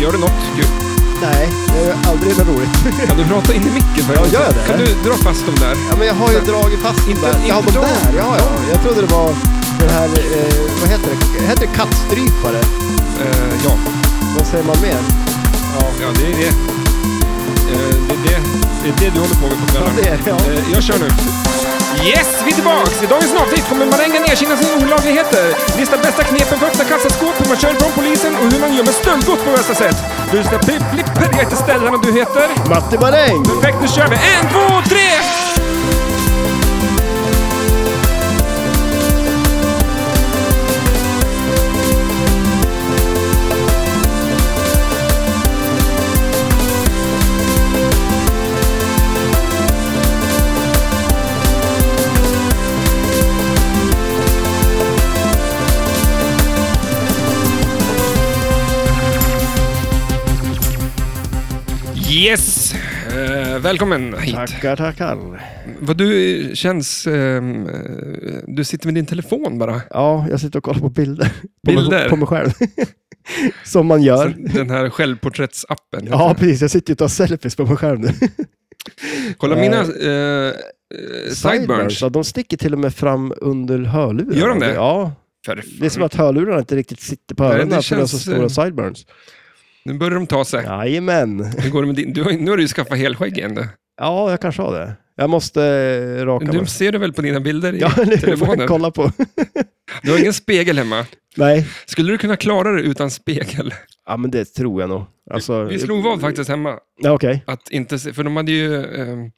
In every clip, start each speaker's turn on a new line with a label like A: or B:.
A: Gör du något kul?
B: Nej, jag gör aldrig så roligt.
A: Kan du prata in i micken faktiskt?
B: Ja, gör det.
A: Kan du dra fast dem där?
B: Ja, men jag har ju dragit fast den
A: Inte-
B: där.
A: inte
B: Ja, de
A: dem.
B: där. Ja, ja. Jag trodde det var den här, eh, vad heter det? Heter det kattstrypare?
A: Eh, ja.
B: Vad säger man mer?
A: ja, det är det. Eh, det, är det. Det är det du håller på med på kvällen.
B: Ja, det är det, ja.
A: Eh, jag kör nu. Yes, vi är tillbaks! I dagens avsnitt kommer marängen erkänna sina olagligheter. Lista bästa knepen för att öppna kassaskåp, hur man kör från polisen och hur man gör med stöldgods på bästa sätt. Du lyssnar på Flipper, jag heter Stellan och du heter?
B: Matti Maräng!
A: Perfekt, nu kör vi! En, två, tre! Yes! Eh, välkommen hit.
B: Tackar, tackar.
A: Vad du känns... ehm, eh, du sitter med din telefon bara.
B: Ja, jag sitter och kollar på bilder. På
A: Bilder?
B: Mig, på mig själv. Som man gör.
A: Den här självporträttsappen.
B: Ja, precis. Jag sitter ju och tar selfies på mig själv nu.
A: Eh, Kolla
B: Eh,
A: mina eh, eh, sideburns.
B: Ja, de sticker till och med fram under hörlurarna.
A: Gör de det?
B: Ja.
A: För
B: Det är som
A: fan.
B: att hörlurarna inte riktigt sitter på
A: Nej, det
B: öronen för det är så
A: känns,
B: stora
A: eh,
B: sideburns.
A: Nu börjar de ta sig.
B: Jajamän.
A: Hur går det med din? Du, har- nu har du ju skaffat helskägg igen. du.
B: Ja, jag kanske har det. Jag måste eh, raka mig.
A: Du ser det väl på dina bilder i
B: Ja, nu får jag
A: telefonen?
B: kolla på.
A: Du har ingen spegel hemma.
B: Nej,
A: Skulle du kunna klara det utan spegel?
B: ja, men det tror jag nog. Alltså,
A: Vi slog vad faktiskt hemma.
B: Ja, Okej.
A: Att inte se, för de hade ju... ehm,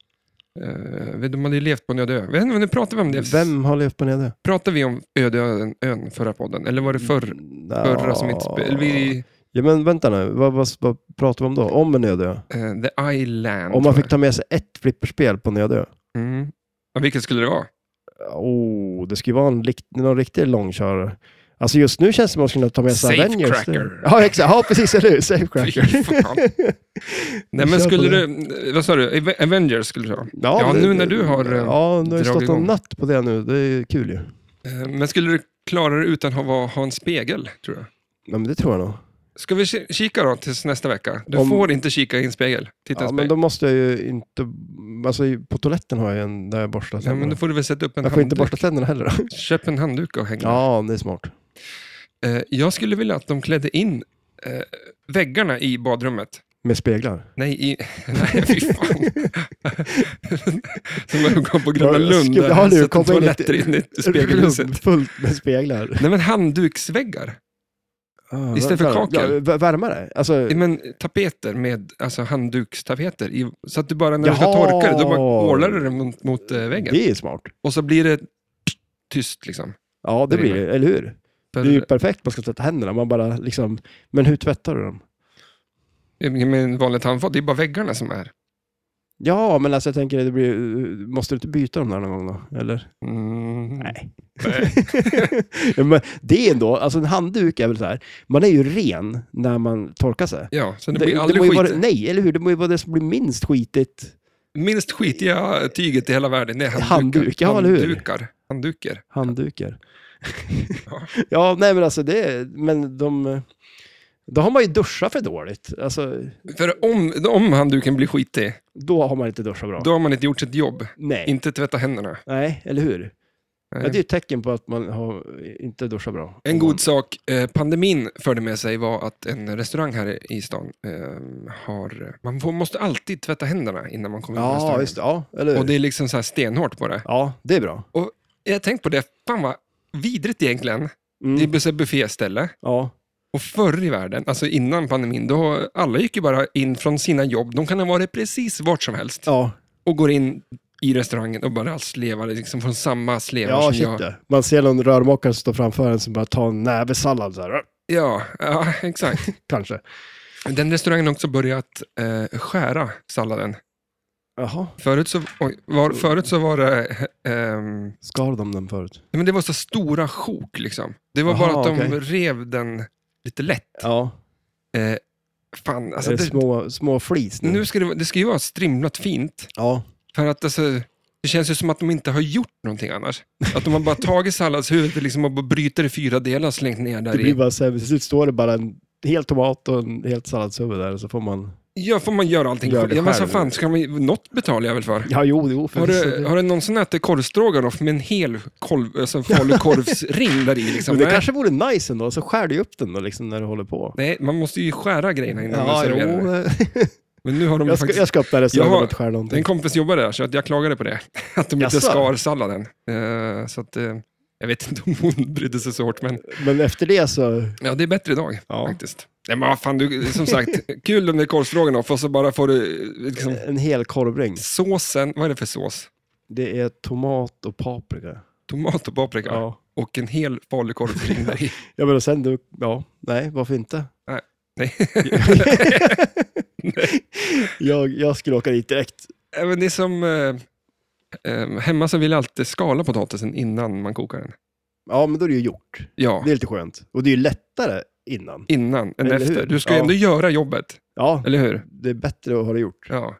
A: eh, de hade ju levt på en öde ö. Vet inte, Nu pratar vi om det.
B: Vem har levt på ner det?
A: Pratade vi om öde ön, ön förra podden? Eller var
B: Mm.
A: det förr?
B: Nå.
A: Förra som inte spelade. Vi,
B: Ja, men vänta nu. Vad, vad, vad pratar vi om då? Om en öde ö?
A: eh, The Island.
B: Om man
A: tror
B: fick ta med sig ett flipperspel på en öde ö?
A: jag. Mm. Ja, vilket skulle det vara?
B: Oh, det skulle vara en, likt- någon riktig långkörare. Alltså just nu känns det som att man skulle ta med sig
A: Safe
B: Avengers.
A: cracker.
B: Ja, exakt. Ja, precis. Eller hur? Safe cracker.
A: Fy fan. Nej,
B: Vi
A: men
B: kör på
A: skulle
B: det.
A: du... Vad sa du? Ave- Avengers skulle du ha.
B: Ja,
A: Ja,
B: det-
A: nu när du har, eh,
B: Ja, nu har
A: dragit
B: jag stått
A: igång.
B: en natt på det nu. Det är kul ju.
A: Eh, Men skulle du klara det utan att ha, ha en spegel, tror jag?
B: Ja, men det tror jag nog.
A: Ska vi ki- kika då tills nästa vecka? Du
B: Om-
A: får inte kika i en spegel. Titta i en
B: Ja, men
A: spegel.
B: då måste jag ju inte... Alltså på toaletten har jag en där jag borstar
A: Ja,
B: tänderna.
A: men då får du väl sätta upp en
B: jag får inte
A: handduk.
B: borsta tänderna heller. Då.
A: Köp en handduk och häng den.
B: Ja, det är smart.
A: Eh, Jag skulle vilja att de klädde in eh, väggarna i badrummet.
B: Med speglar.
A: Nej, i... Nej fy fan. Som när de kom på Gröna
B: Ja,
A: Lund.
B: skulle-
A: Där
B: ja,
A: ja,
B: nu
A: sätter
B: kom jag in i ett-
A: toaletter in i spegelhuset.
B: Rum Fullt med speglar.
A: Nej, men handduksväggar.
B: Ah,
A: Istället för
B: vänta.
A: kakel.
B: Ja, v- värmare? Alltså,
A: Nej, Men tapeter med alltså handdukstapeter. i- Så att du bara när du ska torka det, då bara
B: Jaha.
A: ålar du det mot, mot eh, väggen.
B: det är smart.
A: Och så blir det tyst liksom.
B: Ja, det
A: Där
B: blir
A: inne.
B: det. Eller hur?
A: För,
B: Det är ju perfekt. Man ska tvätta händerna. Man bara liksom... Men hur tvättar du dem?
A: Med en vanlig handfat, det är bara väggarna som är.
B: Ja, men alltså jag tänker, det blir, måste du inte byta dem där någon gång då? Eller?
A: Mm.
B: Nej. ja, men det är ändå, alltså en handduk är väl så här, man är ju ren när man torkar sig.
A: Ja, så det blir
B: det
A: aldrig
B: må ju
A: skit.
B: vara, nej, eller hur? Det må ju vara det som blir minst skitigt.
A: Minst skitiga tyget i hela världen, det är handdukar.
B: Handduk, ja, eller hur?
A: handdukar. Handduker.
B: Handdukar.
A: Ja.
B: ja, nej men alltså det, men de... Då har man ju duschat för dåligt. Alltså,
A: För om, om handduken blir skitig,
B: då har man inte duschat bra.
A: då har man inte gjort sitt jobb.
B: nej.
A: Inte tvätta händerna.
B: nej, eller hur? Ja,
A: Nej.
B: det är ju ett tecken på att man har inte duschat bra.
A: En god sak eh, pandemin förde med sig var att en restaurang här i stan eh, har... Man får, måste alltid tvätta händerna innan man kommer in i
B: Ja,
A: restaurangen.
B: just det. Ja, eller hur?
A: Och det är liksom så här stenhårt på det.
B: Ja, det är bra.
A: Jag har tänkt på det, fan vad vidrigt egentligen.
B: Mm.
A: Det är så här bufféställe.
B: Ja,
A: Och förr i världen, alltså innan pandemin, då alla gick ju bara in från sina jobb. De kan ha varit precis vart som helst
B: ja.
A: och går in i restaurangen och bara slevar liksom från samma slevar
B: ja
A: som
B: shit
A: jag.
B: ja. Man ser någon rörmokare stå framför en som bara tar en näve sallad så här. "Åh,
A: Ja, ja, exakt.
B: Kanske.
A: Den restaurangen har också börjat eh, skära salladen.
B: Jaha,
A: Förut så, oj, var, förut så var det... ehm,
B: skar de den förut?
A: nej, men det var så stora sjok. Liksom. Det var
B: Aha,
A: bara att de
B: okej.
A: rev den lite lätt.
B: Ja,
A: Eh, fan, alltså
B: är det
A: det,
B: små, Mm. små flis nu?
A: nu ska det, vara- det ska ju vara strimlat fint.
B: Ja,
A: För att alltså, det känns ju som att de inte har gjort någonting annars. Att de har bara tagit salladshuvudet liksom, och bara bryter i fyra delar och slängt ner
B: det
A: där
B: blir
A: i.
B: bara så här, till slut står det bara en hel tomat och en helt salladshuvud där och så får man...
A: Ja, får man göra allting
B: Gör
A: själv?
B: det
A: Ja, men så
B: själv.
A: fan, ska man, något betalar jag väl för?
B: Ja, jo, jo. För
A: Har du, har du någonsin ätit korvstroganoff med en hel kolv, alltså falukorvsring där i? Liksom?
B: men det
A: Nej.
B: kanske vore nice ändå, så skär du upp den då liksom när du håller på.
A: Nej, man måste ju skära grejerna innan man
B: jo. eh,
A: serverar det. Men nu har de
B: jag, ska,
A: faktiskt...
B: jag ska upp där i restaurangen
A: Jag har-
B: och skära någonting.
A: En kompis jobbar där, så att jag klagade på det. Att de inte
B: Jaså?
A: skar salladen. Eh, så att, eh, jag vet inte om hon brydde sig så hårt, men
B: Men efter det så...
A: ja, det är bättre idag
B: Ja.
A: faktiskt. Nej, men vad fan, du, som sagt, kul om det är korvstroganoff och så bara får du eh, liksom,
B: En hel korvring.
A: såsen, vad är det för sås?
B: Det är tomat och paprika.
A: Tomat och paprika
B: Ja.
A: och en hel falukorvsring där i.
B: Ja, men och sen du... Ja, nej, varför inte?
A: Nej.
B: Jag, jag skulle åka dit direkt.
A: Ja, men det är som... Eh, eh, hemma så vill jag alltid skala potatisen innan man kokar den.
B: Ja, men då är det ju gjort.
A: Ja,
B: Det är lite skönt. Och det är ju lättare innan.
A: innan än
B: Eller
A: efter.
B: hur?
A: Du ska ju
B: Ja.
A: ändå göra jobbet,
B: Ja,
A: eller hur?
B: det är bättre att ha det gjort.
A: Ja.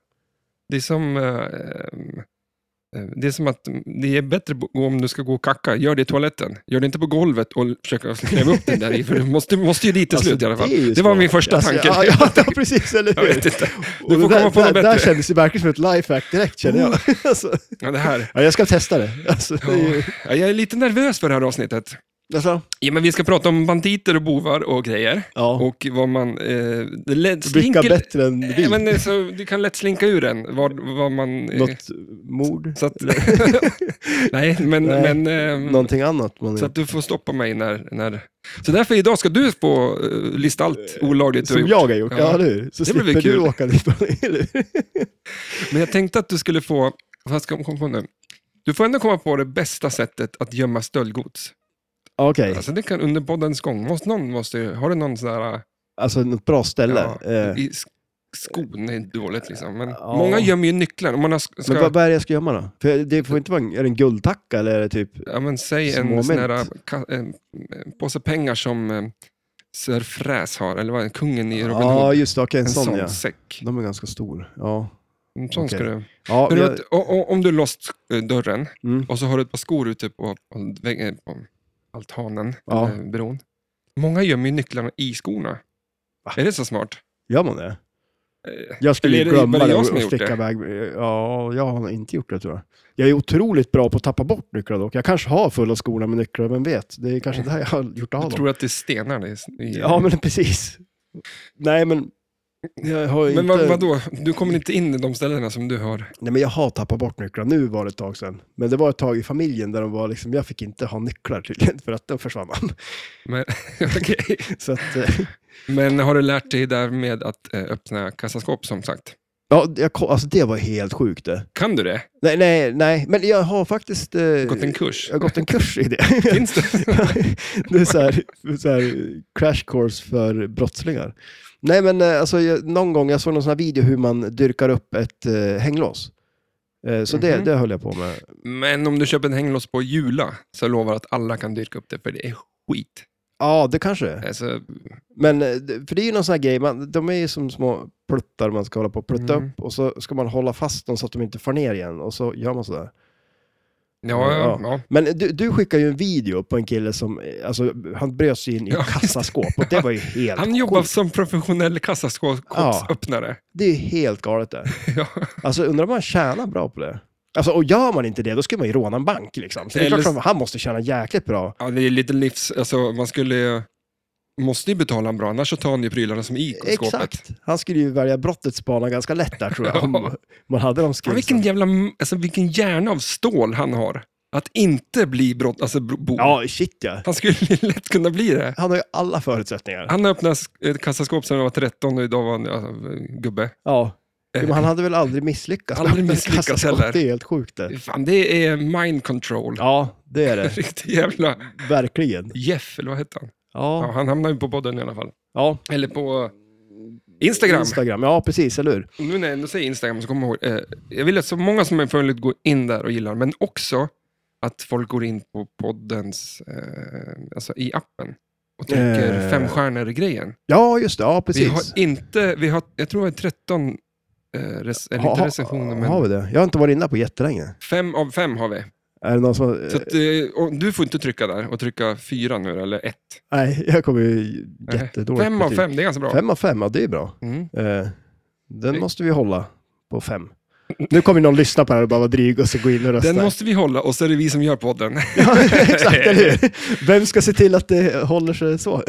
A: Det är som... Eh, eh, det är som att det är bättre bo- om du ska gå och kacka, gör det i toaletten. Gör det inte på golvet och försöka kräva upp den där i, för du måste, måste ju dit till slut i alla fall.
B: Alltså, är ju
A: Det var
B: smart. Alltså,
A: min första tanke.
B: Ja, ja, ja, precis, eller
A: Jag vet
B: hur?
A: inte.
B: Och
A: Du får
B: det där,
A: komma på något
B: där, där
A: bättre.
B: kändes det verkligen som ett lifehack direkt, känner jag. Alltså,
A: Ja, det här.
B: ja, jag ska testa det. Alltså, det är ju,
A: Ja, jag är lite nervös för det här avsnittet.
B: alltså,
A: Ja, men vi ska prata om banditer och bovar och grejer.
B: ja,
A: Och vad man... Eh, det lätt
B: blicka
A: slinker,
B: bättre än
A: Nej,
B: vilt.
A: men, eh, så, du kan lätt slinka ur en, vad, vad man... eh,
B: Något mord,
A: Så att, nej, men...
B: Nej,
A: men ehm,
B: någonting annat. Man,
A: så att du får stoppa mig när, när... Så därför idag ska du få eh, lista allt olagligt du har
B: som
A: gjort.
B: jag har gjort, ja,
A: Ja.
B: eller hur? Så
A: Det blir väl
B: slipper du
A: kul.
B: åka dit. eller hur?
A: Men jag tänkte att du skulle få... Vad ska jag komma på nu? Du får ändå komma på det bästa sättet att gömma stöldgods.
B: Okej,
A: Alltså det kan under poddens gång. Måste, någon måste, ju- har du någon sån där... eh,
B: alltså ett bra ställe.
A: Ja,
B: Eh,
A: i sk- skon är dåligt liksom. Men
B: Ja.
A: Många gömmer ju nycklar. Om man har, sk- ska,
B: Men vad, vad är det jag ska gömma då? För det får inte vara, en- är det en guldtacka eller är det typ,
A: ja, men säg
B: Små
A: en sån här,
B: mynt.
A: ka- en påse pengar som eh, Sir Fräs har, eller vad är det, kungen i Robin
B: ja
A: Hood.
B: just det, okej, en,
A: En
B: sån,
A: sån,
B: ja.
A: säck.
B: De är ganska stor. Ja.
A: En sån
B: Okej.
A: ska du...
B: Ja,
A: Men du
B: jag-
A: vet, o- o- om du låst eh, dörren
B: Mm.
A: och så har du ett par skor ute på, på, väggen- på altanen,
B: Ja.
A: eh, bron. Många gömmer ju nycklarna i skorna.
B: Va?
A: Är det så smart?
B: Gör man det?
A: Eh,
B: Jag skulle
A: Eller
B: ju
A: är det
B: glömma
A: bara
B: det
A: jag
B: och
A: som har
B: och
A: gjort
B: sticka
A: det?
B: iväg. Ja, jag har nog inte gjort det tror jag. Jag är otroligt bra på att tappa bort nycklar dock. Jag kanske har fulla skorna med nycklar, vem vet? Det är kanske det här jag har gjort
A: Du
B: av dem.
A: Eh. tror att det är stenar i... i
B: Ja, men precis. Nej, men jag har ju
A: Men
B: inte...
A: vad, vadå? Du kommer inte in i de ställena som du har?
B: Nej, men jag har tappat bort nycklar. Nu var det ett tag sedan. Men det var ett tag i familjen där de var liksom, jag fick inte ha nycklar tydligen, för att då försvann man.
A: Men, okej.
B: Så att, eh,
A: Men har du lärt dig därmed att eh, öppna kassaskåp som sagt?
B: ja, jag, ko- alltså det var helt sjukt det.
A: Kan du det?
B: Nej, nej, nej, men jag har faktiskt... Eh,
A: Gått en kurs?
B: Jag har gått en kurs i det.
A: Finns det?
B: det är så här, så här crash course för brottslingar. Nej, men eh, alltså, jag, någon gång jag såg någon sån här video hur man dyrkar upp ett eh, hänglås. Eh, så det,
A: Mhm.
B: det höll jag på med.
A: Men om du köper en hänglås på Jula så lovar jag att alla kan dyrka upp det för det är skit.
B: Ja, det kanske det är.
A: Alltså,
B: Men eh, det- för det är ju någon sån här grej, man, de är ju som små pluttar man ska hålla på och plutta
A: Mm.
B: upp och så ska man hålla fast dem så att de inte far ner igen och så gör man sådär.
A: ja,
B: Ja.
A: ja. ja.
B: Men du, du skickade ju en video på en kille som, eh, alltså han bröt sig in i
A: Ja,
B: kassaskåp och det var ju helt
A: Han jobbar
B: sjukt.
A: som professionell kassaskåpsöppnare.
B: Det är ju helt galet det.
A: Ja.
B: Alltså undrar om man tjänar bra på det? Alltså, och gör man inte det, då skulle man ju råna en bank liksom. Så det är
A: Eller-
B: klart att han måste tjäna jäkligt bra.
A: ja, det är lite livs... Alltså, man skulle ju- Måste ju betala en bra, annars så tar han ju prylarna som gick i skåpet.
B: Exakt. Han skulle ju välja brottets bana ganska lätt där tror jag.
A: Ja.
B: Om man hade de
A: Fan,
B: skillsen.
A: vilken jävla, alltså, vilken hjärna av stål han har. Att inte bli brott, alltså bro- bov.
B: Ja, shit ja.
A: Han skulle ju lätt kunna bli det.
B: Han har ju alla förutsättningar.
A: Han öppnade ett kassaskåp sedan han var 13 och idag var han alltså, gubbe.
B: Ja. Men han hade väl aldrig misslyckats? med
A: Aldrig
B: att
A: misslyckats
B: kasta skott.
A: heller.
B: Det är helt sjukt det.
A: Fan, det är mind control.
B: Ja, det är det.
A: Riktig jävla
B: Verkligen.
A: Jeff, eller vad hette han? Ja,
B: Ja.
A: han hamnade ju på podden i alla fall.
B: ja.
A: Eller på Instagram.
B: Instagram. Ja, precis. Eller hur?
A: Nu när jag ändå säger Instagram så kommer jag ihåg. Eh, jag vill att så många som är möjligt går in där och gillar, men också att folk går in på poddens, eh, alltså i appen och trycker
B: Eh.
A: femstjärnor-grejen.
B: Ja, just det. Ja,
A: Vi
B: precis.
A: har inte, vi har, jag tror det är 13 eh, res, eller
B: Ha-
A: inte
B: ha-
A: recensioner,
B: Har
A: men
B: vi det? Jag har inte varit inne på jättelänge.
A: fem av fem har vi.
B: Är det någon som... har-
A: Så att, eh, och du får inte trycka där och trycka fyra nu eller ett.
B: Eh, Nej, jag kommer ju jättedåligt
A: Fem av
B: betyg.
A: fem, det är ganska bra.
B: Fem av fem, ja det är bra.
A: Mm.
B: Eh, den
A: Snyggt.
B: måste vi hålla på fem. Nu kommer någon lyssna på det här och bara vara dryg och så gå in och rösta.
A: Den måste vi hålla och så är det vi som gör podden.
B: ja, exakt, eller hur? Vem ska se till att det håller sig så?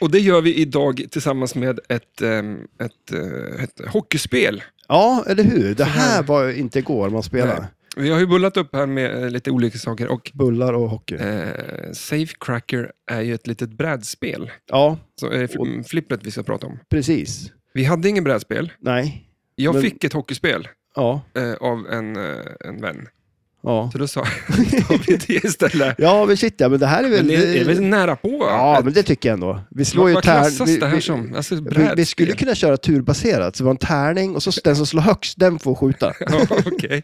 A: Och det gör vi idag tillsammans med ett, ehm, ett, eh, ett hockeyspel.
B: Ja, eller hur? Det
A: Så här.
B: här var ju inte igår man spelade.
A: Nej. Vi har ju bullat upp här med eh, lite olika saker och
B: Bullar och hockey.
A: eh, Safe Cracker är ju ett litet brädspel.
B: Ja,
A: Så är det fl- mm, flippret vi ska prata om.
B: precis.
A: Vi hade ingen brädspel.
B: Nej.
A: Jag
B: Men-
A: fick ett hockeyspel
B: Ja.
A: eh, av en, eh, en vän.
B: Ja.
A: Så då sa sa vi det istället.
B: Ja, men shit ja, men det här är väl...
A: Men det är- är väl nära på? va?
B: Ja,
A: Att-
B: men det tycker jag ändå. Vi slår
A: vad,
B: ju
A: vad
B: tärn...
A: klassas
B: Vi,
A: det här
B: vi,
A: som? Alltså,
B: vi,
A: brädspel.
B: vi skulle kunna köra turbaserat, så det var en tärning och så den som slår högst, den får skjuta.
A: ja, okej.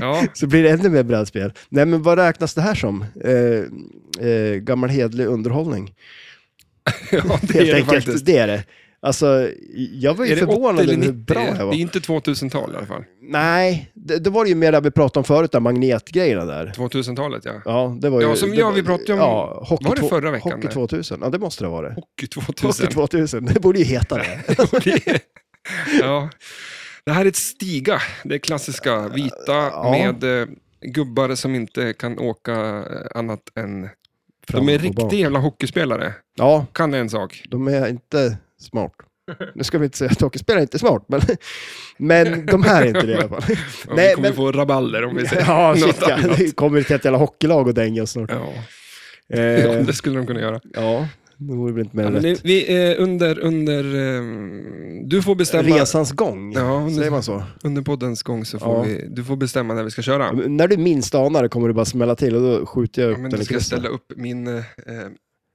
A: ja,
B: Så blir det ännu mer brädspel. Nej, men vad räknas det här som? Eh, eh, gammal hedlig underhållning.
A: ja, det
B: Helt
A: är det
B: enkelt.
A: faktiskt.
B: det är det. Alltså, jag var ju
A: Är det 80
B: förvånad
A: eller
B: över
A: 90?
B: hur bra jag
A: Det är
B: var.
A: inte 2000-tal i alla fall.
B: Nej, det, det var det ju mer det vi pratade om förut, där magnetgrejerna där.
A: 2000-talet, ja.
B: Ja, det var ju...
A: Ja, som
B: det
A: jag-
B: var-
A: vi pratade om-
B: Ja, hockey
A: var det
B: två-
A: förra veckan,
B: Hockey
A: det?
B: 2000, ja det måste det ha varit.
A: Hockey 2000.
B: Hockey 2000, det borde ju heta det.
A: ja. Det här är ett stiga, det klassiska vita
B: Ja.
A: med eh, gubbar som inte kan åka eh, annat än...
B: Fram
A: de är
B: och bak.
A: riktiga jävla hockeyspelare,
B: Ja,
A: kan en sak.
B: de är inte smart. Nu ska vi inte säga att hockeyspelare inte är smart, men, men de här är inte det i alla fall.
A: Ja,
B: Nej,
A: vi kommer
B: men-
A: få rabalder om vi säger
B: Ja,
A: något
B: shit ja.
A: annat.
B: Det kommer till ett jävla hockeylag och dänga snart.
A: Ja.
B: Eh,
A: ja, det skulle de kunna göra.
B: ja, det vore väl inte mer
A: Ja,
B: än
A: men
B: rätt.
A: det- vi, eh, under, under, eh, du får bestämma,
B: Resans gång,
A: Ja, men-
B: säger man så?
A: under poddens gång så får
B: Ja.
A: vi, du får bestämma när vi ska köra.
B: Men När du minst anar det kommer du bara smälla till och då skjuter jag
A: Ja,
B: upp
A: men
B: den
A: du
B: i
A: ska
B: krysset.
A: ställa upp min... eh, eh,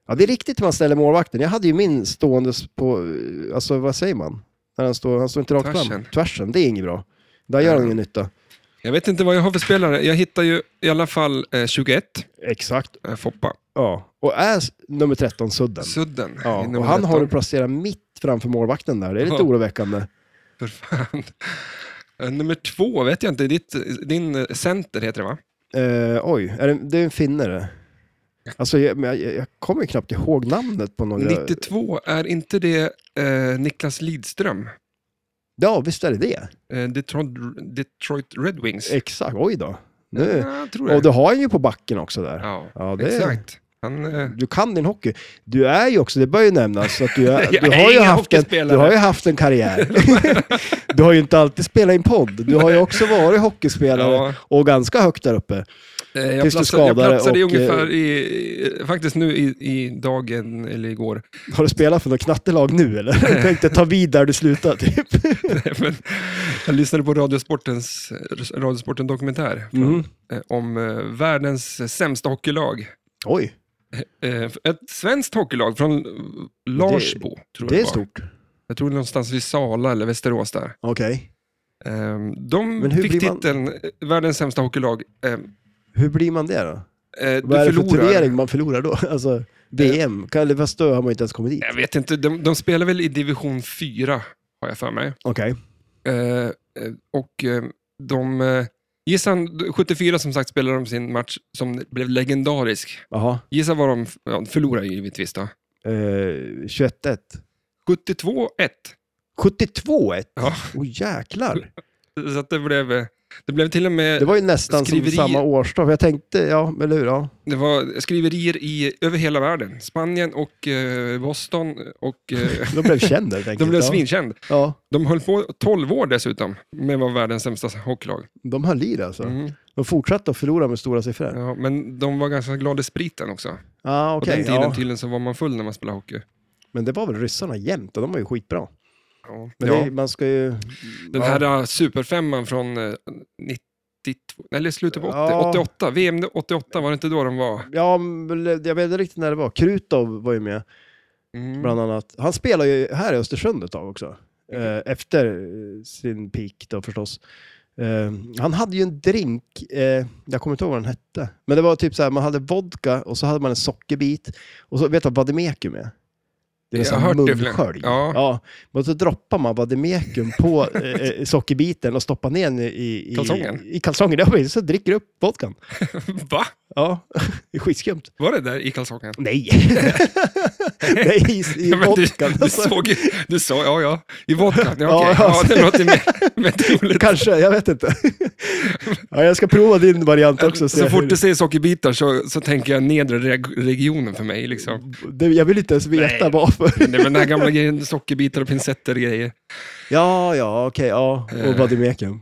B: Ja, det är riktigt hur man ställer målvakten. Jag hade ju min ståendes på, eh, alltså vad säger man? När han, står, han står inte rakt fram.
A: Tvärsen.
B: Tvärsen. Det är inget bra. Där gör han
A: Ja.
B: ingen nytta.
A: jag vet inte vad jag har för spelare. Jag hittar ju i alla fall eh, 21,
B: Exakt.
A: eh, Foppa.
B: Ja. Och är s- nummer 13 Sudden.
A: Sudden.
B: Ja,
A: i nummer
B: och han har du
A: 13.
B: placerat mitt framför målvakten där. Det är lite
A: Ja.
B: oroväckande.
A: För fan. Eh, Nummer två vet jag inte. Ditt, din eh, center heter det va?
B: Eh, oj, är det, det är en finne det. Alltså, jag, men jag, jag kommer ju knappt ihåg namnet på några...
A: 92, är inte det eh, Niklas Lidström?
B: Ja, visst är det det.
A: Eh, Detroit, Detroit Red Wings?
B: Exakt, oj då. Nu.
A: Ja, jag tror det.
B: Och du har ju på backen också där.
A: Ja,
B: Ja, det-
A: exakt. Han, eh,
B: Du kan din hockey. Du är ju också, det bör ju nämnas, att du, är,
A: Jag
B: du,
A: är
B: har, ju
A: ingen
B: haft en,
A: hockeyspelare.
B: du har ju haft en karriär. du har ju inte alltid spelat i en podd. Du har ju också varit hockeyspelare
A: Ja.
B: och ganska högt där uppe.
A: eh, jag,
B: Tills du
A: platsade, jag
B: skadade
A: platsade
B: och, eh,
A: och, ungefär i, i- eh, faktiskt nu i, i dagen, eller igår.
B: Har du spelat för något knattelag nu eller? Jag tänkte ta vid där du slutade typ.
A: Nej, men, jag lyssnade på Radiosportens, Radiosporten dokumentär från,
B: Mm.
A: eh, om eh, världens sämsta hockeylag.
B: Oj,
A: Eh, ett svenskt hockeylag från eh, Larsbo, tror jag
B: det är
A: var.
B: stort.
A: Jag tror någonstans vid Sala eller Västerås där.
B: Okej.
A: Eh, de
B: Men hur
A: fick
B: blir man-
A: titeln eh, världens sämsta hockeylag. Eh, eh,
B: Hur blir man det då?
A: du
B: Vad är det för
A: förlorar.
B: turnering man förlorar då? Alltså, VM? Kalle fast då har man inte ens kommit dit.
A: Jag vet inte, de, de spelar väl i division 4, har jag för mig.
B: Okej.
A: Eh, eh, och eh, de... Eh, Gissa, 74 som sagt spelade de sin match som blev legendarisk.
B: Jaha.
A: Gissa vad de ja, de förlorade givetvis då.
B: Eh, 21-1.
A: 72-1.
B: 72-1?
A: Ja.
B: Åh jäklar.
A: Så att det blev... eh, Det blev till och med
B: Det var ju nästan
A: Skriveri-
B: som samma årsdag. för Jag tänkte, ja, eller hur? Ja.
A: det var skriverier i, över hela världen. Spanien och eh, Boston och... Eh,
B: De blev kända helt enkelt.
A: de blev
B: ja.
A: svinkänd.
B: Ja,
A: De höll på 12 år dessutom med att vara världens sämsta hockeylag.
B: de höll i det alltså.
A: Mm.
B: De fortsatte att förlora med stora siffror. Ja,
A: Ja, men de var ganska glada i spriten också.
B: ah,
A: På
B: okej.
A: den tiden
B: Ja.
A: tydligen så var man full när man spelade hockey.
B: Men det var väl ryssarna jämt och de var ju skitbra.
A: Ja.
B: Men
A: ja.
B: det, man ska ju...
A: Den
B: ja.
A: här eh, superfemman från eh, 92, eller slutet på 80,
B: Ja.
A: 88, VM 88, var det inte då de var?
B: Ja, men jag vet inte riktigt när det var. Krutov var ju med,
A: Mm.
B: bland annat. Han spelar ju här i Östersund ett tag också. Eh, efter eh, sin peak då förstås. Eh, han hade ju en drink, eh, jag kommer inte ihåg vad den hette. Men det var typ så här, man hade vodka och så hade man en sockerbit. Och så vet du vad vademek är med? Det är
A: Jag
B: nästan
A: har hört det
B: munskölj.
A: flera- ja.
B: Men så droppar man vademekum på eh, eh, sockerbiten och stoppar ner den i, i
A: Kalsongen.
B: I kalsongen, ja, precis. så dricker du upp vodkan.
A: Va?
B: Ja, det är skitskumt.
A: Var det där i kalsongen?
B: Nej! Nej, i, i
A: Ja, men du,
B: vodkan.
A: du
B: Alltså,
A: såg, du sa, ja ja, i vodkan, ja,
B: Ja,
A: okej. ja,
B: alltså.
A: det låter mer, mer troligt.
B: Kanske, jag vet inte. ja, jag ska prova din variant också. och se
A: Så
B: hur-
A: fort du säger sockerbitar så, så tänker jag nedre reg- regionen för mig. Liksom.
B: det, jag vill inte ens veta
A: Nej.
B: varför.
A: Men Det är den här gamla grejen, sockerbitar och pincetter och grejer.
B: Ja, ja, okej, ja. Och
A: Eh.
B: vademekum.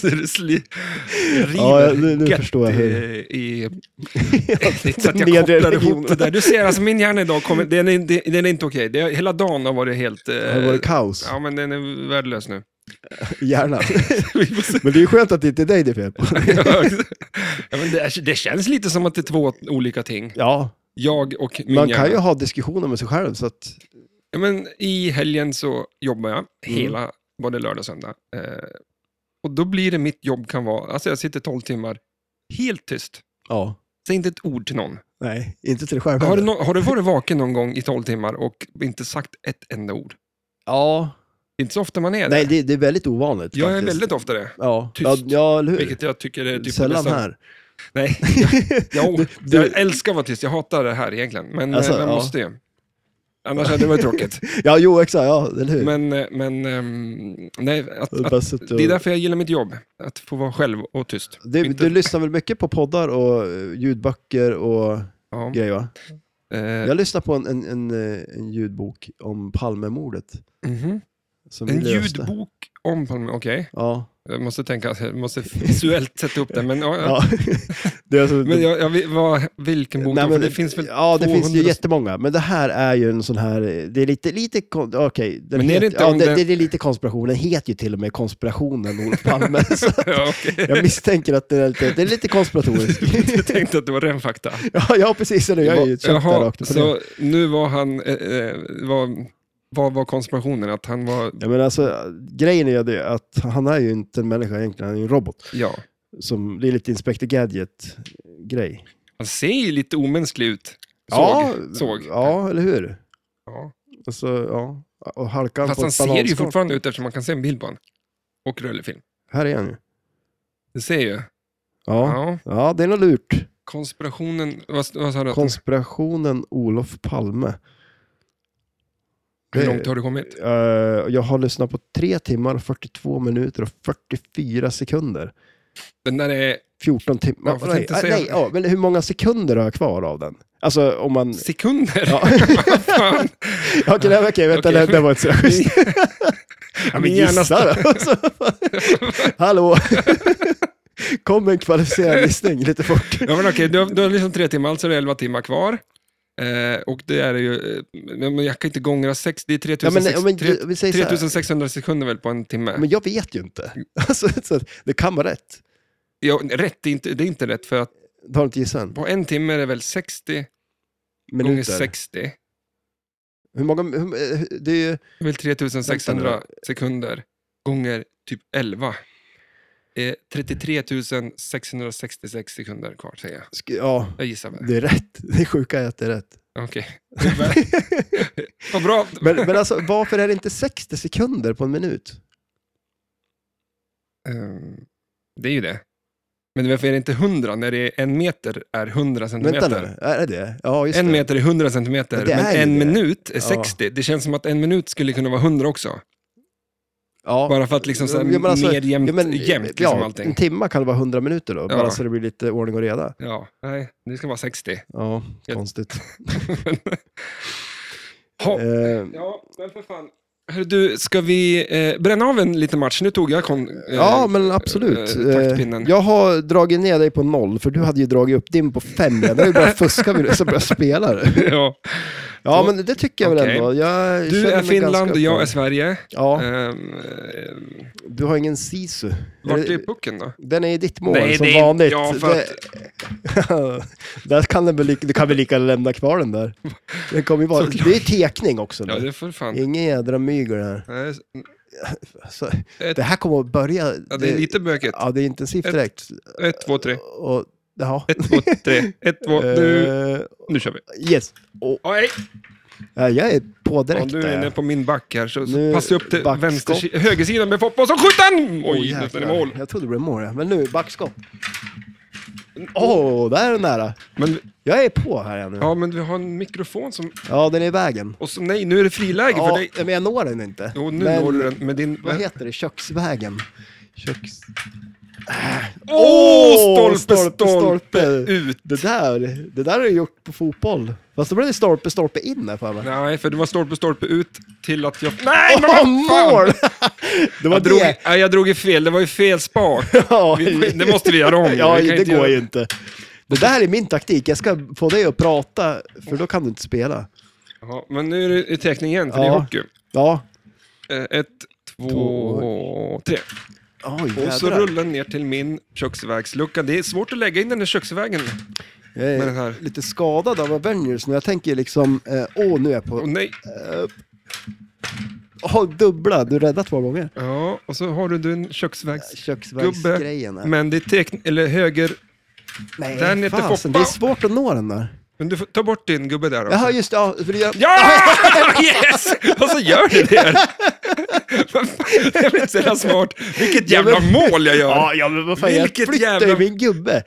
A: Så det sli- river
B: Ja, nu- nu
A: gött
B: förstår jag hur-
A: i- I, så att jag
B: Nedre
A: kopplar
B: regionen.
A: ihop det där. Du ser, alltså min hjärna idag, kommer, den, är, den är inte okej. Det har- Hela dagen har varit helt... eh,
B: Det har varit kaos
A: Ja, men den är värdelös nu.
B: i hjärnan.
A: Vi får se.
B: Men det är ju skönt att det inte är dig det är fel på.
A: ja, men det, är- det känns lite som att det är två olika ting.
B: Ja,
A: Jag och min
B: man
A: hjärna.
B: kan ju ha diskussioner med sig själv. Så att,
A: Ja, men I helgen så jobbar jag
B: Mm.
A: hela, både lördag och söndag. Eh, och då blir det mitt jobb kan vara, alltså jag sitter 12 timmar helt tyst.
B: ja,
A: Säg inte ett ord till någon.
B: nej, inte till dig själv
A: Har du,
B: heller.
A: nå- har du varit vaken någon gång i 12 timmar och inte sagt ett enda ord?
B: Ja,
A: Det är inte så ofta man är
B: nej,
A: det.
B: det, det är väldigt ovanligt.
A: Jag är
B: faktiskt.
A: väldigt ofta det,
B: ja.
A: tyst.
B: Ja, ja, eller hur?
A: vilket jag tycker är typ
B: Sällan
A: nästan-
B: här.
A: Nej, jag, jag,
B: du-
A: jag älskar att vara tyst. Jag hatar det här egentligen, men eh,
B: Alltså,
A: man
B: ja.
A: måste ju. Annars hade det varit tråkigt.
B: Ja, jo, exakt, ja, eller hur?
A: Men, eh, men ehm, nej, att,
B: Typ. Det är
A: att,
B: bara så att
A: det är därför jag gillar mitt jobb. Att få vara själv och tyst.
B: Du,
A: Inte-
B: du lyssnar väl mycket på poddar och eh, ljudböcker och
A: ja.
B: grejer va?
A: Eh,
B: Jag lyssnar på en, en, en, eh, en ljudbok om Palmemordet.
A: mhm.
B: Som
A: En
B: vi löste.
A: ljudbok om Palme, okej.
B: Ja.
A: Jag måste tänka, jag måste visuellt sätta upp den. Men, ja, ja.
B: ja. det är alltså,
A: men jag, jag, vet- vad, vilken bok?
B: Nej,
A: då?
B: men
A: För det finns väl
B: ja, det finns ju
A: 200
B: jättemånga. Men det här är ju en sån här, eh, det är lite, lite kon- okej, den
A: Men är det
B: heter-
A: inte
B: ja,
A: om
B: det,
A: den-
B: det är lite konspiration, den heter ju till och med konspirationen Olof Palme. så
A: ja, okej.
B: jag misstänker att det är lite, det är lite konspiratoriskt.
A: Jag tänkte att det var ren fakta.
B: ja, ja, precis, eller jag är ju köpt där
A: Jaha,
B: rakt upp och ner.
A: så nu var han, eh, eh, var, vad var konspirationen? Att han var,
B: Ja, men alltså, grejen är ju det att han är ju inte en människa egentligen, han är ju en robot.
A: ja,
B: Som, det är lite Inspector Gadget-grej.
A: han ser ju lite omänsklig ut. Såg,
B: Ja,
A: såg.
B: Ja, eller hur?
A: Ja.
B: Alltså, ja. Och halkan
A: Fast
B: på
A: han
B: ett
A: ser ju
B: bananskal.
A: fortfarande ut eftersom man kan se en bild på honom. Och rullefilm.
B: Här är han ju.
A: Det ser ju.
B: Ja.
A: Ja.
B: Ja. det är något lurt.
A: Konspirationen, vad, vad sa du? att-
B: Konspirationen Olof Palme.
A: Hur långt har du kommit?
B: Eh, jag har lyssnat på 3 timmar, 42 minuter och 44 sekunder.
A: Den där är
B: 14 timmar.
A: Ja, jag tänkte
B: nej,
A: säga-
B: nej, ja, men hur många sekunder har jag kvar av den? Alltså om man...
A: sekunder.
B: Ja.
A: Fan.
B: Ja, Okej, nej, okej, vänta,
A: Okej.
B: det, det var inte så schysst.
A: Ja,
B: men
A: min hjärna
B: gissa då. Alltså, Hallå! Kom med en kvalificerad gissning lite fort.
A: Ja, men okej, du har, du har liksom tre timmar, alltså är det elva timmar kvar. Eh, och det är ju, eh, men jag kan inte gångra sex, det är
B: Ja, men, ja,
A: 3600
B: men,
A: tre-
B: vi säger så här,
A: 3600 sekunder väl på en timme.
B: men jag vet ju inte. Alltså, så att det kan vara rätt.
A: Ja, rätt, är inte, det är inte rätt, för att
B: Du har inte gissat än.
A: på en timme är det väl 60 gånger
B: Minuter.
A: 60.
B: Hur många, hur, eh, det är ju,
A: Det är väl 3600
B: Vänta
A: sekunder gånger typ 11. Eh, 33 666 sekunder kvar, säger jag.
B: sk- ja,
A: Jag gissar på det.
B: det är rätt. Det sjuka är att det är rätt.
A: Okej. Vad bra.
B: Men, men alltså, varför är det inte 60 sekunder på en minut?
A: Ehm, det är ju det. Men varför är det inte 100 när det är en meter är 100
B: Vänta
A: centimeter?
B: nu, är det det? Ja, just
A: en
B: det.
A: meter är 100 centimeter,
B: Ja, det är
A: men
B: ju
A: en
B: det.
A: minut är
B: Ja.
A: 60. Det känns som att en minut skulle kunna vara 100 också.
B: Ja.
A: Bara för att liksom så här,
B: Ja, men alltså,
A: mer jämnt,
B: Ja, men,
A: jämnt liksom
B: ja, en
A: allting.
B: timma kan det vara 100 minuter då, bara
A: Ja.
B: så det blir lite ordning och reda.
A: Ja, nej, det ska vara 60.
B: Ja,
A: Ja.
B: konstigt.
A: ha,
B: Eh,
A: ja, men för fan. Hörru, du, ska vi eh, bränna av en liten match? Nu tog jag kon, eh,
B: ja, men absolut.
A: eh, taktpinnen.
B: Eh, jag har dragit ner dig på noll, för du hade ju dragit upp din på fem redan. Det är ju bara fuska med det som börjar spela. det.
A: ja.
B: Ja, men det tycker jag väl
A: Okej.
B: ändå. Jag
A: Du
B: känner
A: är
B: mig
A: Finland
B: ganska
A: och jag är
B: öppen.
A: Sverige.
B: Ja,
A: Ehm, eh,
B: du har ingen sisu.
A: vart
B: Eh,
A: är pucken då?
B: Den är i ditt mål,
A: Nej,
B: som
A: det är-
B: vanligt.
A: ja, för
B: det... Där kan den väl lika, du kan väl lika gärna lämna kvar den där. Den kommer ju vara...
A: Såklart.
B: Det är ju tekning också. nu.
A: Ja, det är för fan.
B: Ingen jädra mygel här.
A: Nej,
B: Alltså,
A: Ett-
B: det här kommer att börja...
A: Ja, det är lite bökigt.
B: Eh, Ja, det är intensivt
A: Ett-
B: direkt.
A: Ett, två, tre.
B: Och, ja.
A: Ett, två, tre. Ett, två. Nu,
B: Eh,
A: nu kör vi.
B: yes. Och,
A: Oj!
B: Eh, Jag är på
A: Om
B: direkt.
A: du är
B: där.
A: inne på min back här, så
B: Nu
A: passa upp till
B: backskott.
A: vänster, högersidan med Foppa, och så skjuter han!
B: Åh,
A: Oj, nästan i
B: jäklar.
A: mål.
B: Jag trodde det blev mål, ja. men nu backskott. Åh, där är den nära.
A: Men,
B: Jag är på här igen nu. Ja.
A: ja, men vi har en mikrofon som...
B: den är i vägen.
A: Och så, nej, nu är det friläge för
B: Ja,
A: dig.
B: men jag når den inte.
A: Jo, nu
B: men,
A: når du den med din...
B: Vad heter det? Köksvägen? Köks...
A: Åh,
B: Åh,
A: stolpe, stolpe, ut!
B: Det där, det där har jag gjort på fotboll. Fast då blev det stolpe, stolpe in där för mig.
A: Nej, för det var stolpe, stolpe ut till att jag... Nej, men
B: Åh,
A: vad fan!
B: mål! Det var
A: Jag drog,
B: det.
A: nej, jag drog i fel, det var ju fel spak.
B: Ja,
A: Vi- det måste vi göra om.
B: Ja,
A: Vi kan
B: det
A: inte
B: går
A: göra-
B: ju inte. Det där är min taktik. Jag ska få dig att prata, för då kan du inte spela.
A: Ja, men nu är det i teckning igen, för det är
B: Ja.
A: hockey.
B: Ja.
A: Eh, Ett, två, tre.
B: Oj,
A: Och så
B: jädrar.
A: rullar den ner till min köksvägslucka. Det är svårt att lägga in den i köksvägen.
B: Jag
A: med den här.
B: är lite skadad av Avengers nu. Jag tänker liksom, eh, åh, nu är jag
A: Och
B: på...
A: nej.
B: Åh, oh, dubbla. Du räddade två gånger.
A: Ja, och så har du din köksvägs...
B: Köksvägsgrejen. här.
A: Men det är teckn... Eller höger...
B: Nej,
A: den heter
B: fasen,
A: Foppa.
B: det är svårt att nå den där.
A: Men du får ta bort din gubbe där också.
B: Jaha, just det. Ja, för det gör...
A: Ja! Yes! Och så gör du det. Vad fan, Jag blir så jävla smart. Vilket
B: Ja, men-
A: jävla mål jag gör.
B: Ja, ja, men vad fan,
A: Vilket
B: jag flyttar
A: jävla-
B: ju min gubbe.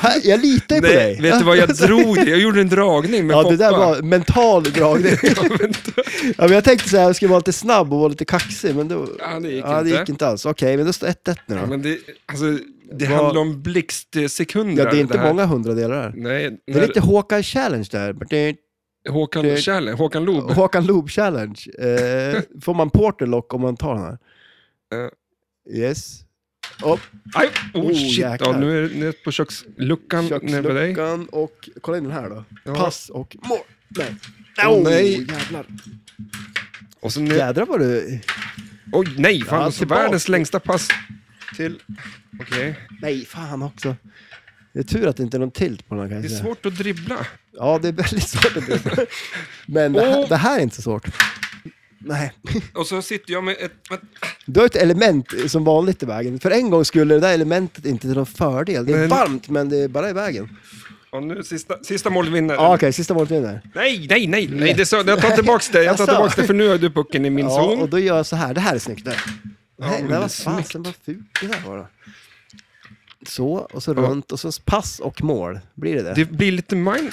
B: Här, Jag litar ju på
A: Nej,
B: dig.
A: vet du vad jag drog det? Jag gjorde en dragning med
B: Ja,
A: Foppa.
B: det där var mental dragning.
A: Ja, men då-
B: Ja, men jag tänkte så här, jag skulle vara lite snabb och vara lite kaxig, men då...
A: Ja, det gick inte.
B: alls. Okej, men då står 1-1 nu då.
A: Ja, men det, alltså, det
B: Vad-
A: handlar om blixtsekunder.
B: ja, det är inte
A: här.
B: många hundradelar här.
A: Nej,
B: Det är
A: när
B: lite Håkan Challenge där. Det
A: Håkan,
B: det-
A: Kjell, Håkan Loob.
B: är Håkan Loob Challenge. Eh, får man porterlock om man tar den här?
A: Eh.
B: Yes. Oh,
A: Aj, oh,
B: Oh,
A: shit, ja,
B: jäklar.
A: nu är det nere på köksluckan nere vid dig.
B: köksluckan och... Kolla in den här då.
A: Ja.
B: Pass och mål. Nej.
A: Åh, nej.
B: Jävlar.
A: Och så ner.
B: Jädrar vad du...
A: Oj, nej, fan,
B: Ja,
A: alltså,
B: tillbaka.
A: världens längsta pass till... Okej,
B: Nej, fan också. Det är tur att det inte är någon tilt på den här kan
A: det
B: jag
A: är
B: säga.
A: svårt att dribbla.
B: Ja, det är väldigt svårt att dribbla. Men det här,
A: Och-
B: det här är inte så svårt. Nej.
A: Och så sitter jag med ett... ett-
B: Du har ett element som vanligt i vägen. För en gång skulle det där elementet inte till någon fördel. Det är
A: Men-
B: varmt, men det är bara i vägen.
A: Och nu sista, sista målvinnaren.
B: Ja, Okej, sista målet vinner.
A: Nej, nej, nej, nej, det sa, jag tar tillbaka det. Jag tar
B: Jaså?
A: tillbaka det, för nu har du pucken i min
B: Ja, och
A: zon.
B: då gör jag så här. Det här är snyggt. Där.
A: Ja,
B: Nej,
A: men
B: men
A: det är
B: vad fasen vad fult det där var då. Så, och så runt, och så pass och mål. Blir det det? Åh,
A: Det blir lite mind...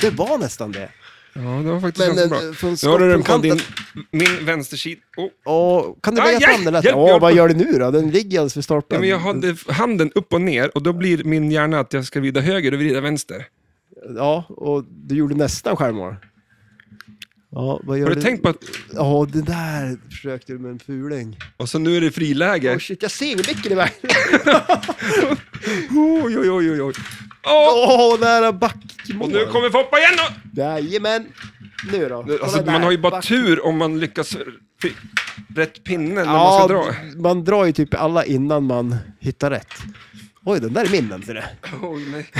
B: det var nästan det.
A: Ja, det var faktiskt
B: Men
A: ganska
B: eh,
A: bra.
B: från
A: Nu har
B: skott
A: du den
B: från
A: på
B: kanten.
A: din, min vänstersida. Oh.
B: Åh, kan du
A: Aj,
B: lägga
A: aj,
B: fram den där?
A: hjälp,
B: Åh,
A: jag-
B: vad gör du nu då? Den ligger alldeles för stolpen.
A: Ja, men jag hade handen upp och ner och då blir min hjärna att jag ska vrida höger och vrida vänster.
B: Ja, och du gjorde nästan självmål. Ja, vad gör
A: Har du tänkt på att...
B: Ja, det där försökte du med en fuling.
A: Och så nu är det friläge.
B: Åh shit, jag ser ju mycket i vägen.
A: Oj, oj, oj, oj, oj. Åh!
B: Åh, nära
A: Och
B: backmål.
A: nu kommer Foppa igen! och-
B: Jajamän. Nu då? Kolla
A: Alltså,
B: där,
A: man har ju bara
B: back-
A: tur om man lyckas fi- rätt pinne när man ska dra.
B: man drar ju typ alla innan man hittar rätt. Oj, den där är min den, ser du.
A: Oj, nej.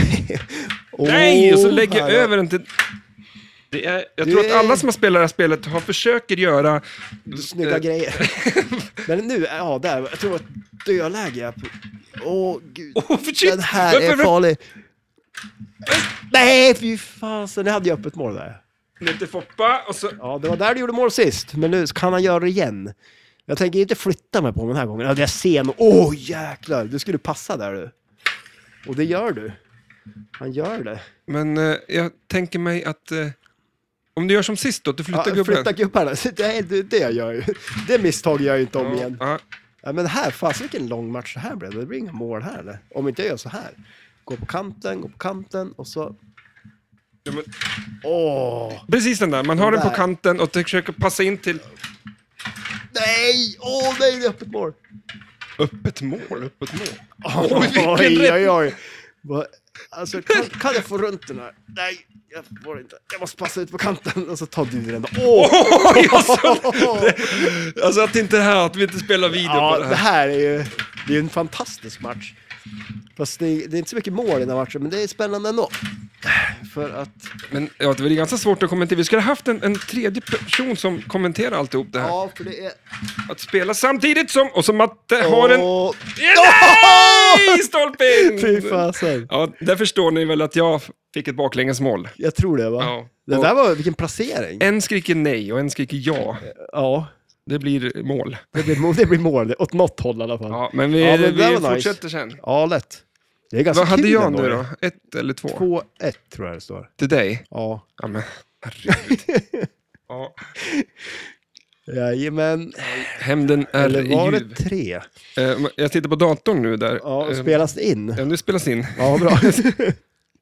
A: nej, och så lägger jag över den till... Det är, jag
B: Det
A: tror att
B: är-
A: alla som har spelat det här spelet har försöker göra...
B: Snygga
A: eh,
B: grejer. Men nu, ja där, jag tror att dödläge är på... Åh gud.
A: Åh, för shit!
B: Den här
A: Varför-
B: är farlig. Nej, fy fasen. Det hade jag öppet mål där.
A: Ner till Foppa och så...
B: Ja, det var där du gjorde mål sist, men nu kan han göra det igen. Jag tänker inte flytta mig på honom den här gången. Ja, jag ser nog... Åh, jäklar! Du skulle passa där du. Och det gör du. Han gör det.
A: Men eh, jag tänker mig att... Eh, om du gör som sist då, att du flyttar
B: Ja,
A: gubben.
B: Flytta gubbarna. Så Det, det, det jag gör ju. Det misstag gör jag ju inte om
A: Ja,
B: igen.
A: ja.
B: Ja, men här, fasen vilken lång match det här blev. Det blir inga mål här eller? Om inte jag gör så här. Gå på kanten, gå på kanten och så...
A: Ja, men,
B: Åh!
A: precis den där, man har
B: Den
A: den på
B: där.
A: kanten och försöker passa in till
B: Nej! Åh nej, det är öppet mål!
A: öppet mål. Öppet mål.
B: Oj,
A: vilken
B: oj,
A: rätt-
B: oj, oj. Vad- Alltså, kan, kan jag få runt den här? Nej, jag får det inte. Jag måste passa ut på kanten och så tar du den. Åh!
A: Oj, alltså, alltså att inte det här, att vi inte spelar video
B: Ja,
A: på det
B: det
A: här.
B: här är ju det är en fantastisk match. Fast det är, det är inte så mycket mål i den här matchen, men det är spännande ändå. För att...
A: Men ja, det är ganska svårt att kommentera. Vi skulle ha haft en, en tredje person som kommenterar alltihop det här.
B: Ja, för det är...
A: Att spela samtidigt som, och så Matte har en...
B: Åh.
A: Ja, Nej, stolpen!
B: Fy fasen.
A: Ja, där förstår ni väl att jag fick ett baklängesmål.
B: Jag tror det va?
A: Ja.
B: Det där var, vilken placering.
A: En skriker nej och en skriker ja.
B: Ja,
A: Det blir mål.
B: det blir, må- det blir mål. Åt något håll i alla fall. Ja,
A: Ja, men vi,
B: Ja, men det där
A: vi
B: var nice.
A: fortsätter sen.
B: lätt. Det är ganska
A: Vad hade
B: kul
A: jag
B: ändå,
A: nu
B: det.
A: då? Ett eller två?
B: 2-1 tror jag det står.
A: Till dig?
B: Ja.
A: Ja, men herregud. Ja.
B: Jajamän.
A: Hämnden är
B: Eller var
A: ljuv.
B: det tre?
A: Eh, Jag tittar på datorn nu där.
B: Ja,
A: Eh,
B: spelas det in?
A: ja, nu spelas in.
B: Ja, bra.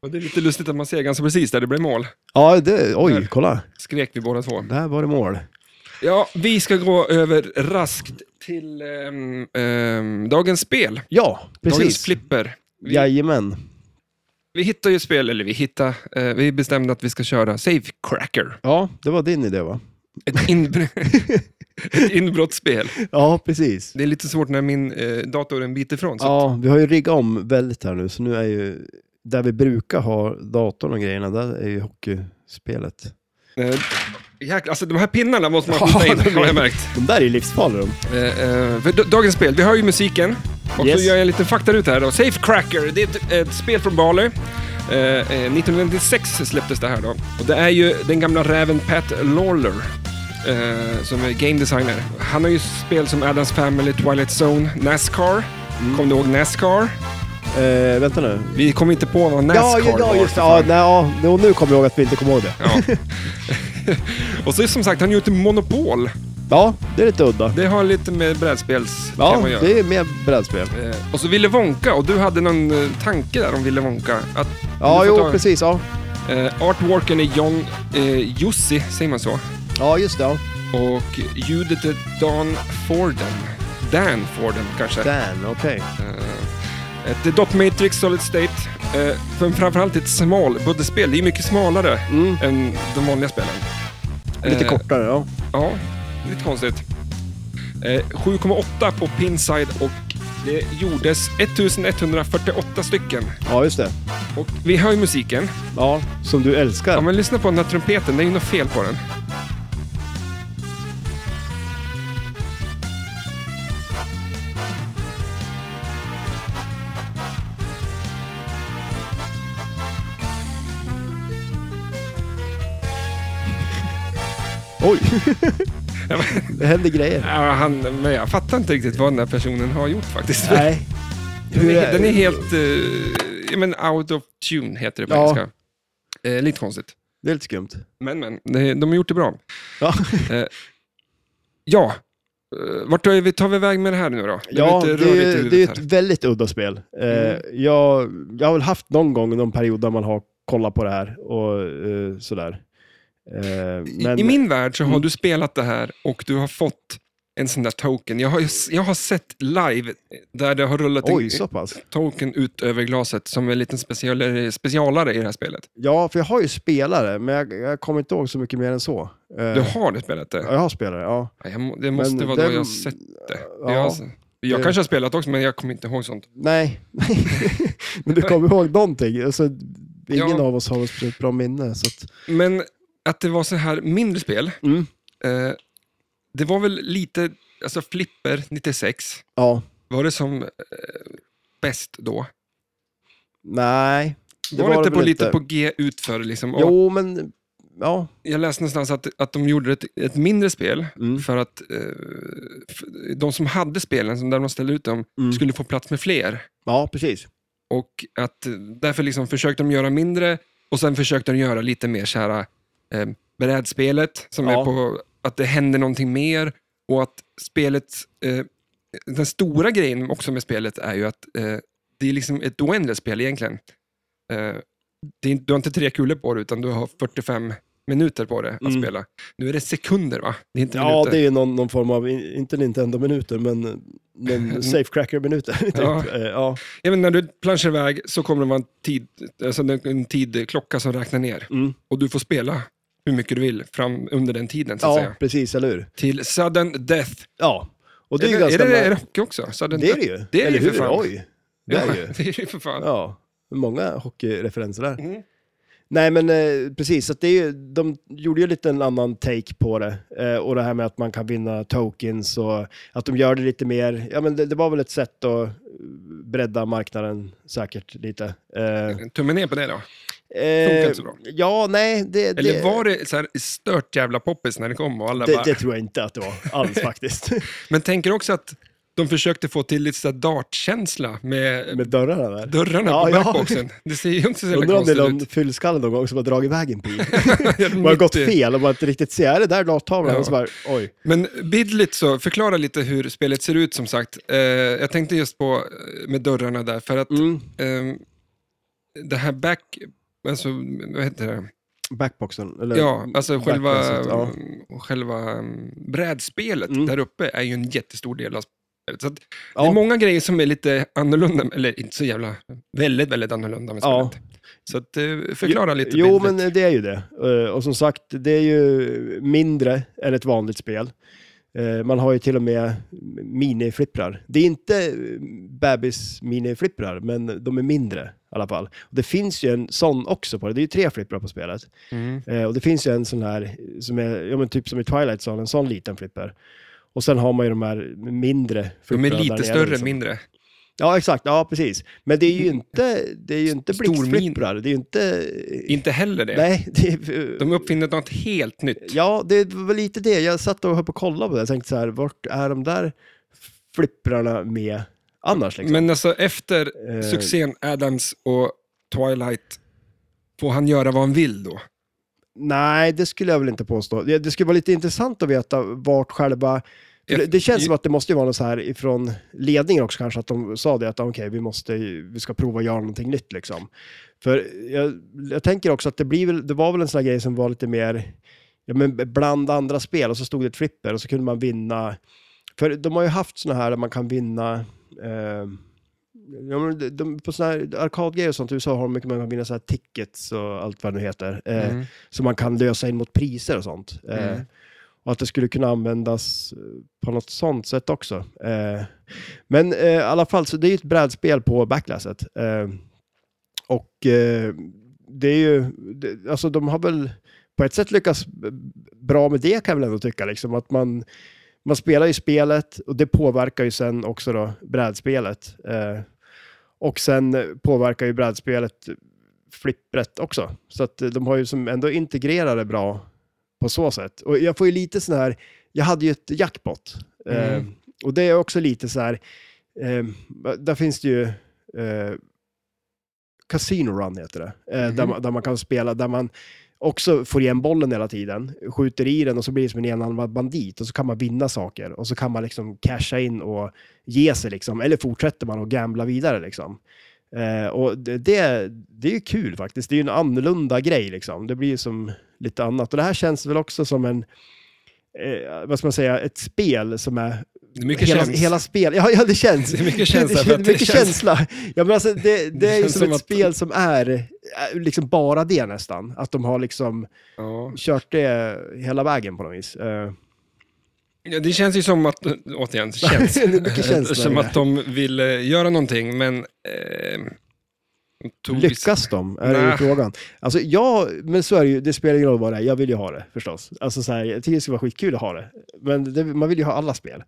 A: Och det är lite lustigt att man ser ganska precis där det blev mål.
B: ja, det, oj, kolla.
A: Skrek vi båda två.
B: Där var det mål.
A: Ja, vi ska gå över raskt till ehm, ehm, dagens spel.
B: Ja,
A: Dagens
B: precis.
A: flipper. Vi,
B: Jajamän.
A: vi hittar ju spel, eller vi hittar, eh, vi bestämde att vi ska köra Safe Cracker.
B: Ja, det var din idé va?
A: Ett, inbr- ett inbrottsspel.
B: Ja, precis.
A: Det är lite svårt när min eh, dator är en bit ifrån. Så
B: Ja, vi har ju riggat om väldigt här nu, så nu är ju där vi brukar ha datorn och grejerna, där är ju hockeyspelet.
A: Eh, jäklar, alltså de här pinnarna måste man
B: Ja,
A: skjuta in,
B: de är-
A: har jag märkt.
B: De där är ju livsfarliga de.
A: Eh, eh, för d- dagens spel, vi hör ju musiken. Och
B: Yes.
A: så gör jag en liten faktaruta här då. Safe Cracker, det är ett, ett spel från Bali. Eh, eh, 1996 släpptes det här då. Och det är ju den gamla räven Pat Lawler. eh, som är game designer. Han har ju spel som Addams Family, Twilight Zone, Nascar.
B: Mm.
A: Kommer du ihåg Nascar?
B: Eh, vänta nu.
A: Vi kom inte på vad Nascar
B: Ja, ja, ja,
A: var.
B: just
A: för
B: det. Ja,
A: fan.
B: nej, ja, jo, nu kommer jag ihåg att vi inte kommer ihåg det.
A: Ja. och så som sagt, han har gjort Monopol.
B: Ja, det är lite udda.
A: Det har lite med brädspelstema
B: Ja,
A: att göra.
B: det är mer brädspel.
A: Eh, Och så Ville Wonka, och du hade någon eh, tanke där om Ville Wonka. Att
B: Ja,
A: du får
B: jo,
A: ta-
B: precis. Ja,
A: Eh, artworken är John eh, Jussi, säger man så?
B: ja just det. Ja.
A: Och ljudet är Dan Forden. Dan Forden kanske.
B: Dan, okej.
A: Eh, Ett dot matrix solid state. Eh, för framförallt ett smalbudgetspel. Det är ju mycket smalare
B: Mm.
A: än de vanliga spelen.
B: Lite
A: Eh,
B: kortare, ja.
A: Ja, lite konstigt. Eh, 7,8 på pinside och det gjordes 1148 stycken.
B: Ja, just det.
A: Och vi hör ju musiken.
B: Ja, som du
A: Ja,
B: älskar.
A: men lyssna på den här trumpeten. Det är ju något fel på den.
B: Oj, det händer grejer.
A: Ja, han, men jag fattar inte riktigt vad den här personen har gjort faktiskt.
B: Nej.
A: Den,
B: Hur
A: är, den är helt... eh, ja, men out of tune heter det på
B: Ja.
A: engelska. Eh, lite konstigt.
B: Det är lite skumt.
A: Men, men. det- De har gjort det bra.
B: Ja.
A: Ja. Eh, Vart är vi, tar vi väg med det här nu då? Det är
B: Ja,
A: lite
B: det,
A: rörigt i
B: är-
A: huvudet
B: det är ju
A: här. Mm.
B: ett väldigt udda spel. Eh, jag, jag har väl haft någon gång någon period där man har kollat på det här och eh, sådär. Eh, men,
A: I, I min värld så har
B: Mm.
A: du spelat det här och du har fått en sån där token. Jag har, ju s- jag har sett live där det har rullat
B: Oj,
A: in
B: så pass.
A: token ut över glaset som en liten specialare, specialare i det här spelet.
B: Ja, för jag har ju spelare, men jag, jag kommer inte ihåg så mycket mer än så. Eh,
A: Du har det spelet det?
B: ja, Jag har spelare, ja.
A: Ja, Jag, må- det måste
B: Men
A: vara då
B: den-
A: jag har sett det.
B: ja,
A: jag jag
B: det-
A: kanske har spelat också, men jag kommer inte ihåg sånt.
B: Nej, men du kommer ihåg någonting. Alltså, ingen
A: Ja.
B: av oss har väl speciellt bra minne. Så att,
A: Men att det var så här mindre spel,
B: mm.
A: eh, det var väl lite, alltså Flipper 96,
B: Ja,
A: var det som eh, bäst då?
B: nej.
A: Det var, det inte
B: väl
A: på, lite på G utför liksom? Och
B: Jo, men ja.
A: Jag läste någonstans att, att de gjorde ett, ett mindre spel
B: Mm.
A: för att eh, f- de som hade spelen, som där de ställde ut dem,
B: Mm.
A: skulle få plats med fler.
B: Ja, precis.
A: Och att eh, därför liksom försökte de göra mindre och sen försökte de göra lite mer så här eh, brädspelet som
B: Ja.
A: är på att det händer någonting mer och att spelet, eh, den stora grejen också med spelet är ju att eh, det är liksom ett oändligt spel egentligen. Eh, det är, inte- du har inte tre kulor på det utan du har 45 minuter på det att
B: Mm.
A: spela. Nu är det sekunder va? Det är inte
B: Ja,
A: minuter.
B: det är ju någon, någon form av, in- inte Nintendo-minuter, men, men Safecracker-minuter. Typ.
A: Ja.
B: Eh, ja.
A: Ja, men när du planschar iväg så kommer det vara en, tid, alltså en- en tidklocka som räknar ner.
B: Mm.
A: och du får spela hur mycket du vill fram under den tiden, så att
B: ja
A: säga.
B: precis, eller hur?
A: Till sudden death.
B: Ja, och det är
A: är,
B: ju
A: det, är,
B: ganska...
A: det, är det hockey också? Sudden
B: det är
A: death.
B: det ju.
A: Det är det
B: eller
A: ju för
B: hur?
A: fan.
B: Oj, det är det ju.
A: det är det ju för fan.
B: Ja, många hockeyreferenser där.
A: Mm.
B: Nej, men eh, precis. Så att det är, ju- de gjorde ju lite en annan take på det. Eh, och det här med att man kan vinna tokens och att de gör det lite mer. Ja, men det, det var väl ett sätt att eh, bredda marknaden säkert lite. Eh,
A: Tummen ner på det då.
B: eh,
A: inte så bra.
B: ja, nej. Det,
A: Eller
B: det,
A: var det så här stört jävla poppis när det kom? Och alla
B: det,
A: bara...
B: det tror jag inte att det var alls faktiskt.
A: Men tänker också att de försökte få till lite så här dartkänsla med,
B: med dörrarna där.
A: dörrarna
B: Ja,
A: på
B: ja.
A: backboxen. Det ser ju inte så jävla
B: Undrar om det är
A: konstigt
B: någon
A: ut.
B: fyllskalle någon gång som har dragit vägen på
A: Ja,
B: Man har
A: mitt
B: gått
A: i.
B: fel och man inte riktigt ser. Är det där glastavlan?
A: Ja.
B: Och så bara, oj.
A: Men bildligt så, förklara lite hur spelet ser ut som sagt. Eh, jag tänkte just på eh, med dörrarna där, för att
B: Mm.
A: ehm, det här back... Alltså, vad heter det?
B: Backboxen? Eller
A: Ja, alltså själva,
B: backboxen, ja.
A: mm, själva mm, brädspelet
B: Mm.
A: där uppe är ju en jättestor del av spelet. Så att Det
B: Ja.
A: är många grejer som är lite annorlunda, eller inte så jävla, väldigt, väldigt annorlunda med
B: Ja.
A: spelet. Så att, eh, förklara lite
B: Jo,
A: bildligt.
B: men det är ju det. Eh, Och som sagt, det är ju mindre än ett vanligt spel. Eh, Man har ju till och med miniflipprar. Det är inte eh, bebis-miniflipprar, men de är mindre i alla fall. Och det finns ju en sån också på det. Det är ju tre flipprar på spelet.
A: Mm.
B: Eh, och det finns ju en sån här, eh, som är, ja, men typ som i Twilight Zone, en sån liten flipper. Och sen har man ju de här mindre
A: De är
B: flipprarna där
A: lite
B: nere,
A: större,
B: liksom.
A: mindre.
B: Ja, exakt. Ja, precis. Men det är
A: Mm.
B: ju inte, det är ju inte
A: Stor min-
B: blixtflipprar. Det är ju inte...
A: Inte heller det.
B: Nej, det är...
A: De uppfinner något helt nytt.
B: Ja, det var lite det. Jag satt och höll på och kollade på det. Jag tänkte så här, vart är de där flipprarna med annars? Liksom?
A: Men alltså efter
B: Eh,
A: succén Adams och Twilight, får han göra vad han vill då?
B: Nej, det skulle jag väl inte påstå. Det, det skulle vara lite intressant att veta vart själva... för Det, det känns som att det måste ju vara något så här ifrån ledningen också kanske, att de sa det att okej, vi måste, ju- vi ska prova att göra någonting nytt liksom. För jag, jag tänker också att det blir väl, det var väl en sån här grej som var lite mer, ja men bland andra spel och så stod det ett flipper och så kunde man vinna, för de har ju haft såna här där man kan vinna, eh, Ja, men de, de, på såna här arkadgrejer och sånt i USA har de mycket man kan vinna så här tickets och allt vad det nu heter. Eh,
A: Mm.
B: som man kan lösa in mot priser och sånt. Eh,
A: Mm.
B: och att det skulle kunna användas eh, på något sånt sätt också. Eh, men eh, i alla fall, så det är ju ett brädspel på backlasset. Eh, och eh, det är ju, det, alltså de har väl på ett sätt lyckats b- bra med det kan jag väl ändå tycka. Liksom, att man, man spelar ju spelet och det påverkar ju sen också då brädspelet. Eh, och sen eh, påverkar ju brädspelet flippret också. Så att eh, de har ju som ändå integrerat det bra på så sätt. Och jag får ju lite sån här, jag hade ju ett jackpot. Eh,
A: Mm.
B: och det är också lite så här, eh, där finns det ju eh, Casino Run heter det. Eh,
A: Mhm.
B: där, man, där man kan spela, där man också får igen bollen hela tiden, skjuter i den och så blir det som en enarmad bandit och så kan man vinna saker och så kan man liksom casha in och ge sig liksom, eller fortsätter man att gambla vidare liksom. Eh, och det, det, det är ju kul faktiskt, det är ju en annorlunda grej liksom, det blir ju som lite annat och det här känns väl också som en, eh, vad ska man säga, ett spel som är
A: Det är mycket
B: hela,
A: känns.
B: hela spel. Ja, ja, det känns.
A: Det är mycket känsla för
B: Det,
A: att det
B: mycket
A: känns-
B: känsla. Ja, men alltså, det, det är ju
A: känns
B: som,
A: som
B: ett
A: att-
B: spel som är eh, liksom bara det nästan. Att de har liksom
A: Ja.
B: kört det hela vägen på något vis. Eh,
A: Ja, det känns ju som att, återigen, känns.
B: Det är mycket känsla i
A: som
B: det.
A: att de ville göra någonting, men... Eh, de tog vissa-
B: lyckas de? Är ju
A: Nej.
B: frågan. Alltså, ja, men så är det ju. Det spelar ingen roll vad det är. Jag vill ju ha det förstås. Alltså, så här, jag tycker det skulle vara skitkul att ha det. Men det, man vill ju ha alla spel.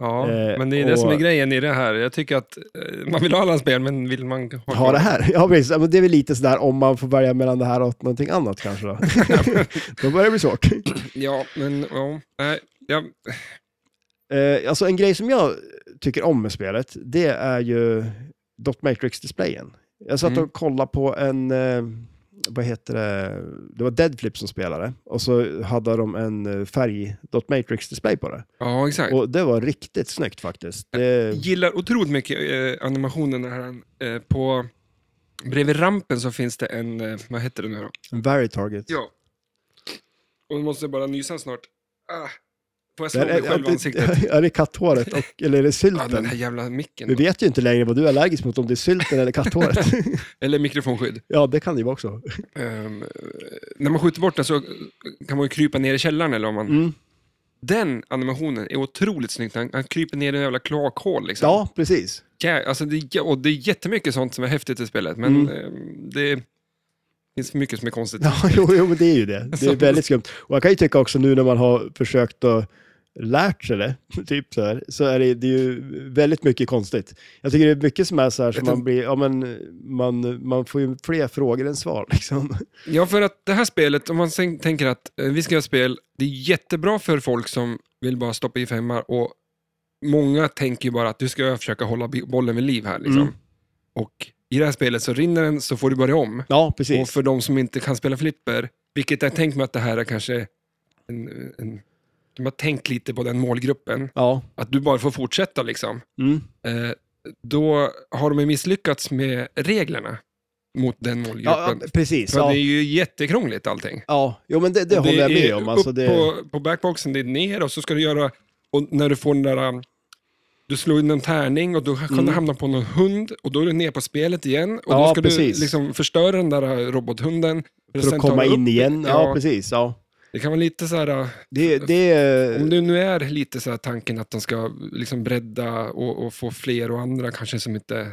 A: Ja,
B: Eh,
A: men det är det som är
B: och-
A: grejen i det här. Jag tycker att eh, man vill ha alla spel, men vill man ha,
B: Ha det här? Ja, precis. Ja, Men det är väl lite sådär om man får välja mellan det här och någonting annat kanske. Då, då börjar det bli svårt.
A: Ja, men ja. Nej, ja.
B: Eh, alltså en grej som jag tycker om med spelet, det är ju Dot Matrix-displayen. Jag satt
A: Mm.
B: och kollade på en, eh, vad heter det, det var Deadflip som spelade. Och så hade de en eh, färg Dot Matrix-display på det.
A: ja, exakt.
B: Och det var riktigt snyggt faktiskt. Det,
A: gillar otroligt mycket eh, animationen när han, eh, på... Bredvid rampen så finns det en, eh, vad heter det nu då?
B: en Very Target.
A: Ja. Och nu måste jag bara nysa snart. Ah. Får jag slå
B: Där
A: mig
B: är,
A: själv i ansiktet?
B: är, är det katthåret och, eller
A: Ah,
B: är det
A: den
B: sylten?
A: här jävla micken.
B: Vi
A: då.
B: vet ju inte längre vad du är allergisk mot, om det är sylten eller katthåret.
A: Eller mikrofonskydd.
B: ja, det kan det ju vara också.
A: Ehm, eh, när man skjuter bort den så kan man ju krypa ner i källaren. Eller om man...
B: Mm.
A: Den animationen är otroligt snygg. Han, han kryper ner i en jävla kloakhål. Liksom.
B: Ja, precis.
A: Ja, alltså det, ja, och det är jättemycket sånt som är häftigt i spelet, men
B: Mm.
A: ehm, det, finns för mycket som är konstigt.
B: Ja, jo, jo, men det är ju det. Det är
A: Så-
B: väldigt skumt. Och jag kan ju tycka också nu när man har försökt att lärt sig det, typ så, här, så är det, det är ju väldigt mycket konstigt. Jag tycker det är mycket som är så här, som
A: Vet du-
B: man blir, ja men man, man får ju fler frågor än svar liksom.
A: Ja, för att det här spelet, om man sen tänker att eh, vi ska göra spel, det är jättebra för folk som vill bara stoppa i femmar och många tänker ju bara att du ska försöka hålla bi- bollen vid liv här. Liksom.
B: Mm.
A: Och i det här spelet så rinner den så får du börja om.
B: Ja, precis.
A: Och för de som inte kan spela flipper, vilket jag tänker mig att det här är kanske en, en de har tänkt lite på den målgruppen,
B: Ja.
A: att du bara får fortsätta liksom.
B: Mm.
A: Eh, då har de ju misslyckats med reglerna mot den målgruppen.
B: ja, ja, precis.
A: För
B: Ja.
A: det är ju jättekrångligt allting.
B: ja, jo men det, det håller jag
A: är
B: med om. Alltså,
A: upp
B: det,
A: på, på backboxen, det är ner och så ska du göra, och när du får den där, um, du slår in en tärning och då kan
B: Mm.
A: du hamna på någon hund och då är du ner på spelet igen och
B: Ja,
A: då ska
B: precis.
A: du liksom förstöra den där uh, robothunden. Eller
B: för
A: sen
B: att
A: ta
B: komma
A: den
B: in
A: upp.
B: igen. Ja,
A: Ja.
B: precis. Ja.
A: Det kan vara lite så här, uh,
B: Det, det, mm.
A: om det nu är lite så här tanken att de ska liksom bredda och, och få fler och andra kanske som inte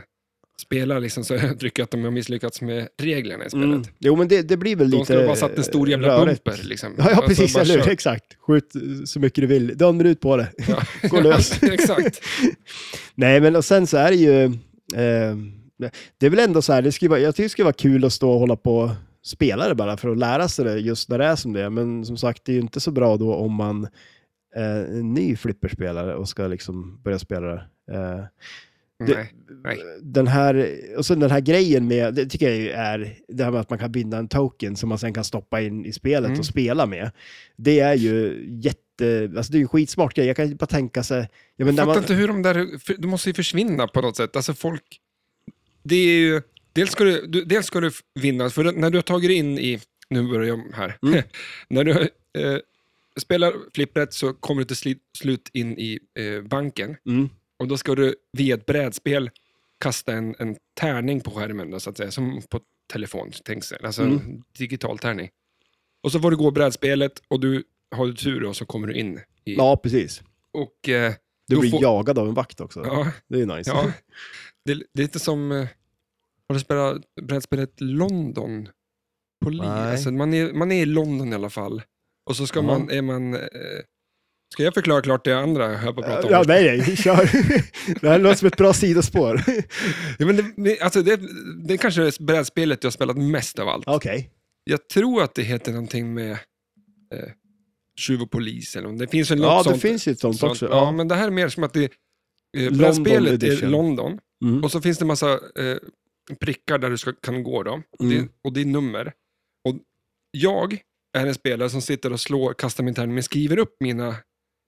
A: spelar, liksom, så jag tycker jag att de har misslyckats med reglerna i spelet.
B: mm. Jo, men det, det blir väl
A: De
B: lite
A: skulle ha bara satt en stor jävla
B: rörigt.
A: bumper. Liksom.
B: Ja, ja
A: Alltså,
B: precis.
A: bara
B: eller hur?
A: kör.
B: Exakt. Skjut eh, så mycket du vill. Du har en minut på det.
A: Ja.
B: Gå lös.
A: Exakt.
B: Nej, men och sen så är det ju... Eh, det är väl ändå så här, det skulle vara, jag tycker det skulle vara kul att stå och hålla på och spela det bara för att lära sig det just när det är som det är. Men som sagt, det är ju inte så bra då om man eh, är en ny flipperspelare och ska liksom börja spela det. Eh, Det-
A: Nej. Nej.
B: den här, och sen den här grejen med, det tycker jag ju är, det här med att man kan binda en token som man sen kan stoppa in i spelet
A: Mm.
B: och spela med. Det är ju jätte, alltså det är ju en skitsmart grej. Jag kan ju bara tänka sig, ja, men när
A: Jag fattar
B: man,
A: inte hur de där, för de måste ju försvinna på något sätt. Alltså folk, det är ju, dels ska du, du, dels ska du vinna, för när du har tagit dig in i, nu börjar jag här,
B: Mm.
A: när du eh, spelar flippret så kommer du till sli, slut in i eh, banken
B: mm,
A: och då ska du via ett brädspel kasta en, en tärning på skärmen, då, så att säga, som på telefon, tänk sig. alltså en digital tärning. Och så får du gå brädspelet och du har du tur och så kommer du in. I,
B: ja precis.
A: Och, eh,
B: Du
A: Då
B: blir
A: får-
B: jagad av en vakt också.
A: ja,
B: Det är ju nice.
A: Ja, det, det är lite som... eh, Har du spelat brädspelet London? Poli,
B: Nej.
A: alltså, man, är, man är i London i alla fall. Och så ska
B: Ja.
A: man... Är man eh, ska jag förklara klart det andra jag höll på att prata om?
B: Ja, nej, nej, kör. Det här låter som ett bra sidospår.
A: Ja, men det, det, alltså, det, det är kanske är brädspelet jag har spelat mest av allt.
B: Okej.
A: Jag tror att det heter någonting med eh, tjuv och polis. Eller, något. det finns väl något
B: Ja, det
A: sånt.
B: finns ju ett sånt,
A: sånt.
B: också.
A: Ja,
B: Ja.
A: men det här är mer som att det... Eh,
B: London
A: brädspelet är
B: edition.
A: London.
B: Mm.
A: Och så finns det en massa eh, prickar där du ska, kan gå. Då. Och, det,
B: Mm.
A: och det är nummer. Och jag är en spelare som sitter och slår, kastar min tärning, men skriver upp mina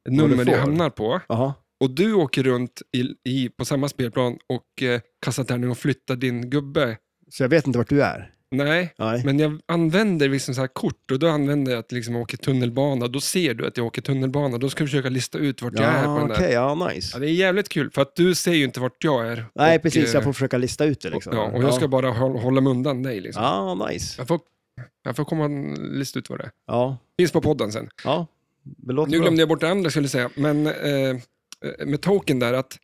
A: nummer
B: får.
A: jag hamnar på.
B: Jaha.
A: Och du åker runt i, i, på samma spelplan och eh, kastar tärning och flyttar din gubbe.
B: Så jag vet inte vart du är.
A: Nej,
B: Nej.
A: men jag använder liksom så här kort och då använder jag att liksom jag åker tunnelbana. Då ser du att jag åker tunnelbana. Då ska du försöka lista ut vart jag är på
B: Ja,
A: den
B: okej.
A: där.
B: Ja,
A: Ja,
B: nice.
A: det är jävligt kul, för att du ser ju inte vart jag är.
B: Nej,
A: Och,
B: precis. Jag
A: eh,
B: får försöka lista ut det liksom.
A: Ja, och jag ska
B: ja.
A: bara hålla, hålla mig undan dig. Liksom.
B: Ja, nice.
A: Jag, får, jag får komma och lista ut vad det är.
B: Ja,
A: Finns på podden sen.
B: ja. Det låter
A: Nu
B: bra.
A: glömde jag bort det andra skulle jag säga, men eh, med token där att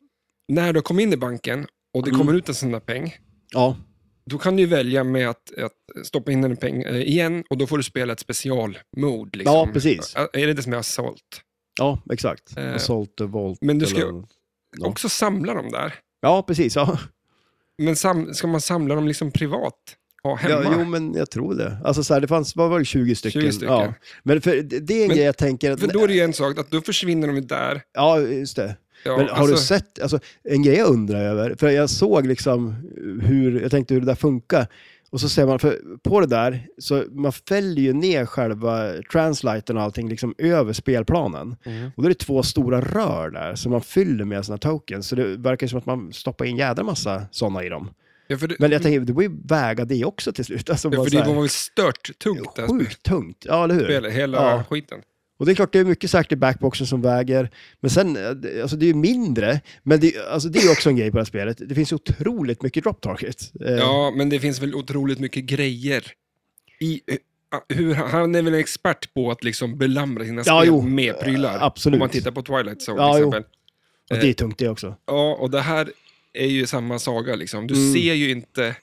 A: när du kommer in i banken och det
B: Mm.
A: kommer ut en sån där peng,
B: Ja,
A: då kan du ju välja med att, att stoppa in en peng eh, igen och då får du spela ett specialmode. Liksom.
B: Ja, precis.
A: Ä- Är det det som jag har sålt?
B: ja exakt.
A: Eh,
B: Assault och volt.
A: men du ska-
B: eller- Ja.
A: Också samla dem där.
B: Ja, precis. Ja.
A: Men sam, ska man samla dem liksom privat? Ha hemma?
B: Ja, jo, men jag tror det. Alltså, så här, det fanns, vad var det, 20 stycken?
A: 20 stycken.
B: Ja. Men för, det det är en
A: Men-
B: grej jag tänker att...
A: För då är det ju en sak att då försvinner de ju där.
B: Ja, just det.
A: Ja,
B: Men har du sett, alltså, en grej jag undrar över, för jag såg liksom hur, jag tänkte hur det där funkar. Och så ser man, för på det där, så man fäller ju ner själva transliten och allting liksom över spelplanen.
A: Mm.
B: Och då är det två stora rör där som man fyller med sina tokens. Så det verkar som att man stoppar in jädra massa sådana i dem.
A: Ja, för det,
B: Men jag tänker, det borde ju väga det också till slut. Alltså,
A: Ja,
B: bara
A: för
B: så
A: det
B: här,
A: var väl stört tungt det här
B: sjukt tungt. Ja, eller hur?
A: spelet, hela
B: Ja.
A: skiten.
B: Och det är klart, det är mycket säkert i backboxen som väger. Men sen, eh, det- alltså det är ju mindre. Men det, alltså det är ju också en grej på det här spelet. Det finns otroligt mycket drop target. Eh,
A: Ja, men det finns väl otroligt mycket grejer. I, eh, hur, han är väl en expert på att liksom belamra sina
B: Ja,
A: spel
B: jo. Eh,
A: med prylar.
B: absolut.
A: Om man tittar på Twilight Zone
B: Ja,
A: till
B: jo.
A: exempel.
B: och det är tungt det också.
A: Ja, och det här är ju samma saga. Liksom. Du
B: Mm.
A: ser ju inte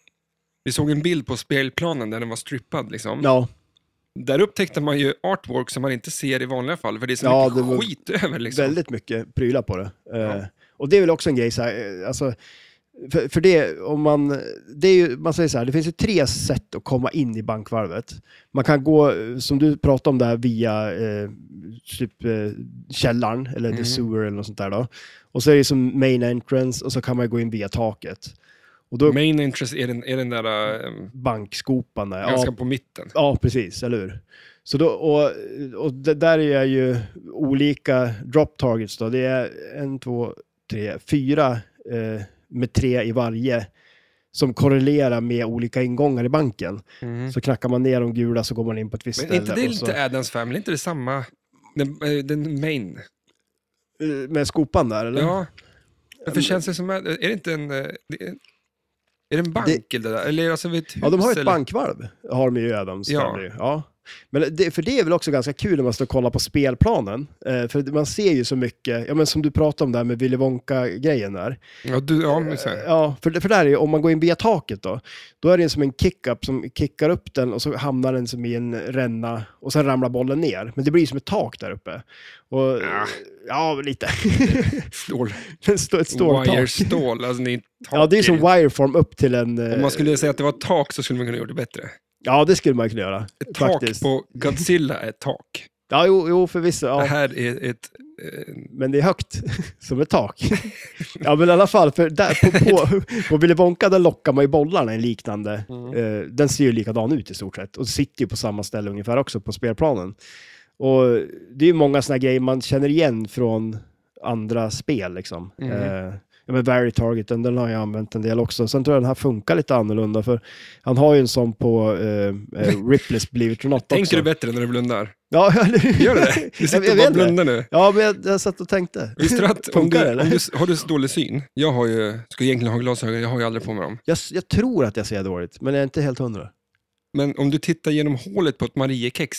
A: Vi såg en bild på spelplanen där den var strippad. Liksom.
B: Ja,
A: Där upptäckte man ju artwork som man inte ser i vanliga fall, för det är så
B: Ja,
A: mycket
B: det var
A: skit över. Liksom.
B: väldigt mycket prylar på det. Eh,
A: Ja.
B: Och det är väl också en grej så här, eh, alltså, för, för det, om man, det är ju, man säger så här, det finns ju tre sätt att komma in i bankvalvet. Man kan gå, eh, som du pratade om där, via eh, typ eh, källaren eller
A: Mhm.
B: the sewer eller något sånt där då. Och så är det som main entrance och så kan man gå in via taket. Och då
A: Main interest är den, är den där ehm,
B: bankskopan där. Ja,
A: ganska på mitten.
B: Ja, precis, eller hur? Så då, och, och det där är ju olika drop targets då. Det är en, två, tre, fyra eh, med tre i varje som korrelerar med olika ingångar i banken.
A: Mm.
B: Så knackar man ner de gula så går man in på ett visst
A: Men är
B: ställe.
A: inte det
B: och så,
A: lite Addams Family? inte det samma? Den, eh, den main?
B: Eh, Med skopan där, eller?
A: Ja. Varför känns det som... Är det inte en... eh, det Är är det en bank
B: Det-
A: eller det där? Eller alltså ett hus?
B: Ja, de har ju ett
A: eller?
B: bankvalv, har de ju i Adams.
A: Ja.
B: Ja. Ja. Men det, för det är väl också ganska kul när man står och kollar på spelplanen. Eh, för man ser ju så mycket, ja, men som du pratade om där med Willy Wonka-grejen där.
A: Ja, du, ja, men så här.
B: Eh, Ja, för, för där är ju, om man går in via taket då, då är det som en kick-up som kickar upp den och så hamnar den som i en ränna och sen ramlar bollen ner. Men det blir som ett tak där uppe. Och,
A: Ja.
B: ja. lite.
A: Stål.
B: Den står ett stort tak.
A: Wire-stål. Alltså, det är
B: Ja, det är som
A: tak i-
B: wireform upp till en... eh,
A: Om man skulle säga att det var ett tak så skulle man kunna göra det bättre.
B: Ja, det skulle man kunna göra.
A: Ett tak
B: Faktiskt.
A: på Godzilla är ett tak.
B: Ja, jo, jo förvisso.
A: Det
B: Ja.
A: här är ett... eh,
B: Men det är högt, som ett tak. ja, men i alla fall, för där på, på, på Willy Wonka där lockar man ju bollarna i en liknande.
A: Mm.
B: Eh, den ser ju likadan ut i stort sett och sitter ju på samma ställe ungefär också på spelplanen. Och det är ju många sådana grejer man känner igen från andra spel liksom.
A: Mm.
B: Eh, ja, men Vary Target, den, den har jag använt en del också. Sen tror jag den här funkar lite annorlunda för han har ju en sån på eh, eh, Ripley's Believe It or Not också.
A: Tänker du bättre när du blundar?
B: Ja, eller-
A: Gör du det? Du sitter och bara
B: inte.
A: blundar nu.
B: Ja, men jag, jag satt och tänkte.
A: Visste du att om
B: Funkar det,
A: du,
B: eller?
A: om du har du så dålig syn? Jag har ju, ska egentligen ha glasögon, jag har ju aldrig på mig dem.
B: Jag, jag tror att jag ser dåligt, men jag är inte helt hundra.
A: Men om du tittar genom hålet på ett Mariekex.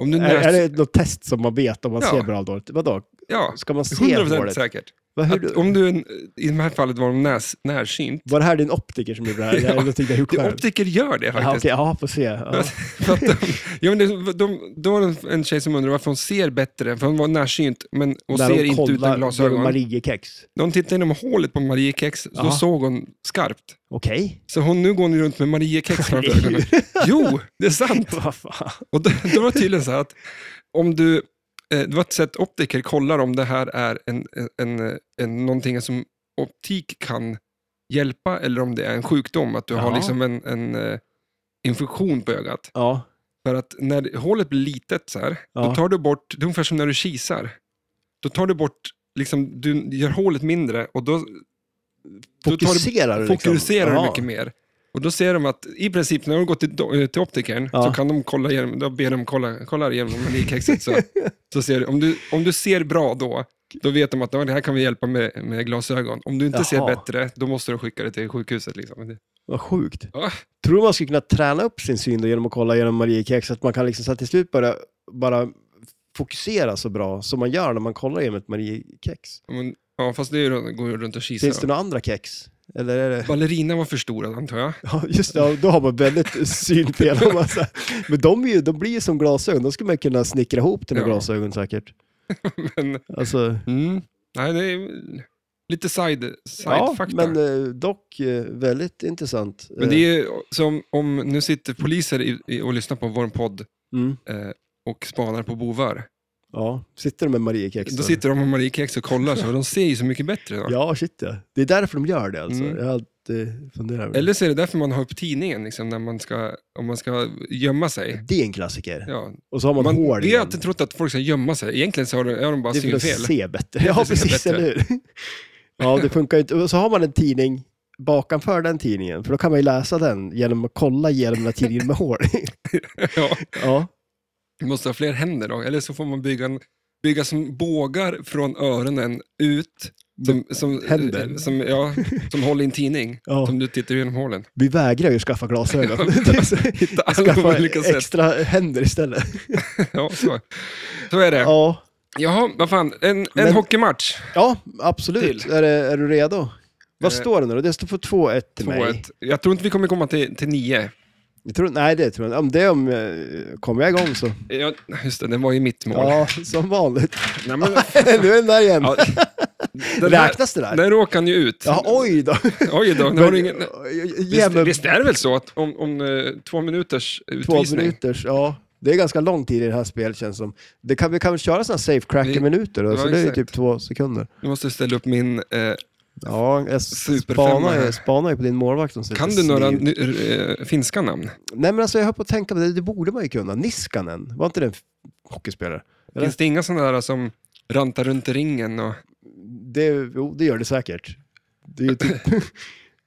A: Om du
B: Är,
A: när,
B: är det något test som man vet om man
A: Ja.
B: ser bra eller dåligt? Vadå?
A: ja,
B: Ska man se
A: 100%
B: dåligt?
A: säkert.
B: Vad, hur,
A: Att om du, en- i det här fallet var de näs, närsynt.
B: Var det här din optiker som gjorde det här? Eller
A: Ja,
B: är det någonting du har gjort
A: Det,
B: själv?
A: optiker gör det
B: Ja,
A: faktiskt.
B: okej, ja, får se. Ja.
A: För att de, ja, men det, de, då var det en tjej som undrade varför hon ser bättre, för hon var närsynt men, och
B: När
A: ser
B: de
A: inte
B: kollar
A: utan
B: genom
A: glasögon.
B: Mariekex.
A: När hon tittade genom hålet på Mariekex, då
B: Jaha.
A: såg hon skarpt.
B: Okej.
A: Så hon, nu går hon runt med Mariekex framför
B: Eller hur?
A: ögonen. Jo, det är sant!
B: Vad fan?
A: Och då, då var det tydligen så här att om du, eh, det var ett sätt optiker kollar om det här är en, en, en, en, någonting som optik kan hjälpa eller om det är en sjukdom, att du har
B: Jaha.
A: liksom en, en eh, infektion på ögat.
B: Ja.
A: För att när hålet blir litet så här, då
B: Ja.
A: tar du bort, det är ungefär som när du kisar, då tar du bort, liksom, du gör hålet mindre och då Då tar du-
B: Fokuserar du liksom?
A: fokuserar du
B: Jaha.
A: mycket mer. Och då ser de att i princip när de går till, do- eh, till optikern
B: Ja.
A: så kan de kolla igenom, då ber de kolla, kolla igenom likhäxet. Så, så ser du, om, du, om du ser bra då, då vet de att "Ja, det här kan vi hjälpa med, med glasögon. Om du inte ser
B: Jaha.
A: bättre, då måste de skicka det till sjukhuset. Liksom. Det-
B: Vad sjukt.
A: Ja.
B: Tror du man skulle kunna träna upp sin syn då genom att kolla genom Mariekex? Att man kan liksom så att till slut bara, bara fokusera så bra som man gör när man kollar genom ett Mariekex?
A: Men, ja, fast det är ju, runt- går ju runt och kisar.
B: Finns det några andra kex? Eller är det...
A: Ballerina var förstorad antar jag.
B: Ja, just det. Ja, Då har man väldigt synfel. om man så här- Men de, är ju, de blir ju som glasögon. De skulle man kunna snickra ihop till några
A: Ja.
B: glasögon säkert.
A: Men,
B: Alltså,
A: mm, nej, det är lite side, side
B: ja,
A: fakta.
B: men eh, dock eh, väldigt intressant.
A: Men det är ju som om nu sitter poliser i, i, och lyssnar på vår podd
B: Eh, mm,
A: eh, och spanar på bovar.
B: ja. Sitter de med Mariekex?
A: Då sitter de med Mariekex och kollar, så de ser ju så mycket bättre. Då.
B: Ja, shit ja. Det är därför de gör det alltså.
A: Mm.
B: Jag har alltid funderat över
A: Eller så är det därför man har upp tidningen, liksom, när man ska, om man ska gömma sig.
B: det. Det är en klassiker.
A: Ja.
B: Och så har man,
A: Man,
B: hår
A: vi har
B: igen.
A: alltid trott att folk ska gömma sig. Egentligen så har de, har de bara
B: Det är för att
A: synfel.
B: se bättre.
A: för
B: Ja,
A: att se
B: precis,
A: bättre.
B: eller hur? Ja, det funkar ju inte. Och så har man en tidning bakanför den tidningen, för då kan man ju läsa den genom att kolla genom den här tidningen med hår.
A: Ja.
B: Ja,
A: Man måste ha fler händer då. Eller så får man bygga, en, bygga som bågar från öronen ut. Som, som, eh,
B: Händer.
A: Som, ja, som håller i en tidning.
B: ja.
A: Som du tittar genom hålen.
B: Vi vägrar ju skaffa glasögon. Det är så-
A: Hitta alla
B: skaffa
A: olika sätt.
B: extra händer istället.
A: Ja, så. så är det.
B: Ja,
A: Jaha, vad fan. En, en
B: Men-
A: hockeymatch.
B: ja absolut.
A: Till.
B: Är, det- är du redo? Vad
A: Eh,
B: står det nu då? Det står för 2-1 till mig.
A: 2-1. Jag tror inte vi kommer komma till, till 9.
B: Jag tror, nej, det tror jag inte. Om det om, eh, kommer jag igång så.
A: Ja, just det, det var ju mitt mål.
B: Ja, som vanligt.
A: Nej, men,
B: nu är den där igen.
A: ja, den där,
B: Räknas det där?
A: där råkar han ju ut.
B: Ja, oj då.
A: Oj då, nu har
B: Men,
A: du ingen...
B: Ge
A: Visst,
B: mig
A: visst är det väl så att om, om eh, två minuters
B: två
A: utvisning...
B: minuters. Ja, det är ganska lång tid i det här spelet känns som. Det kan, vi kan väl köra sådana safe
A: Vi-
B: cracker-minuter då,
A: Ja,
B: så det är ju
A: exakt.
B: typ två sekunder.
A: Nu måste jag ställa upp min... Eh,
B: Ja, jag
A: Superfemma
B: spanar ju,
A: här.
B: spanar ju på din målvakt som ser
A: kan
B: lite
A: du några
B: sned ut.
A: ny, eh, finska namn?
B: Nej men alltså jag höll på att tänka på det, det borde man ju kunna. Niskanen, var inte det en f- hockeyspelare? Eller?
A: Finns det inga sådana där som rantar runt i ringen? Och...
B: Det, jo, det gör det säkert. Det är ju typ...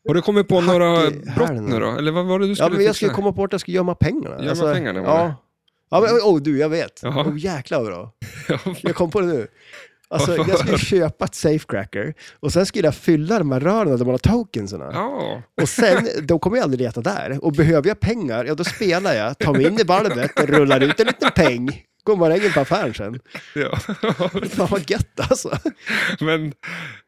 A: Har du kommit på några
B: Hacke-
A: brott
B: härna.
A: nu då? Eller vad var det du
B: Ja,
A: skulle
B: men jag skulle
A: fixa?
B: komma på att jag skulle gömma pengarna. Alltså,
A: Gömma pengarna var
B: ja.
A: det.
B: ja, men oh, du, jag vet.
A: Jaha.
B: Oh, jäklar vad bra.
A: Ja,
B: Jag kom på det nu. Alltså,
A: Varför?
B: jag skulle köpa ett safecracker och sen skulle jag fylla de här rören där man har tokensarna.
A: ja.
B: Och sen, då kommer jag aldrig leta där. Och behöver jag pengar, ja då spelar jag, tar mig in i valvet, rullar ut en liten peng. Går marängen på affären sen.
A: ja.
B: Fan vad gött alltså.
A: men,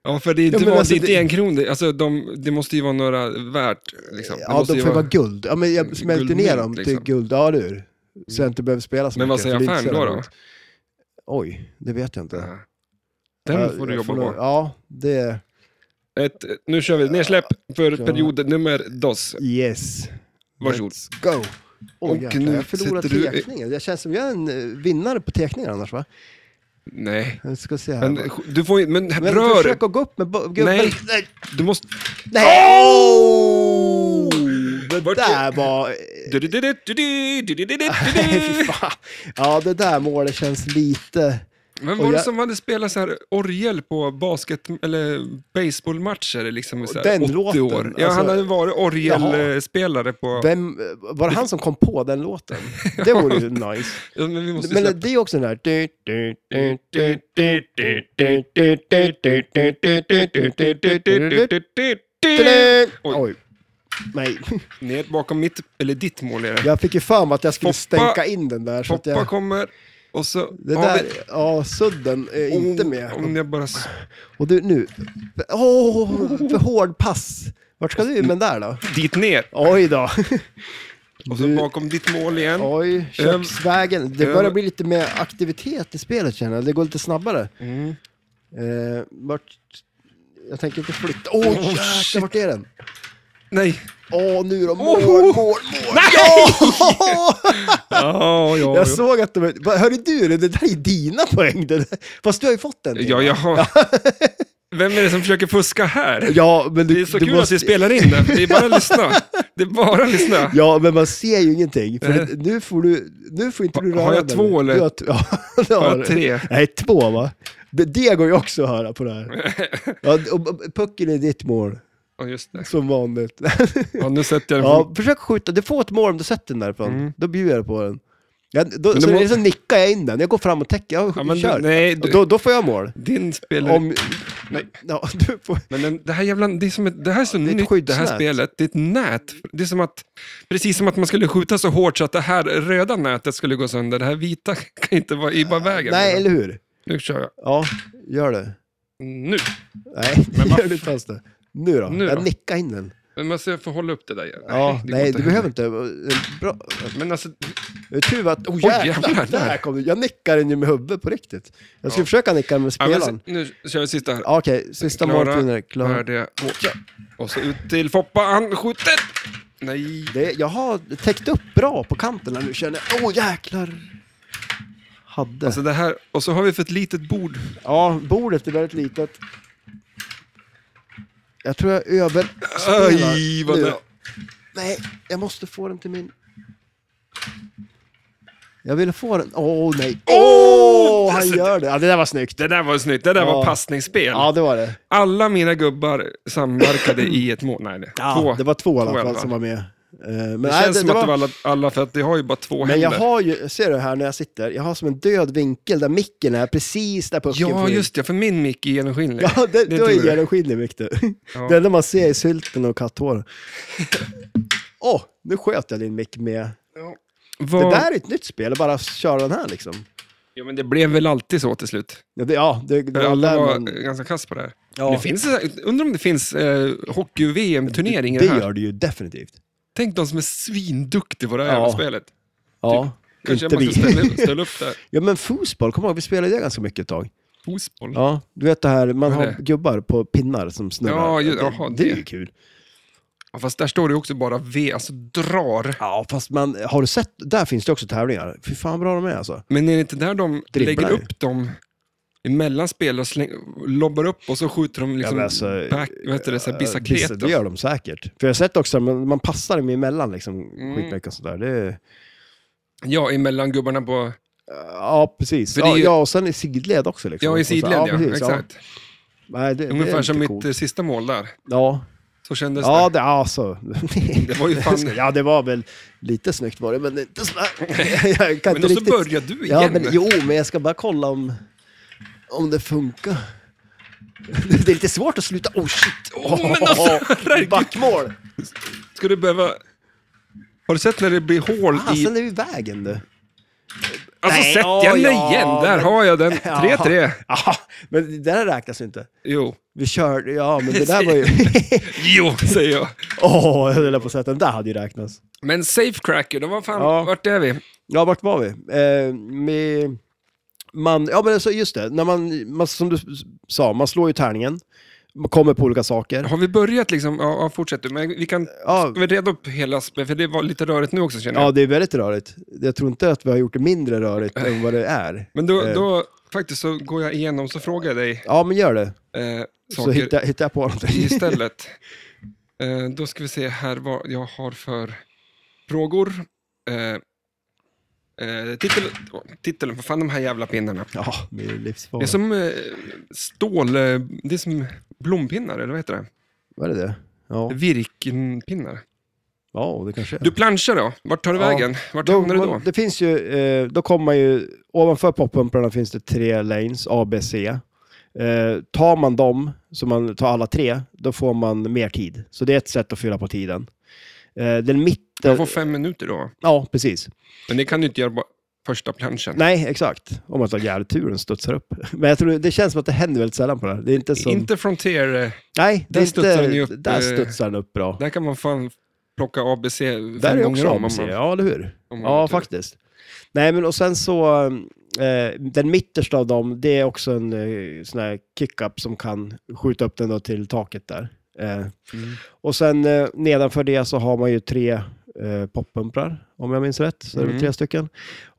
A: ja, för det är inte
B: men
A: ja,
B: alltså,
A: alltså,
B: det-
A: det... en kron. Det- Alltså, de, det måste ju vara några värt. Liksom. Det
B: Ja,
A: måste
B: då
A: ju
B: får det
A: vara-
B: vara guld. Ja, men jag smälter ner
A: guldmynt,
B: dem till
A: liksom.
B: guld, ja du. Så jag inte behöver spela så
A: Men vad
B: mycket,
A: säger
B: för det är
A: affären
B: inte
A: då?
B: så jävla
A: då?
B: roligt. Oj, det vet jag inte.
A: Ja. Den får du
B: Jag
A: jobba
B: nog-
A: på.
B: Ja, det...
A: Ett, nu kör vi nedsläpp för
B: Ja.
A: period nummer dos.
B: Yes.
A: Varsågod.
B: Let's go. Oj,
A: Och
B: jäklar,
A: nu
B: jag förlorar
A: sätter du-
B: teckningen. Jag känns som jag är en eh, vinnare på teckningar annars va?
A: Nej.
B: Jag ska se här.
A: Men,
B: bara.
A: du får ju- men
B: men
A: rör!
B: försök att gå upp med bo- gubben.
A: Nej.
B: Nej!
A: Du måste...
B: Nej. Oh! Det
A: Vart-
B: där var... Nej, fy fan. Ja, det där målet känns lite...
A: Men
B: Och
A: var det
B: jag-
A: som hade spelat så här orgel på basket eller baseballmatcher liksom i så här
B: Den
A: 80
B: låten,
A: år? Ja,
B: alltså-
A: han hade varit orgelspelare på...
B: Vem, var det han som kom på den låten? Det vore ju nice.
A: Ja, men vi måste släppa...
B: Men det är också den här...
A: Oj,
B: Oj. Nej,
A: ner bakom mitt, eller ditt mål är det.
B: jag fick ju för mig att jag skulle
A: Poppa-
B: stänka in den där. Så att
A: Poppa
B: jag,
A: kommer och så...
B: det
A: har
B: där,
A: vi-
B: ja, sudden är inte med.
A: Om jag bara... s-
B: Och du, nu. Åh, för hård pass. Vart ska du med den där då?
A: Dit ner!
B: Oj då.
A: Och så
B: Du-
A: bakom ditt mål igen.
B: Oj, köksvägen. Det
A: Öm.
B: börjar bli lite mer aktivitet i spelet känner jag. Det går lite snabbare.
A: Mm.
B: Eh, vart... Jag tänker inte flytta. Åh,
A: Oh,
B: jäklar,
A: shit.
B: vart är den?
A: Nej!
B: Åh, nu då. Mål,
A: Oho.
B: mål, mål. Ja!
A: Ja, ja, ja.
B: Jag såg att de... Va, Hörru du, det där är dina poäng. Det där. Fast du har ju fått den.
A: Ja, jag har... Vem är det som försöker fuska här?
B: Ja, men du,
A: Det är så
B: du
A: kul att vi spelar in det. Det är bara att lyssna. Det är bara att lyssna.
B: Ja, men man ser ju ingenting. För att nu får du... Nu får inte du
A: Har-
B: röra
A: har jag
B: den.
A: två eller?
B: Du har, t- ja, det har
A: Jag har
B: du.
A: tre.
B: Nej, två va? Det, det går ju också att höra på det här. Ja, och och pucken är ditt mål,
A: Ja, just det.
B: som vanligt.
A: Ja, nu sätter jag den på...
B: Ja, försök skjuta, du får ett mål om du sätter den därifrån.
A: Mm.
B: Då bjuder jag på den. Ja, då,
A: Men
B: så,
A: du må-
B: så nickar jag in den, jag går fram och täcker, jag
A: Ja, men
B: kör.
A: du- nej,
B: Och
A: du,
B: då, då får jag mål.
A: din spelare...
B: Om,
A: Nej.
B: ja, du får,
A: Men den, det här jävla... Det, är som ett, det här är så
B: det är ett
A: nytt, det här
B: skyddsnät.
A: spelet. Det är ett nät. Det är som att... Precis som att man skulle skjuta så hårt så att det här röda nätet skulle gå sönder. Det här vita kan inte vara i bara vägen. liksom.
B: nej, eller hur?
A: Nu kör jag.
B: Ja, gör det.
A: Nu!
B: Nej,
A: Men vad
B: gör det inte alls det. Nu då?
A: Nu
B: jag
A: då?
B: nickar in den.
A: Men man ser- jag får hålla upp det där igen.
B: Ja,
A: det går
B: nej,
A: inte
B: du
A: heller.
B: behöver inte. Bra.
A: Men alltså,
B: Tur att... Oh,
A: Oj,
B: jävlar,
A: jävlar.
B: där kom det. Jag nickar den ju med huvudet på riktigt. Jag ska
A: Ja.
B: försöka nicka den med
A: ja, men,
B: spelaren.
A: så- nu kör vi sista här.
B: Ja, Okej, sista
A: Klara,
B: målet vinner.
A: Här är
B: Klar.
A: det Åke. Och så ut till Foppa, han skjuter! Nej.
B: Det, jag har täckt upp bra på kanten här nu känner jag. Åh jäklar! Hade.
A: Alltså det här, och så har vi för ett litet bord.
B: ja, bordet är väldigt litet. Jag tror jag överspelar.
A: Aj, vad
B: nu.
A: det...
B: Nej, jag måste få den till min... Jag ville få den. Åh nej. Åh,
A: Åh,
B: han
A: alltså,
B: gör det. Ja, det där var snyggt.
A: det där var snyggt, det där
B: Ja.
A: var passningsspel.
B: Ja, det var det.
A: Alla mina gubbar samverkade i ett mål. Nej, nej.
B: Ja,
A: två.
B: det var två i
A: Två
B: alla
A: i
B: fall
A: alla
B: som var med. Eh, Men,
A: det
B: nej,
A: känns som att
B: var-
A: det var alla, alla för att jag har ju bara två
B: Men jag
A: händer.
B: har ju, ser du här när jag sitter, jag har som en död vinkel där micken är precis där pucken
A: Ja,
B: får in.
A: just det, för min mick är genomskinlig.
B: Ja, det,
A: Det är
B: då
A: tur.
B: är genomskinlig mick du.
A: Ja.
B: Det enda man ser är sylten och katthåren. Åh, oh, nu sköt jag din mick med.
A: Vad-
B: Det där är ett nytt spel, bara köra den här liksom.
A: Jo, men det blev väl alltid så till slut.
B: Ja, det, ja, det, det var
A: Alla var
B: Lennon.
A: ganska kass på det här.
B: Ja,
A: Det finns, undrar om det finns eh, hockey-VM-turneringar
B: det
A: här.
B: gör det ju definitivt.
A: Tänk de som är svinduktiga på det här
B: Ja.
A: jävla spelet.
B: Ja,
A: Typ. Kanske
B: inte
A: man
B: vi.
A: ska ställa, ställa upp det.
B: ja, men fotboll, kom ihåg, vi spelade det ganska mycket ett tag.
A: Fotboll.
B: Ja, du vet det här, man
A: Vad är
B: har
A: det?
B: gubbar på pinnar som snurrar.
A: Ja, ju-
B: det,
A: jaha,
B: det är
A: det.
B: ju kul.
A: Ja, fast där står det också bara V, alltså drar.
B: Ja, fast man, har du sett, där finns det också tävlingar. Fy fan vad bra de är alltså.
A: Men är det inte där de
B: Dribblar
A: lägger
B: ju.
A: upp dem emellan spel och släng, lobbar upp och så skjuter de liksom
B: men alltså,
A: back, vad heter det, så här
B: Ja, bissa-
A: bissaket?
B: Det gör de säkert. För jag har sett också, man, man passar dem emellan liksom,
A: Mm.
B: skitmycket och sådär. Det, är-
A: Ja, emellan gubbarna på...
B: ja, precis.
A: För det är
B: Ja,
A: ju-
B: ja, och sen i sidled också. Liksom.
A: Ja, i
B: Och så-
A: sidled ja.
B: precis,
A: exakt.
B: Nej, det, det
A: Ungefär
B: är
A: som
B: lite
A: mitt
B: coolt.
A: eh, sista mål där.
B: Ja,
A: Så kändes
B: ja
A: det.
B: det, alltså.
A: Det var ju fan...
B: ja, det var väl lite snyggt var det, men inte sådär. Jag kan
A: Men
B: inte
A: och så
B: riktigt...
A: börjar du igen.
B: Ja, men, jo, men jag ska bara kolla om, om det funkar. Det är lite svårt att sluta. Oh shit!
A: Åh, men alltså, herregud.
B: Backmål!
A: Ska du behöva... Har du sett när det blir hål
B: Han
A: i...
B: ställde ju i vägen du.
A: Alltså
B: Ah, Nej,
A: sätt
B: ja,
A: den
B: ja,
A: igen! Där
B: men-
A: har jag den.
B: Ja.
A: 3-3.
B: Ja, men det där räknas ju inte.
A: Jo.
B: Vi körde, ja men det där var ju...
A: Jo, säger jag.
B: Åh, jag höll på att säga att den där hade ju räknats.
A: Men Safecracker, då var fan...
B: Ja.
A: Vart är vi?
B: Ja, vart var vi? Eh, med man, ja, men alltså, just det. När man, man, som du s- sa, man slår ju tärningen. Man kommer på olika saker.
A: Har vi börjat liksom? Ja, ja fortsätt du. Men vi kan...
B: Ja,
A: Ska vi reda upp hela spelet? För det var lite rörigt nu också känner jag.
B: ja, det är väldigt rörigt. Jag tror inte att vi har gjort det mindre rörigt än vad det är.
A: Men då,
B: Eh.
A: då faktiskt så går jag igenom så frågar jag dig
B: Ja, men gör det.
A: eh,
B: Så
A: saker
B: hittar, hittar jag på någonting.
A: istället. eh, då ska vi se här vad jag har för frågor. Eh, eh, titel, åh, titeln, vad fan de här jävla pinnarna.
B: Ja, det är
A: Det är
B: livsfarligt.
A: som eh, stål, eh, det är som blompinnar eller vad heter det?
B: Vad är det? Ja,
A: Virkpinnar.
B: ja det kanske är.
A: Du planschar då, vart tar du
B: Ja.
A: vägen? Vart
B: Då,
A: hamnar du då?
B: man, det finns ju, eh, då kommer man ju, ovanför poppumprarna finns det tre lanes, A, B, C. Eh, tar man dem, så man tar alla tre, då får man mer tid. Så det är ett sätt att fylla på tiden. Eh, den mitten...
A: Jag får fem minuter då.
B: Ja, precis.
A: Men det kan du inte göra på första planschen.
B: Nej, exakt. Om man tar jävligt tur den studsar upp. Men jag tror, det känns som att det händer väldigt sällan på det här. Det är inte som...
A: Inte Frontier, eh,
B: nej, det
A: där
B: är
A: studsar den
B: inte,
A: ju upp,
B: Där
A: eh,
B: studsar den upp bra.
A: där kan man fan plocka ABC fem
B: Där är
A: gånger
B: också
A: om.
B: ABC,
A: om man,
B: ja eller hur?
A: om man har
B: Ja,
A: tur.
B: faktiskt. Nej, men och sen så, eh, den mittersta av dem, det är också en eh, sån här kick-up som kan skjuta upp den då till taket där. Eh,
A: Mm.
B: och sen eh, nedanför det så har man ju tre eh, poppumprar, om jag minns rätt. Så är det
A: Mm.
B: väl tre stycken.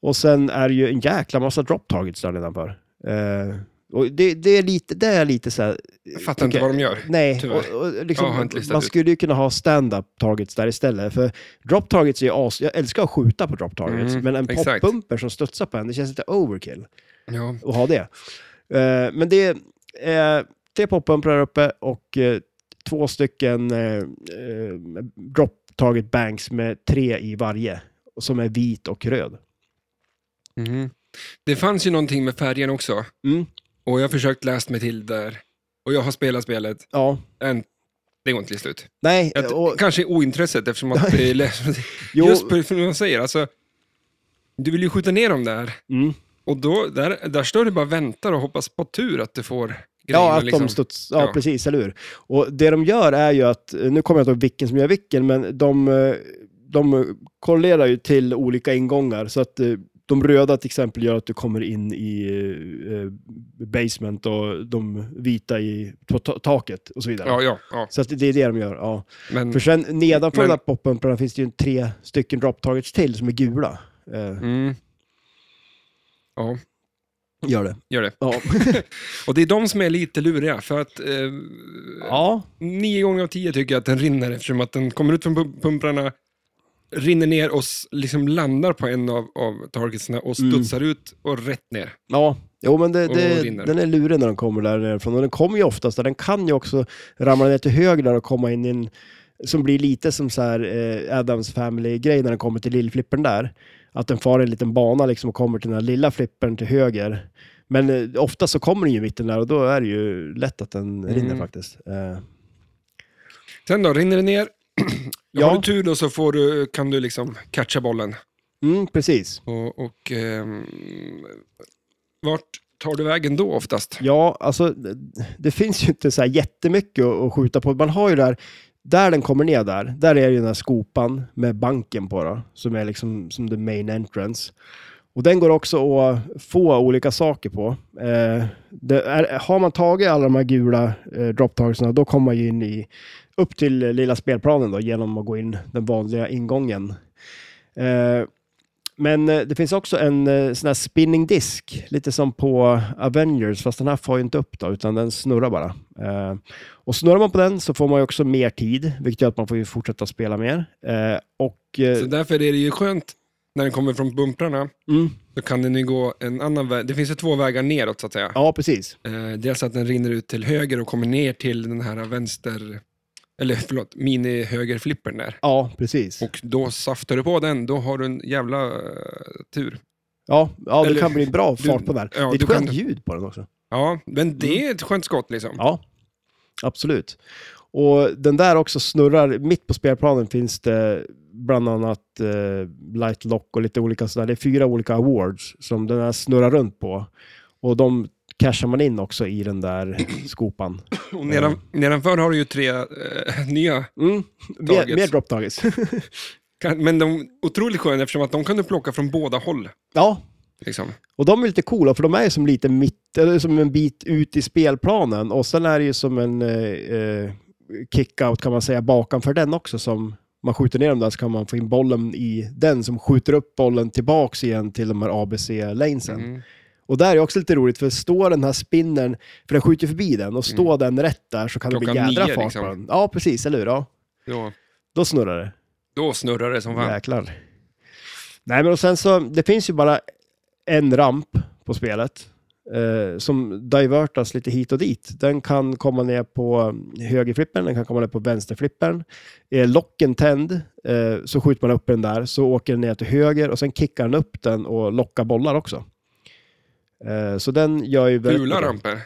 B: Och sen är det ju en jäkla massa drop targets där nedanför. Eh, och det, det är lite, det är lite så här...
A: Jag fattar inte
B: tycker-
A: vad de gör.
B: Nej,
A: Tyvärr.
B: och, och liksom,
A: Jag har inte listat
B: man
A: ut.
B: skulle ju kunna ha stand-up targets där istället. För drop targets är ju as... Jag älskar att skjuta på drop targets,
A: Mm,
B: men en
A: exakt.
B: poppumper som studsar på en, det känns lite overkill
A: Ja.
B: att ha det. Eh, men det är eh, tre poppumprar här uppe och eh, två stycken eh, eh, drop target banks med tre i varje, och som är vit och röd.
A: Mhm. Det fanns ju någonting med färgen också.
B: Mm,
A: Och jag har försökt läsa mig till där. Och jag har spelat spelet.
B: ja.
A: Än, det går inte till slut.
B: Nej,
A: Jag,
B: och,
A: Kanske ointresset eftersom att det är lätt.
B: jo,
A: Just på för man säger, alltså. Du vill ju skjuta ner dem där.
B: mm.
A: Och då, där, där står du bara och väntar och hoppas på tur att du får grejerna.
B: Ja, att
A: liksom.
B: de studs, ja,
A: Ja.
B: precis, eller hur? Och det de gör är ju att, eh, nu kommer jag inte ihåg vilken som gör vilken, men de, eh, de korrelerar ju till olika ingångar. Så att eh, de röda till exempel gör att du kommer in i eh, basement och de vita i på ta- taket och så vidare.
A: ja, ja, ja.
B: Så att det är det de gör, ja.
A: Men,
B: För sen nedanför
A: Men-
B: den här poppumparna finns det ju tre stycken drop targets till som är gula. Eh,
A: mm. Ja,
B: Gör det.
A: gör det.
B: Ja.
A: Och det är de som är lite luriga, för att eh,
B: ja.
A: nio gånger av tio tycker jag att den rinner eftersom att den kommer ut från pump- pumprarna, rinner ner och s- liksom landar på en av, av targetsna och
B: Mm.
A: studsar ut och rätt ner.
B: Ja, jo, men det,
A: Och
B: det,
A: rinner.
B: den är lurig när de kommer där nerifrån. Och den kommer ju oftast, där. den kan ju också ramla ner till höger där och komma in i en, som blir lite som så här eh, Adams Family-grej när den kommer till lillflippen där. Att den far en liten bana liksom och kommer till den här lilla flippen till höger. Men eh, ofta så kommer den ju i mitten där och då är det ju lätt att den rinner
A: Mm.
B: faktiskt. Eh,
A: Sen då, rinner det ner.
B: Ja.
A: Har du tur då så får du, kan du liksom catcha bollen.
B: mm, precis.
A: Och, och ehm, Vart tar du vägen då oftast?
B: Ja, alltså det- det finns ju inte så här jättemycket att att skjuta på. Man har ju där, där den kommer ner där, där är ju den här skopan med banken på då, som är liksom som the main entrance. Och den går också att få olika saker på. Eh, det är, har man tagit alla de här gula eh, dropptagelserna, då kommer man ju in i, upp till eh, lilla spelplanen då, genom att gå in den vanliga ingången. Eh, men eh, det finns också en eh, sån här spinning disk, lite som på Avengers, fast den här far ju inte upp då, utan den snurrar bara. Eh, och snurrar man på den så får man ju också mer tid, vilket gör att man får ju fortsätta spela mer. Eh, och, eh,
A: Så därför är det ju skönt när den kommer från bumprarna.
B: mm,
A: Då kan den ju gå en annan väg. Det finns ju två vägar neråt så att säga.
B: ja, precis.
A: Eh, dels att den rinner ut till höger och kommer ner till den här vänster... Eller förlåt, mini-högerflippern där.
B: Ja, precis.
A: Och då saftar du på den, då har du en jävla eh, tur.
B: Ja, ja det
A: Eller-
B: kan bli en bra
A: du-
B: fart på den. här.
A: ja,
B: det är
A: du
B: ett skönt
A: kan-
B: ljud på den också.
A: Ja, men
B: Mm.
A: det är ett skönt skott liksom.
B: Ja, absolut. Och den där också snurrar, mitt på spelplanen finns det bland annat eh, Lightlock och lite olika sådär. Det är fyra olika awards som den här snurrar runt på. Och de cashar man in också i den där skopan.
A: Och nedan, nedanför har du ju tre eh, nya.
B: Mm. Mer,
A: Targets.
B: mer drop targets.
A: Kan, men de är otroligt sköna eftersom att de kan du plocka från båda håll.
B: ja,
A: Liksom.
B: och de är lite coola för de är ju som lite mitt, eller som en bit ut i spelplanen. Och sen är det ju som en eh, eh, kick-out kan man säga bakanför den också som man skjuter ner dem där så kan man få in bollen i den som skjuter upp bollen tillbaks igen till de här ABC-lanesen.
A: Mm.
B: Och där är också lite roligt för står den här spinnen, för den skjuter förbi den och står den rätt där så kan det bli
A: Mm. Klockan
B: jädra
A: nio,
B: fart
A: liksom.
B: på den. Ja, precis, eller hur? Ja.
A: Då,
B: Då snurrar det.
A: då snurrar det som fan.
B: Jäklar. Nej, men och sen så, det finns ju bara en ramp på spelet eh, som divertas lite hit och dit. Den kan komma ner på högerflippen, den kan komma ner på vänsterflippen. Är locken tänd eh, så skjuter man upp den där, så åker den ner till höger och sen kickar den upp den och lockar bollar också. Eh, så den gör ju... väldigt
A: Fula
B: mycket.
A: ramper.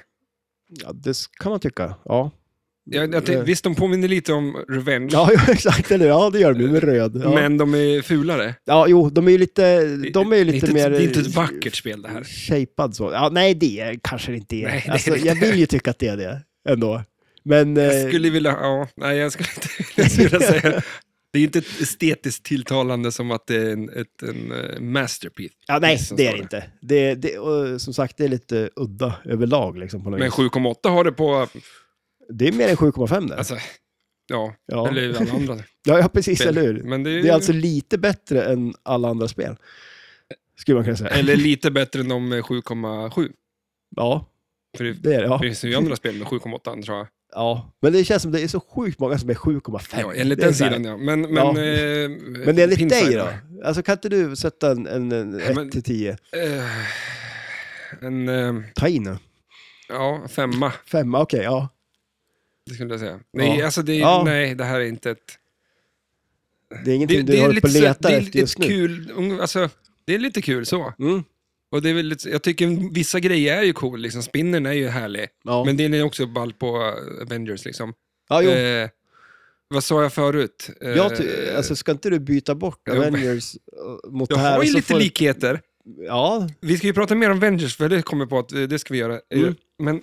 B: Ja, det s- kan man tycka, ja.
A: Jag, jag, tänkte-
B: Eh.
A: visst, de påminner lite om Revenge,
B: Ja, exakt. Eller, ja, det gör de ju med röd. Ja.
A: men de är fulare.
B: Ja, jo, de är ju lite, de är ju lite
A: det, är
B: mer...
A: inte- det är inte ett vackert spel det här.
B: Shapead så. Ja, nej, det är, kanske det inte är.
A: Nej, det är
B: alltså,
A: det inte.
B: Jag vill ju tycka att det är det ändå. Men eh,
A: Jag skulle vilja, ja, nej jag skulle inte jag skulle vilja säga. Det är inte ett estetiskt tilltalande som att det är en, ett, en eh, masterpiece.
B: ja, nej,
A: Precis som
B: det är det
A: står
B: inte. Det, det, och, som sagt, det är lite udda överlag. Liksom, på något
A: Men
B: vis.
A: 7,8 har det på,
B: Det är mer än 7,5 där.
A: alltså, ja,
B: ja.
A: eller alla andra spel.
B: ja, ja, precis, eller hur?
A: Men det är,
B: Det är alltså lite bättre än alla andra spel. Skulle man kunna säga.
A: Eller lite bättre än de 7,7.
B: Ja,
A: För det
B: det är det. Ja.
A: finns ju andra spel med 7,8 tror jag.
B: ja. Men det känns som det är så sjukt många som är 7,5.
A: Ja, enligt
B: Det är
A: den
B: så här-
A: sidan ja. Men, men,
B: Ja.
A: eh,
B: Men enligt
A: Pinside
B: dig då? Alltså kan inte du sätta en, en, en
A: Ja, men-
B: 1-10?
A: Eh, en, eh,
B: Ta in nu.
A: ja, femma
B: Femma, okej, ja.
A: det skulle jag säga. Nej,
B: Ja.
A: alltså det, är-
B: Ja.
A: nej, det här är inte ett...
B: Det är
A: Det,
B: ingenting
A: det
B: du
A: är
B: håller
A: lite,
B: på och
A: så-
B: letar
A: det är
B: efter just
A: lite
B: nu.
A: kul, ung- alltså, det är lite kul så.
B: Mm,
A: Och det är väl lite, jag tycker vissa grejer är ju cool, liksom. spinnern är ju härlig.
B: ja.
A: Men den är också ball på Avengers liksom.
B: ja, jo.
A: Eh, vad sa jag förut? Eh,
B: jag ty- alltså, ska inte du byta bort
A: jo.
B: Avengers eh, mot
A: jag
B: det här?
A: har
B: och
A: ju
B: så
A: lite
B: får-
A: likheter.
B: Ja,
A: Vi ska ju prata mer om Avengers, för det kommer på att eh, det ska vi göra. Eh,
B: Mm.
A: Men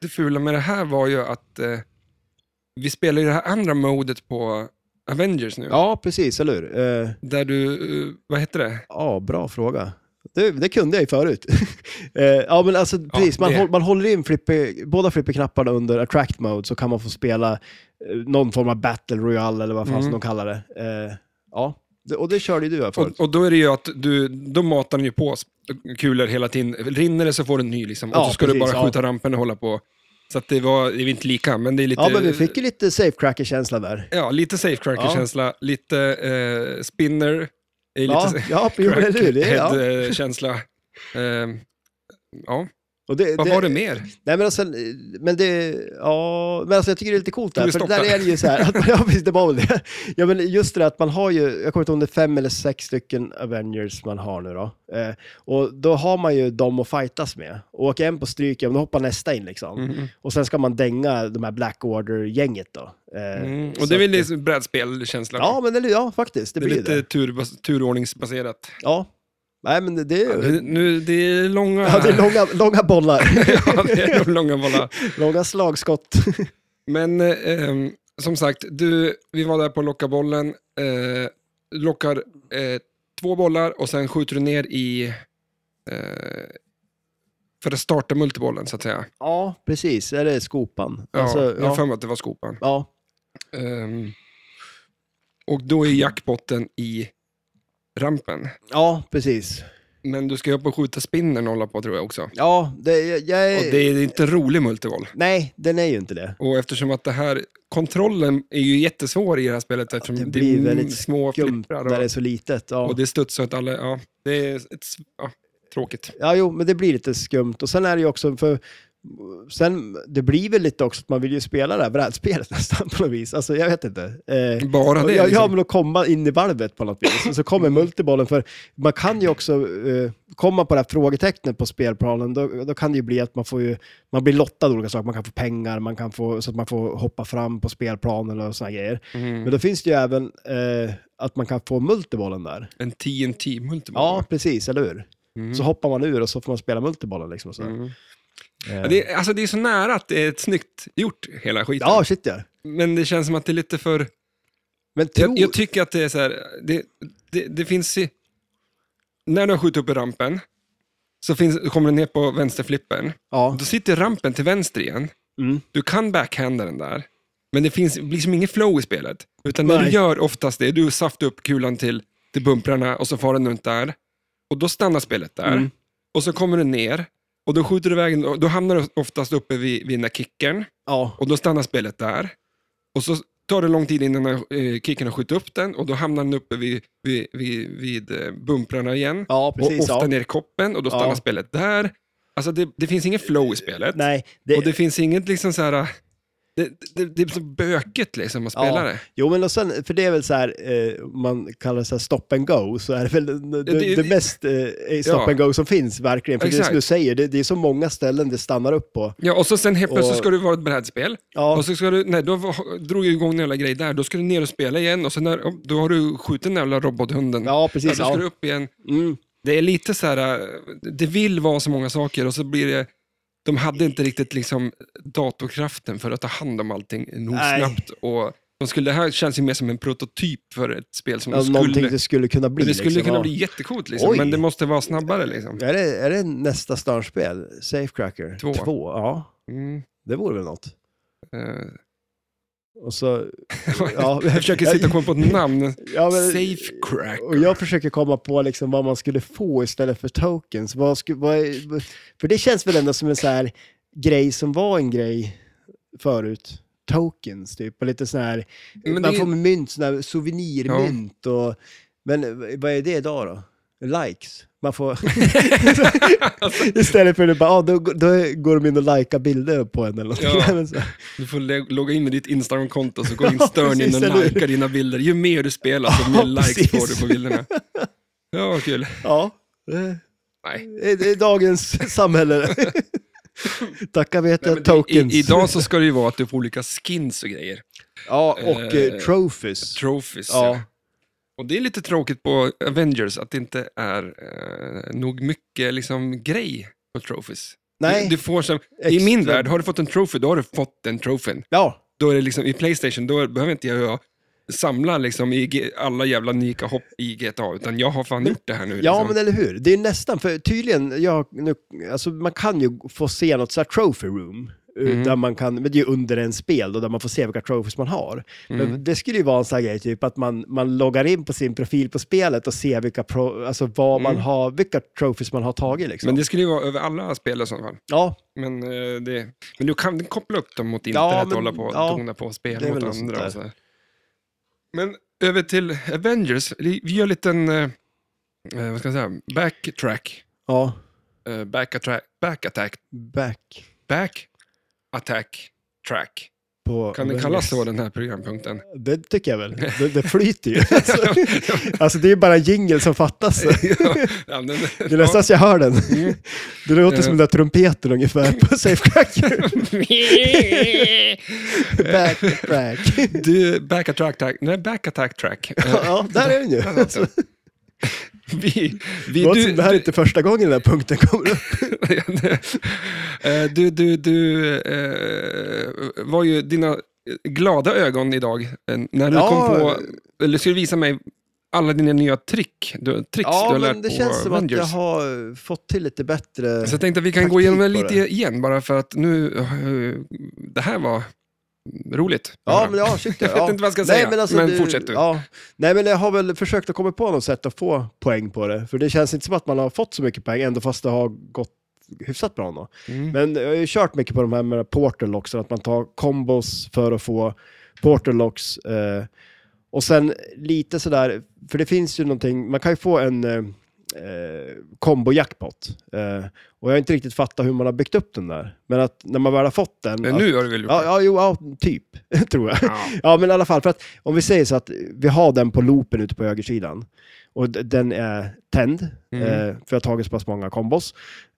A: det fula med det här var ju att eh, vi spelar ju det här andra modet på Avengers nu.
B: ja, precis, eller hur? Eh,
A: Där du, eh, vad heter det?
B: Ja, bra fråga. Det, det kunde jag ju förut. Eh, ja, men alltså precis. man,
A: det-
B: håll, man håller in flipper, båda flipperknapparna under attract mode så kan man få spela eh, någon form av battle royale eller vad fan
A: Mm.
B: som de kallar det. Eh, ja, det, och det körde ju du här förut.
A: Och, och då är det ju att du, då matar den ju på s- kulor hela tiden. Rinner det så får du en ny liksom. och
B: Ja,
A: så ska du
B: precis,
A: bara
B: ja.
A: skjuta rampen och hålla på. Så att det var, det är inte lika, men det är lite...
B: ja, men vi fick ju lite safe cracker-känsla där.
A: Ja, lite safecracker-känsla, lite eh, spinner, eh, lite
B: Ja, ja, jo, eller hur? Det, ja.
A: head-känsla. Ehm, ja,
B: Och det,
A: vad var det mer?
B: Nej, men, alltså, men det, ja, men alltså jag tycker det är lite coolt
A: Tog
B: där,
A: du
B: för
A: stopp
B: där
A: där?
B: är det ju så här, att, ja precis, det var väl det. Ja, men just det där att man har ju, jag kommer inte ihåg om det är fem eller sex stycken Avengers man har nu då. Eh, och då har man ju dem att fightas med. Och åker en på stryk, ja, men då hoppar nästa in liksom.
A: Mm.
B: Och sen ska man dänga de här Black Order-gänget då. Eh,
A: Mm. Och
B: så
A: det är väl
B: att-
A: lite brädspelkänsla.
B: Ja, men eller, ja, faktiskt, det,
A: det är
B: blir
A: lite
B: det.
A: Tur, turordningsbaserat.
B: Ja, Nej, men det, det är ju...
A: Det, nu, det är långa...
B: Ja, det är långa, långa bollar.
A: Ja, det är de långa bollar.
B: långa slagskott.
A: Men eh, ehm, som sagt, du, vi var där på locka bollen. Eh, du lockar eh, två bollar och sen skjuter du ner i... Eh, för att starta multibollen så att säga.
B: Ja, precis. Är det skopan?
A: Ja,
B: Alltså,
A: jag har
B: ja.
A: för mig att det var skopan.
B: ja.
A: Ehm, och då är jackpotten i rampen.
B: ja, precis.
A: Men du ska ju upp och skjuta spinnen och hålla på tror jag också.
B: Ja, det, jag, jag,
A: Och det är inte rolig multiboll.
B: Nej, den är ju inte det.
A: Och eftersom att det här, kontrollen är ju jättesvår i det här spelet eftersom
B: det blir
A: är
B: väldigt
A: små
B: Skumt
A: flipprar
B: när
A: och,
B: det är så litet. Ja.
A: och det studsar åt alla, ja. Det är ett, s- ja, tråkigt.
B: Ja, jo, men det blir lite skumt. Och sen är det ju också för... Sen, det blir väl lite också att man vill ju spela det här brädspelet nästan på något vis. Alltså, jag vet inte. Eh,
A: Bara det
B: ja, ja,
A: liksom. Mm.
B: men att komma in i valvet på något vis. Och så kommer multibollen, för man kan ju också eh, komma på det här frågetecknet på spelplanen. Då, då kan det ju bli att man får ju, man blir lottad olika saker. Man kan få pengar, man kan få, så att man får hoppa fram på spelplanen och sådana grejer. Men
A: Mm.
B: då finns det ju även eh, att man kan få multibollen där.
A: En TNT multiboll.
B: Ja, precis, eller hur?
A: Mm.
B: Så hoppar man ur och så får man spela multibollen liksom. Och så.
A: Mm.
B: Eh,
A: Ja, det, är- alltså det är så nära att det är ett snyggt gjort, hela skiten.
B: Ja, shit ja.
A: Men det känns som att det är lite för...
B: Men tro...
A: Jag, jag tycker att det är så här, det, det, det finns... i- När du har skjutit upp i rampen, så finns, kommer du ner på vänsterflippen.
B: ja.
A: Då sitter rampen till vänster igen.
B: Mm.
A: Du kan backhanda den där, men det finns liksom ingen flow i spelet. Utan det
B: Nej.
A: du gör oftast är du saftar upp kulan till, till bumprarna och så far den runt där. Och då stannar spelet där.
B: Mm.
A: Och så kommer du ner och då skjuter du iväg den. och Då hamnar du oftast uppe vid, vid den där kicken
B: ja.
A: och då stannar spelet där. Och så tar det lång tid innan den här, eh, kicken har skjutit upp den och då hamnar den uppe vid, vid, vid, vid eh, bumprarna igen.
B: Ja,
A: och
B: precis.
A: ofta
B: Ja.
A: ner i koppen och då stannar
B: Ja.
A: spelet där. Alltså det, det finns ingen flow i spelet.
B: Nej, det...
A: Och det finns inget liksom så här... Det, det, det är så bökigt liksom att spela
B: Ja,
A: det.
B: Jo, men och sen, för det är väl så här, eh, om man kallar det så här stop and go, så är det väl det,
A: det-
B: det, mest eh, stop
A: Ja.
B: and go som finns verkligen. För det
A: Exakt.
B: som du säger, det, det är så många ställen det stannar upp på.
A: Ja, och så sen helt plötsligt
B: Och-
A: ska det vara ett brädspel.
B: Ja,
A: Och så ska du, nej, då var- drog ju igång en jävla grej där. Då ska du ner och spela igen och sen när, då har du skjutit den jävla robothunden.
B: ja
A: Ja,
B: precis.
A: då ska
B: Ja.
A: du upp igen.
B: Mm.
A: Det är lite så här, äh, det vill vara så många saker och så blir det, de hade inte riktigt liksom datorkraften för att ta hand om allting nog
B: Nej.
A: snabbt. Och de skulle, det här känns ju mer som en prototyp för ett spel som
B: Ja,
A: de skulle,
B: Någonting det skulle kunna bli.
A: det skulle
B: liksom,
A: kunna
B: ja.
A: bli jättecoolt, liksom,
B: Oj.
A: men det måste vara snabbare. Liksom.
B: Är det, är det nästa Starnspel? Safecracker?
A: Två.
B: Två, ja.
A: Mm.
B: Det vore väl något.
A: Eh,
B: Och så...
A: jag försöker sitta och komma på ett namn.
B: Ja, men-
A: Safe crack.
B: Och jag försöker komma på liksom vad man skulle få istället för tokens. Vad sku, vad, är- för det känns väl ändå som en så här grej som var en grej förut. Tokens typ, och lite sån här,
A: Men
B: man
A: det-
B: får mynt, sån här souvenirmynt och, men eh, vad är det idag då? Likes? Man får... istället för att bara, ah, då, då går de in och likar bilder på en eller något.
A: Ja.
B: Men så-
A: Du får le- logga in med ditt Instagram-konto så går in
B: Ja,
A: Stern in
B: precis, eller
A: och
B: hur?
A: likar dina bilder. Ju mer du spelar, så mer
B: Ja,
A: likes
B: precis.
A: får du på bilderna. Ja, vad kul.
B: ja. Eh,
A: Nej.
B: Det det är dagens samhälle. Tacka vet
A: Nej,
B: jag
A: men det,
B: tokens.
A: i, idag så ska det ju vara att du får olika skins och grejer.
B: Ja, och eh,
A: Eh,
B: trophies.
A: Trophies. Ja.
B: Ja.
A: Och det är lite tråkigt på Avengers att det inte är eh, nog mycket liksom, grej på trophies.
B: Nej,
A: Du, du får som, I min
B: Extra.
A: värld, har du fått en trophy, då har du fått den trofén.
B: ja.
A: då är det liksom, i Playstation, då behöver inte jag samla liksom i G- alla jävla unika hopp i GTA, utan jag har fan gjort det här nu. Liksom.
B: ja, men eller hur. Det är nästan, för tydligen, jag, nu, alltså, man kan ju få se något så här trophy room. eh,
A: Mm.
B: Där man kan, men det är ju under en spel då, där man får se vilka trophies man har.
A: Mm.
B: Men det skulle ju vara en sån här grej, typ att man, man loggar in på sin profil på spelet och ser vilka, pro, alltså, vad man har, vilka trophies man har tagit. Liksom.
A: Mm. Men det skulle ju vara över alla spel i så fall.
B: ja,
A: Men, eh, det, men du kan koppla upp dem mot internet
B: Ja,
A: och
B: men-
A: hålla på och
B: ja,
A: dona på och
B: det är
A: spela mot
B: väl något sånt
A: andra.
B: där.
A: Och så här. Men över till Avengers, vi vi gör en liten, eh, eh, vad ska jag säga, backtrack.
B: ja,
A: Eh, back, attrack, back attack,
B: back
A: back attack track.
B: på...
A: Kan det kallas så den här programpunkten?
B: Det tycker jag väl. Det, det flyter ju. alltså, alltså det är bara en jingle som fattas.
A: Ja, men-
B: Det är nästan så jag hör den.
A: Mm.
B: Det låter
A: Eh.
B: som den där trumpeten ungefär på Safe Cracker. Back track.
A: du, back attack track. Nej, back attack track. Eh,
B: ja, där är den ju.
A: där satt den. Vi, vi,
B: Det var du,
A: du,
B: det här är inte första gången den här punkten kommer upp.
A: Eh, du, du, du eh, var ju dina glada ögon idag eh, när du
B: Ja.
A: kom på, eller skulle visa mig alla dina nya trick, du, tricks du har
B: Ja,
A: lärt
B: men det
A: på
B: känns som att
A: Avengers.
B: jag har fått till lite bättre...
A: Så jag tänkte att vi kan gå
B: Eh, taktik
A: igenom det
B: på
A: lite
B: det.
A: igen, bara för att nu, eh, det här var roligt.
B: Ja, men ja, shit, ja. alltså
A: Jag vet inte vad jag ska säga, men fortsätt du.
B: Ja. Nej, men jag har väl försökt att komma på något sätt att få poäng på det. För det känns inte som att man har fått så mycket poäng, ändå fast det har gått hyfsat bra ändå.
A: Mm.
B: Men jag har ju kört mycket på de här med portal locks, att man tar combos för att få portal locks. Eh, och sen lite sådär, för det finns ju någonting, man kan ju få en eh, eh, combo jackpot. Eh, och jag har inte riktigt fattat hur man har byggt upp den där. Men att när man väl har fått den...
A: Men
B: att,
A: nu har du väl gjort
B: ja,
A: det?
B: ja, jo, ja, typ, tror jag.
A: Ja.
B: Ja, men i alla fall, för att om vi säger så att vi har den på loopen ute på högersidan och d- den är tänd,
A: Mm.
B: eh, för jag har tagit så pass många kombos.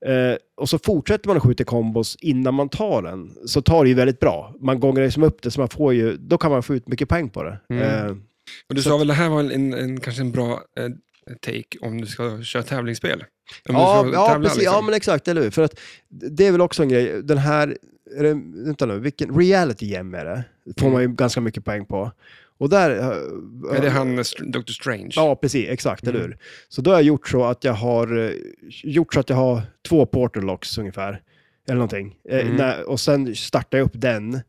B: Eh, och så fortsätter man att skjuta kombos innan man tar den, så tar det ju väldigt bra. Man gångar liksom upp det, så man får ju, då kan man få ut mycket poäng på det.
A: Mm.
B: Eh,
A: Och du
B: Så
A: sa väl det här var en, en, en, kanske en bra eh, take om du ska köra tävlingsspel? Om
B: ja,
A: du ska
B: ja,
A: tävla,
B: precis, ja,
A: liksom.
B: men exakt, eller hur? För att det är väl också en grej, den här, är det, vänta nu, vilken, reality gem är det? Får man ju ganska mycket poäng på. Och där... eh,
A: Mm. Är det han eh, Str- Dr. Strange?
B: Ja, precis. Exakt, eller
A: Mm.
B: hur? Så då har jag gjort så att jag har, eh, gjort så att jag har två portal locks ungefär. Eller någonting. Eh,
A: Mm.
B: när, och sen startar jag upp den.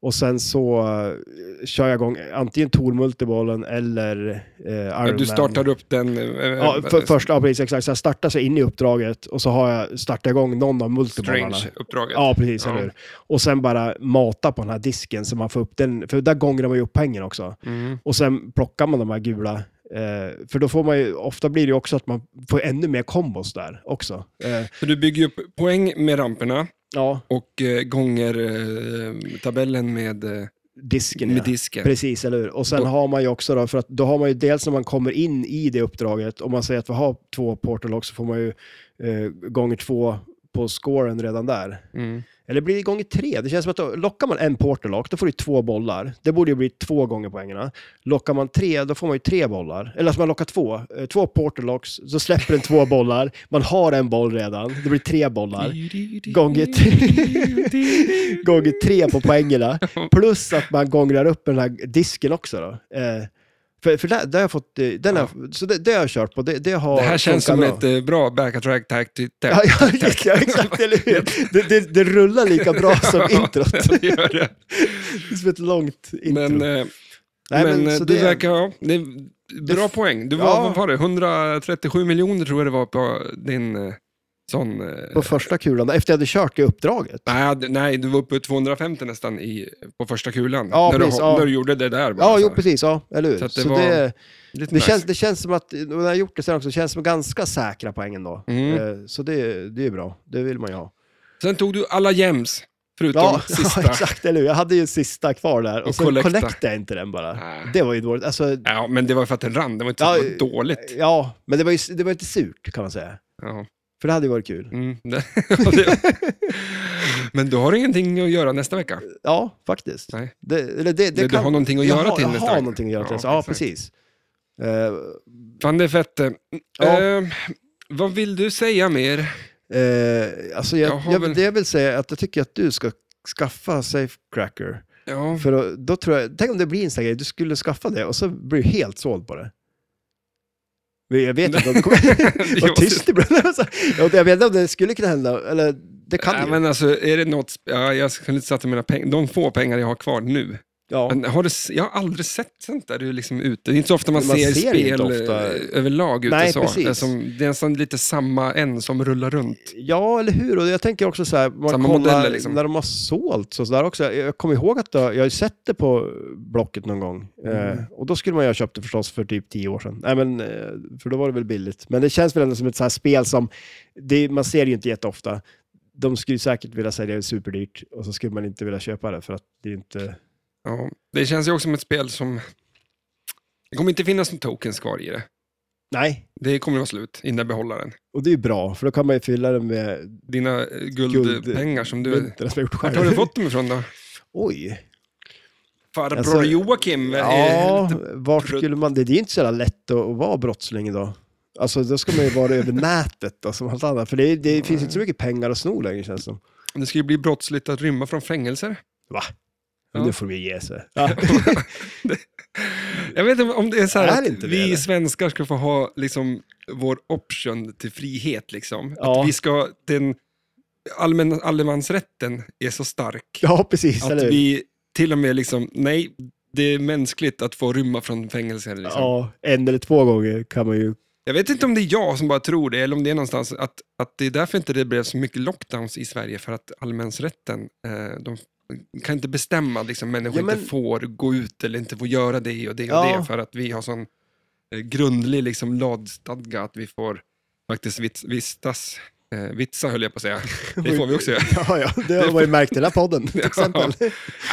B: Och sen så eh, kör jag igång antingen Tor Multibollen eller eh, Iron
A: du
B: Man.
A: startar upp den... eh, eh,
B: Ja, för, först, ja, precis. Exakt. Så jag startar så in i uppdraget och så har jag startat igång någon av multibollarna.
A: Strange-uppdraget.
B: Ja, precis.
A: Ja.
B: Eller hur? Och sen bara mata på den här disken så man får upp den. För där gångrar man ju upp pengen också.
A: Mm.
B: Och sen plockar man de här gula. Eh, för då får man ju, ofta blir det ju också att man får ännu mer kombos där också. Eh,
A: Så du bygger ju upp poäng med ramperna
B: ja,
A: och eh, gånger eh, tabellen med, eh,
B: disken
A: med
B: ja.
A: disken.
B: Precis, eller hur? Och sen
A: Och-
B: har man ju också då, för att då har man ju dels när man kommer in i det uppdraget, om man säger att vi har två portal lock så får man ju eh, gånger två på scoren redan där.
A: Mm.
B: Eller blir det gånger tre? Det känns som att då, lockar man en portal lock, då får du två bollar. Det borde ju bli två gånger poängerna. Lockar man tre, då får man ju tre bollar. Eller alltså man lockar två. Eh, Två portal locks, så släpper den två bollar. Man har en boll redan, det blir tre bollar. Gånger tre. Gånger tre på poängerna. Plus att man gångrar upp den här disken också då. Eh, För, för där, där har jag fått, eh, den har, så det, det har jag kört på, det, det har
A: Det här känns
B: funkat
A: som
B: bra.
A: ett eh, bra backtrack tactic.
B: Ja, ja, ja, exakt, eller hur? Det, det, det rullar lika bra som introt.
A: det gör det.
B: Det är som ett långt intro.
A: Men, eh,
B: Nej,
A: men, eh,
B: så
A: du
B: det-
A: verkar... Ja, det är bra poäng. Du var,
B: Ja.
A: vad var det, 137 miljoner tror jag det var på din eh, sån... eh,
B: På första kulan, efter jag hade kört i uppdraget.
A: Nej, d- nej, du var uppe i 250 nästan i, på första kulan.
B: Ja,
A: när,
B: precis,
A: du,
B: ja.
A: när du gjorde det där. bara,
B: Ja,
A: så
B: jo,
A: här.
B: precis. Ja, eller hur?
A: alltså. Så
B: Så
A: att det
B: det,
A: var-
B: det,
A: Lite nice.
B: känns, det känns som att, och när jag har gjort det sen också, det känns som ganska säkra poäng ändå.
A: Mm.
B: Eh, Så det, det är bra, det vill man ju ha.
A: Sen tog du alla jäms, förutom
B: Ja,
A: sista.
B: ja, exakt, eller hur? Jag hade ju en sista kvar där och,
A: Och
B: så
A: collecta.
B: connectade jag inte den bara.
A: Nej.
B: Det var ju dåligt. Alltså,
A: Ja, men det var för att den rann, det var inte
B: Ja, eh,
A: så det var dåligt.
B: ja, men det var ju det var inte surt kan man säga.
A: Ja.
B: För det hade ju varit kul.
A: Mm, det, ja, det. Men du har ingenting att göra nästa vecka?
B: Ja, faktiskt.
A: Nej.
B: Det, eller det, det
A: du
B: kan...
A: har någonting att
B: jag
A: göra
B: har,
A: till
B: jag
A: nästa
B: har
A: vecka.
B: någonting att göra till
A: Ja,
B: nästa Ja,
A: exakt.
B: precis. Eh,
A: Fan, det är fett. eh.
B: Ja.
A: Eh, vad vill du säga mer?
B: Eh, alltså jag,
A: Jag har
B: jag,
A: väl-
B: Det jag vill säga är att jag tycker att du ska skaffa Safecracker.
A: Ja,
B: För då, då tror jag, tänk om det blir en sån här grej, du skulle skaffa det och så blir du helt såld på det. Men Jag vet inte om det kommer... Vad tyst det blev. Alltså, Jag jag vet inte om det skulle kunna hända, eller det kan
A: Nej,
B: ju.
A: men alltså, är det något... sp- Ja, jag skulle inte satsa mina pengar, de få pengar jag har kvar nu.
B: Ja.
A: Men har du, s- jag har aldrig sett sånt där du är liksom ute. Det är inte så ofta man,
B: Man
A: ser,
B: ser det
A: spel
B: inte
A: eh,
B: ofta.
A: överlag ute
B: Nej,
A: så.
B: precis.
A: Det är, som, det är nästan lite samma en som rullar runt.
B: Ja, eller hur? Och jag tänker också så här, man
A: Samma
B: kollar
A: modeller, liksom.
B: när de har sålt så där också. Jag kommer ihåg att jag, jag har sett det på Blocket någon gång.
A: Mm.
B: Eh, och då skulle man ju ha köpt det förstås för typ tio år sedan. Nej, men, eh, för då var det väl billigt. Men det känns väl ändå som ett så här spel som, det, man ser det ju inte jätteofta. De skulle ju säkert vilja sälja det superdyrt och så skulle man inte vilja köpa det för att det är inte...
A: Ja, det känns ju också som ett spel som... Det kommer inte finnas några tokens kvar i det.
B: Nej,
A: Det kommer vara slut innan behållaren.
B: och det är ju bra för då kan man ju fylla det med
A: Dina eh, guldpengar som du...
B: mynten som jag gjort
A: Vart
B: själv.
A: har du fått dem ifrån då?
B: Oj.
A: Farbror
B: Alltså,
A: Joakim? eh,
B: Ja,
A: lite-
B: vart skulle man... Det är ju inte så jävla lätt att, att vara brottsling idag. Alltså då ska man ju vara över nätet och som allt annat. För det, det finns inte så mycket pengar att sno längre känns det som.
A: Det ska ju bli brottsligt att rymma från fängelser.
B: Va?
A: Ja.
B: Nu får vi ge sig. Ja.
A: Jag vet inte om det är så här
B: Är det
A: att
B: inte det,
A: vi
B: eller?
A: svenskar ska få ha liksom, vår option till frihet. Liksom.
B: Ja.
A: Att vi ska, den allmän, allemansrätten är så stark
B: Ja, precis.
A: att
B: eller hur?
A: vi till och med liksom, nej, det är mänskligt att få rymma från fängelser. Liksom.
B: Ja, en eller två gånger kan man ju...
A: Jag vet inte om det är jag som bara tror det, eller om det är någonstans att, att det är därför inte det blev så mycket lockdowns i Sverige, för att allemansrätten, eh, de kan inte bestämma liksom, människor
B: Ja, men-
A: inte får gå ut eller inte får göra det och det och
B: Ja.
A: det, för att vi har sån eh, grundlig liksom, lagstadga att vi får faktiskt vits, vistas, eh, vitsa höll jag på att säga, det får vi också göra.
B: Ja, ja, det har man ju märkt i den här podden till exempel.
A: Nej,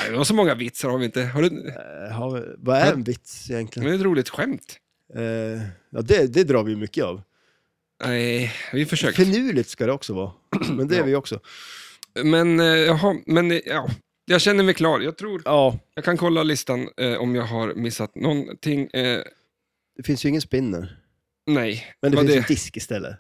A: det var så många vitsar har vi inte. Har du,
B: Eh, har vi- vad är en vits
A: men
B: egentligen?
A: det är ett roligt skämt.
B: Eh, ja, det, det drar vi ju mycket av.
A: Nej, vi försöker.
B: Finurligt ska det också vara, men det är
A: Ja.
B: vi också.
A: Men, eh, jaha, men eh, ja, jag känner mig klar. Jag tror
B: Ja,
A: Jag kan kolla listan eh, om jag har missat någonting. Eh,
B: det finns ju ingen spinner.
A: nej.
B: Men det
A: Vad
B: finns
A: det-
B: en disk istället.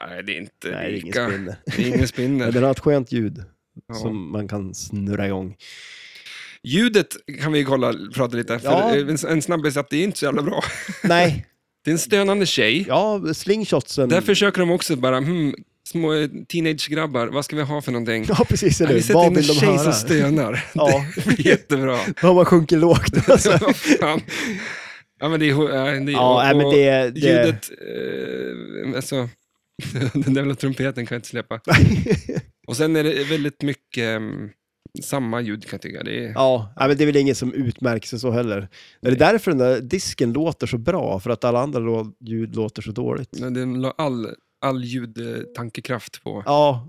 A: nej, det är inte
B: Nej, det är ingen
A: lika.
B: spinner.
A: Det är ingen
B: Men
A: spinner.
B: den har ett skönt ljud
A: Ja.
B: som man kan snurra igång.
A: Ljudet kan vi kolla, prata lite efter.
B: Ja.
A: Eh, En, en snabbis att det är inte så jävla bra.
B: Nej,
A: Det är en stönande tjej.
B: ja, slingshotsen.
A: Där försöker de också bara, hmm, små eh, teenagegrabbar, vad ska vi ha för någonting?
B: Ja, precis. Eller?
A: Nej, vi
B: hur?
A: sätter
B: Vad
A: in en
B: vill de
A: tjej
B: höra?
A: som stönar.
B: Ja.
A: Det blir jättebra.
B: Ja, man sjunker lågt. Alltså.
A: Ja, fan. ja, men det är... eh, det är-
B: Ja, nej, men
A: och-
B: det, det...
A: Ljudet, eh, alltså, den där jävla trumpeten kan jag inte släppa. Och sen är det väldigt mycket ehm, samma ljud kan jag tycka. Det är,
B: Ja, nej, men det är väl inget som utmärker sig så heller. Är det därför den där disken låter så bra? För att alla andra lå- ljud låter så dåligt?
A: men Den la all, all ljudtankekraft på.
B: Ja,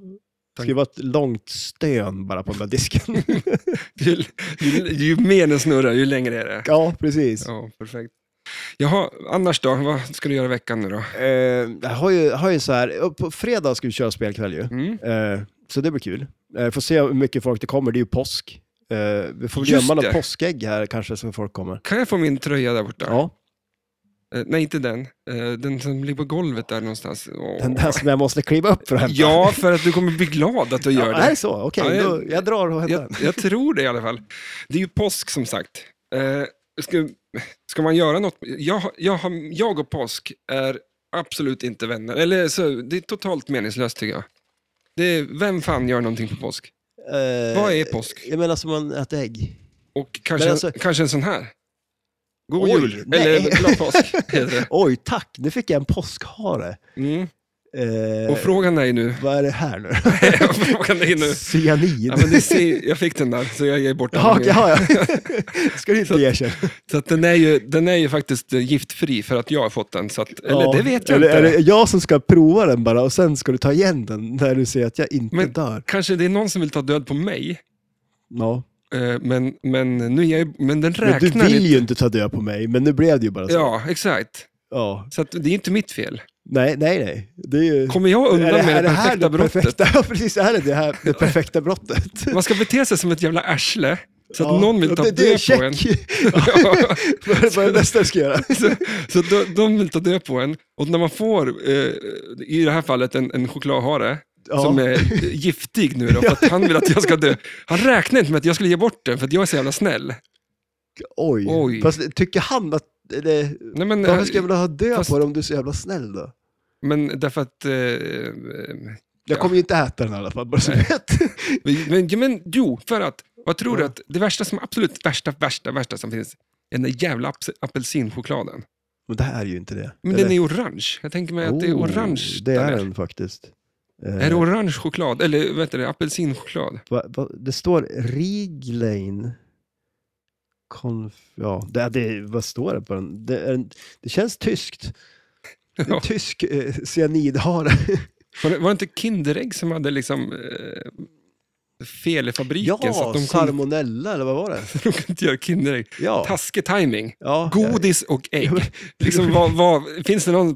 B: det ska ju vara ett långt stön bara på den där disken.
A: Ju, ju, ju mer den snurrar, ju längre är det.
B: ja, precis.
A: Ja, perfekt. Jaha, annars då? Vad ska du göra i veckan nu då?
B: Eh, jag har ju, har ju så här, på fredag ska vi köra spelkväll ju.
A: Mm.
B: Eh, så det blir kul. Eh, får se hur mycket folk det kommer, det är ju påsk. Eh, vi får väl
A: Just
B: gömma något
A: det.
B: påskägg här kanske som folk kommer.
A: Kan jag få min tröja där borta?
B: Ja,
A: Eh, nej, inte den. Eh, den som ligger på golvet där någonstans. Åh.
B: den där som jag måste kliva upp för att hämta.
A: Ja, för att du kommer bli glad att du gör
B: Ja,
A: det.
B: Är det så? Okej,
A: Ja, jag-
B: då- jag drar och hämtar den.
A: jag, jag tror det i alla fall. Det är ju påsk som sagt. Eh, ska, ska man göra något? Jag, har- jag, har- jag och påsk är absolut inte vänner. Eller så, Det är totalt meningslöst tycker jag. Det är, vem fan gör någonting på påsk?
B: Eh,
A: Vad är påsk?
B: Jag menar som man äter ägg.
A: Och kanske,
B: Men alltså-
A: kanske en sån här. God
B: Oj,
A: jul,
B: nej.
A: eller glad påsk heter det.
B: Oj, tack! Nu fick jag en påskhare.
A: Mm.
B: Eh,
A: Och frågan är nu...
B: vad är det här nu?
A: frågan är nu...
B: Cyanin?
A: Ja, men det ser, jag fick den där, så jag ger bort den.
B: Ja, okej, ja, ja. ska du inte erkänna.
A: Så att den, är ju, den är ju faktiskt eh, giftfri för att jag har fått den. Så att, eller
B: Ja,
A: det vet jag
B: eller,
A: inte.
B: Är det jag som ska prova den bara och sen ska du ta igen den när du ser att jag inte
A: Men-
B: dör?
A: Kanske det är någon som vill ta död på mig,
B: Ja.
A: eh, men, men, nu är jag, ju- men den
B: Men du
A: räknar
B: vill alltså.
A: inte.
B: ju inte ta död på mig, men nu blev det ju bara så.
A: Ja, exakt.
B: Ja.
A: Så att, det är inte mitt fel.
B: Nej, nej, nej. Det är ju...
A: Kommer jag undan
B: är det,
A: med det,
B: är det här
A: perfekta brottet?
B: Perfekta, ja, precis. Är det det här det perfekta brottet?
A: Man ska bete sig som ett jävla arsle, så att
B: Ja.
A: någon vill ta
B: det, det är
A: död
B: check.
A: på en.
B: Vad är- vad är det nästa jag ska göra?
A: så så de, de vill ta död på en. Och när man får, eh, i det här fallet, en, en chokladhare,
B: Ja.
A: som är eh, giftig nu då, för att han vill att jag ska dö. Han räknar inte med att jag skulle ge bort den, för att jag är så jävla snäll.
B: Oj.
A: Oj.
B: Fast tycker han att... Eller,
A: Nej, men,
B: varför ska jag vilja ha död
A: fast-
B: på dig om du är så jävla snäll då?
A: men därför att... eh, Eh,
B: Jag
A: Ja.
B: kommer ju inte äta den i alla fall, bara så du vet.
A: Men, ja, men jo, för att, vad tror du att det värsta som, absolut värsta, värsta, värsta som finns, är den där jävla aps- apelsinchokladen.
B: Men det här är ju inte det.
A: Men
B: Eller?
A: den är orange. Jag tänker mig att det är
B: Oh,
A: orange
B: Det
A: där.
B: är den faktiskt. Eh,
A: Är det orange choklad? Eller vet du, det, apelsinchoklad?
B: va, va, det står Riglain. Conf, ja, det, det, vad står det på den? Det, är, en- det känns tyskt. Det är
A: Ja.
B: en tysk eh, cyanidhare.
A: Var det, var det inte Kinderägg som hade liksom eh, fel i fabriken så
B: Ja,
A: att de kunde,
B: salmonella eller vad var det?
A: de kunde inte göra Kinderägg.
B: Ja,
A: Taskig timing.
B: ja, ja,
A: Godis och ägg. Liksom, vad, vad, finns det någon,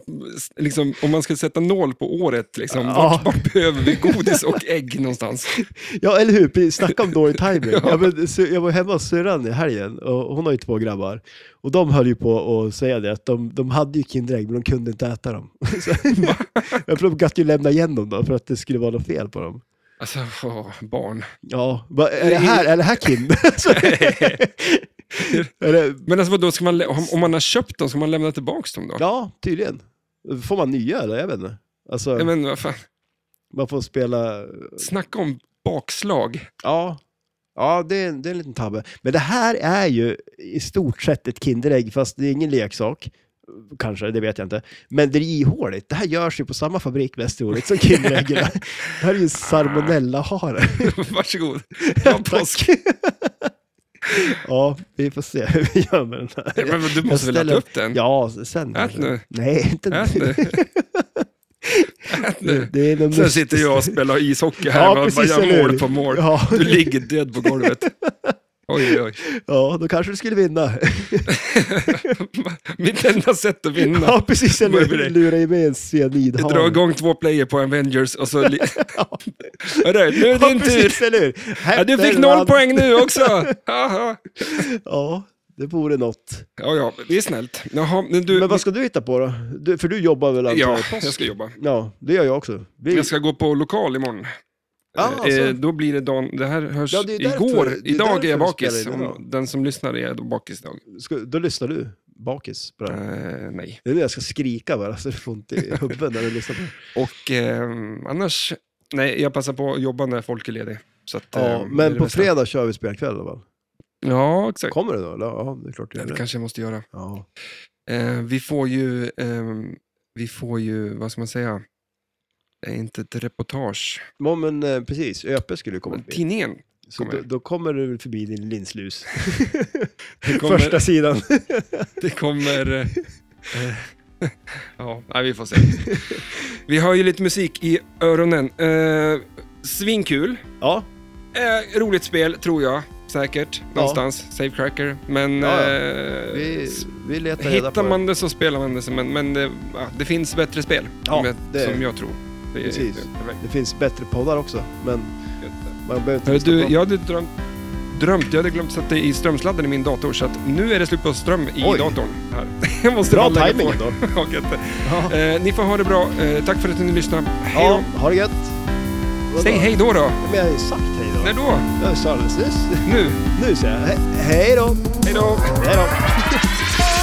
A: liksom, om man skulle sätta noll på året, liksom,
B: Ja.
A: vart, vart behöver vi godis och ägg någonstans?
B: ja, eller hur? Precis, Snacka om dålig timing. ja. men, så, jag var hemma hos syrran i helgen och hon har ju två grabbar. Och de höll ju på att säga det, att de, de hade ju Kinderägg men de kunde inte äta dem. Så, jag tror de gatt ju lämna igen dem då för att det skulle vara något fel på dem.
A: Alltså, åh, barn.
B: Ja, va, är det här, är det här Kinder? Så- är det,
A: Men alltså, vadå, ska man, lä- om, om man har köpt dem, ska man lämna tillbaka dem då?
B: ja, tydligen. Får man nya eller? Jag vet inte. Alltså,
A: Nej, Men vad fan,
B: man får spela
A: snacka om bakslag.
B: Ja, ja det, är en, det är en liten tabbe. Men det här är ju i stort sett ett Kinderägg, fast det är ingen leksak. Kanske, det vet jag inte. Men det är ihåligt. Det här görs ju på samma fabrik mest troligt som Kinderäggen. det här är ju salmonellahare.
A: Varsågod. Bra påsk.
B: Ja, vi får se hur vi gör med den här.
A: Nej, Men du måste väl
B: ställer-
A: äta upp den? Äh,
B: Ja, sen
A: Ät nu.
B: Nej, inte
A: Ät nu. Ät nu.
B: Det är någon
A: Sen
B: mystisk-
A: sitter jag och spelar ishockey här
B: Ja,
A: och bara
B: precis,
A: gör
B: eller
A: mål
B: hur?
A: på mål.
B: Ja.
A: Du ligger död på golvet. Oj, oj, oj.
B: Ja, då kanske du skulle vinna.
A: Mm. Mitt enda sätt att vinna.
B: Ja, precis.
A: Vad är det?
B: Eller lura i mig en
A: Jag
B: cyanidhare.
A: drar igång två player på Avengers och så... Li- Hörru, nu är det
B: Ja,
A: din tur!
B: precis, eller hur?
A: Ja, du fick
B: Häfter,
A: noll
B: man.
A: poäng nu också! Haha.
B: Ja, det vore något.
A: Ja, ja, det är snällt. Jaha, men du...
B: Men vad ska du hitta på då? Du, för du jobbar väl
A: ja,
B: antagligen?
A: jag ska jobba.
B: Ja, det gör jag också. Vi,
A: Jag ska gå på lokal imorgon.
B: Ah,
A: eh,
B: alltså.
A: då blir det dagen... Det här hörs
B: Ja, det är därför-
A: igår.
B: det är
A: idag
B: därför
A: är jag
B: vi
A: bakis.
B: spelar in idag.
A: Om den som lyssnar är då bakis idag.
B: ska, då lyssnar du bakis på det här.
A: Eh, nej.
B: Det är nu jag ska skrika bara så du får ont i hubben när du lyssnar på det.
A: Och ehm, annars... Nej, jag passar på att jobba när folk är lediga. Så att,
B: Ja,
A: ehm, det är
B: men
A: det
B: på
A: bästa.
B: fredag kör vi spelkväll i alla fall.
A: Ja, exakt.
B: Kommer du då? Eller? Ja, det är klart du
A: Ja,
B: gör
A: det
B: det.
A: kanske jag måste göra.
B: Ja.
A: Eh, vi får ju, ehm, vi får ju, vad ska man säga, eh, inte ett reportage.
B: Ja, men eh, precis. Öpe skulle ju komma
A: Men
B: förbi.
A: tidningen.
B: Så
A: kommer.
B: då, då kommer du förbi din linslus.
A: Det kommer,
B: Första sidan.
A: Det kommer... eh, eh, ja, nej, vi får se. Vi har ju lite musik i öronen. Eh, svinkul.
B: Ja,
A: Eh, roligt spel, tror jag. Säkert. Någonstans. Savecracker. Men...
B: Ja, ja.
A: eh,
B: vi, vi letar reda på
A: Hittar
B: det.
A: man det så spelar man det, men, men det, ja, det finns bättre spel.
B: Ja,
A: om jag,
B: det-
A: Som jag tror. Det är-
B: Precis.
A: det är perfekt.
B: Det finns bättre poddar också, men man behöver inte
A: Hörru,
B: lyssna på
A: Eh, Du,
B: dem.
A: jag hade drömt, drömt, jag hade glömt sätta i strömsladden i min dator så att nu är det slut på ström i
B: Oj.
A: datorn. Här. Jag måste
B: Bra
A: bara lägga
B: tajming
A: på.
B: ändå.
A: Ja, gött.
B: Ja.
A: eh, ni får ha det bra. Eh, tack för att ni lyssnade. Hej
B: Ja,
A: då.
B: ha det gött.
A: Säg hej då då.
B: Men jag har ju sagt hej då.
A: När då?
B: Jag sa det alldeles nyss.
A: Nu.
B: Nu säger jag he- hej då.
A: Hej då.
B: Hej då.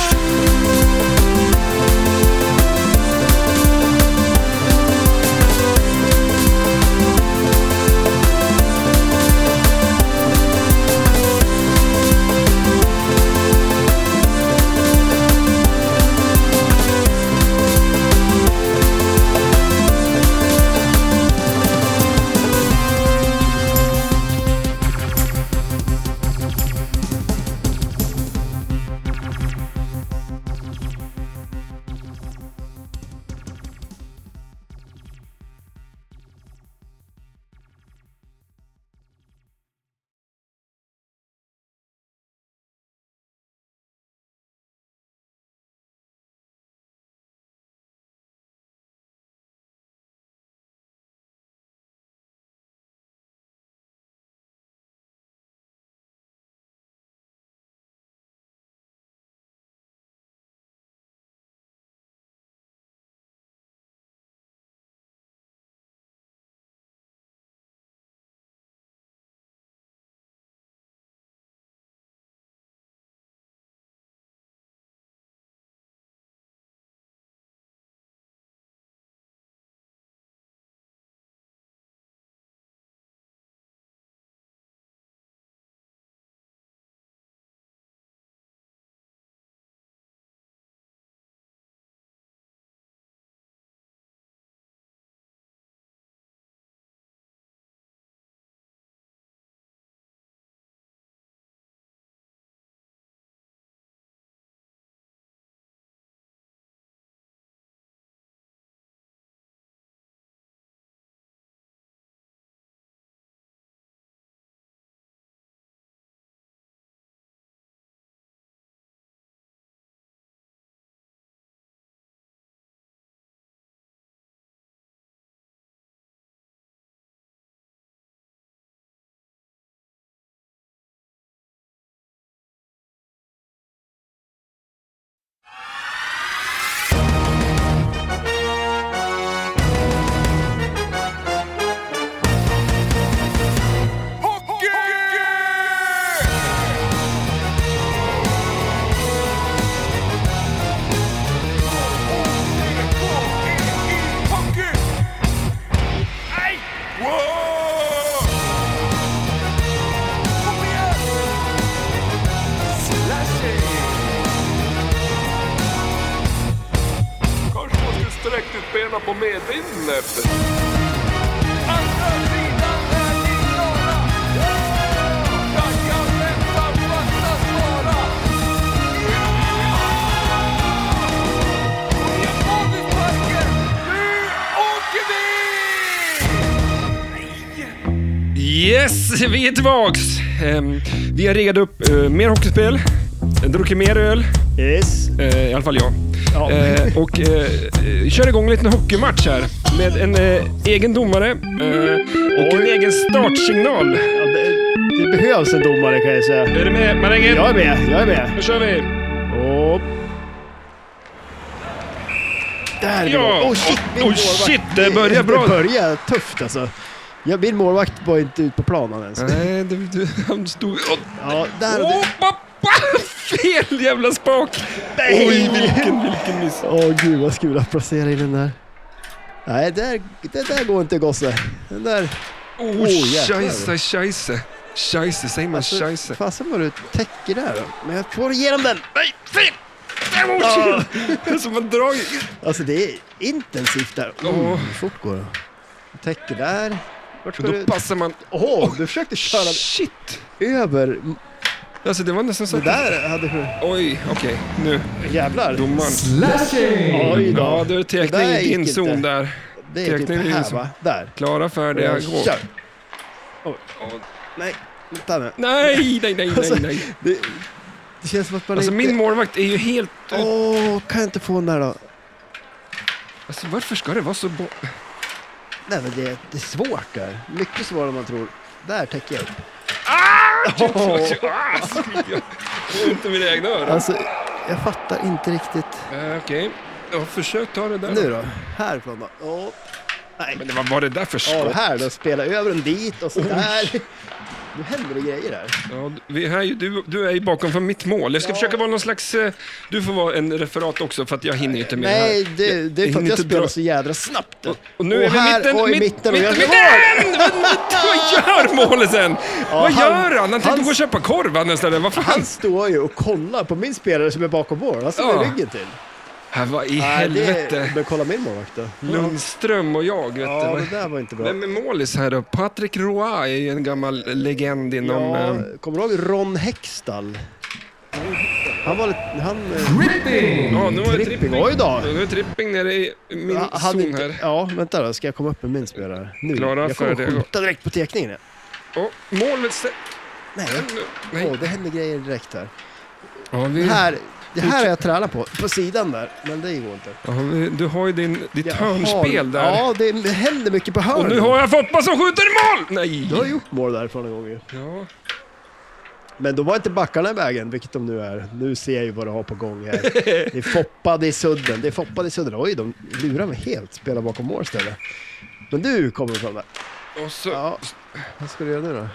A: lyssna på medvinden efter.
C: Andra sidan är din klara. Ja! Jag väntar, fattas bara. Ja! Nya Bollnäsparken. Nu åker vi!
A: Yes, vi är tillbaks! Ehm, vi har riggat upp eh, mer hockeyspel, druckit mer öl,
B: Yes.
A: eh, i alla fall jag.
B: Ja.
A: Eh, och eh, eh, kör igång en liten hockeymatch här med en eh, egen domare eh, och en
B: Oj.
A: egen startsignal.
B: Ja, det, det behövs en domare kan jag säga.
A: Är du med marängen?
B: Jag är med, jag är med.
A: Nu kör vi!
B: Och... Där är
A: Ja.
B: vi. Oh shit, min
A: Oh,
B: målvakt.
A: shit, det börjar bra.
B: Det börjar tufft alltså. Ja, min målvakt var inte ute på planen ens.
A: Nej, du, du, han stod... Åh,
B: Ja, där...
A: oh, pappa! Fel jävla spak!
B: Nej!
A: Oj, vilken, vilken miss.
B: Åh gud vad skulle jag placera in den där. Nej, där, det där går inte gosse. Den där...
A: Oh,
B: Åh, jäklar.
A: scheisse, scheisse. Scheisse, säger man
B: Alltså,
A: scheisse?
B: Fasen vad du täcker där då. Men jag får igenom den.
A: Nej, fel!
B: Ah.
A: Oh, shit! Som man drar i-
B: Alltså det är intensivt där. Oh,
A: Åh.
B: fort går det. Jag Täcker där. Vart ska du?
A: Då passar man...
B: Åh, du försökte köra
A: Shit!
B: över.
A: Alltså det var nästan så
B: Det
A: att...
B: där hade du...
A: Oj, okej. Nu.
B: Jävlar.
A: Domaren.
B: Oj då.
A: Ja, du är
B: Det
A: teckning
B: där
A: i din
B: gick
A: zon
B: inte.
A: där.
B: det är typ
A: teckning är
B: här
A: som-
B: va? Där.
A: Klara, färdiga, gå.
B: Kör.
A: Åh,
B: Nej, vänta nu.
A: Nej, nej, nej,
B: Alltså,
A: nej, nej.
B: Det, det känns som att man
A: Alltså
B: inte...
A: min målvakt är ju helt... ut-
B: Åh, kan jag inte få den där då?
A: Alltså varför ska det vara så... Bo...
B: Nej men det, det är svårt där. Mycket svårare än man tror. Där täcker jag upp.
A: Ah, jag får inte mina egna öron.
B: Alltså, jag fattar inte riktigt.
A: Eh, Okej, jag har försökt ta det där.
B: Nu då? Härifrån då? Åh. Nej.
A: Men det- vad var det där för
B: Ja, och
A: skott?
B: här då. Spela över den dit och så där. Nu händer det grejer här.
A: Ja, vi är ju, du, du är ju bakom för mitt mål. Jag ska försöka vara någon slags... eh, Du får vara en referat också för att jag hinner ju inte med
B: Nej,
A: det här.
B: det, det är för
A: hinner
B: att jag
A: inte
B: spelar
A: dra-
B: så jädra snabbt.
A: Och, och nu är vi i
B: här,
A: mitten,
B: och i
A: mitt-
B: mitten. och
A: mitten,
B: jag
A: mitten! Men mitten, Vad gör målet sen? Vad
B: han-
A: gör han? Han tänkte
B: han-
A: gå och köpa korv han istället. Vad fan?
B: Han står ju och kollar på min spelare som är bakom vår. Han står
A: Ja.
B: med ryggen till.
A: Här, vad i
B: Nej,
A: helvete?
B: Det, men kolla min målvakt då.
A: Lundström och jag, vet
B: Ja,
A: du.
B: det där var inte bra.
A: Vem är målis här då? Patrick Roy är ju en gammal legend inom...
B: Ja,
A: eh,
B: kommer du ihåg Ron Hextall? Han var lite... Han, eh,
A: Ja, nu var det
B: Tripping. Oj då.
A: Nu är tripping nere i min
B: Ja, han
A: zon
B: inte-
A: här.
B: Ja, vänta då. Ska jag komma upp med min spelare? Nu.
A: Klara,
B: jag kommer
A: färdiga, gå.
B: skjuta direkt på tekningen. ja.
A: Och målet... se-
B: Nej,
A: Nej. Mm.
B: Åh, det händer grejer direkt här.
A: Ja, vi,
B: Det här, det här har jag tränat på. På sidan där. Men det går inte.
A: ja, vi, du har ju din, ditt
B: Jag
A: hörnspel
B: har-
A: där.
B: Ja, det, det händer mycket på hörn.
A: Och nu har jag Foppa som skjuter i mål! Nej!
B: Du har gjort mål därifrån en gång ju.
A: Ja.
B: Men då var inte backarna i vägen, vilket de nu är. Nu ser jag ju vad du har på gång här. Det är Foppa, det är Sudden, det är Foppa, det är Sudden. Oj, de lurar mig helt. Spelar bakom mål istället. Men nu kommer de fram där.
A: Och så...
B: Ja, vad ska du göra nu då?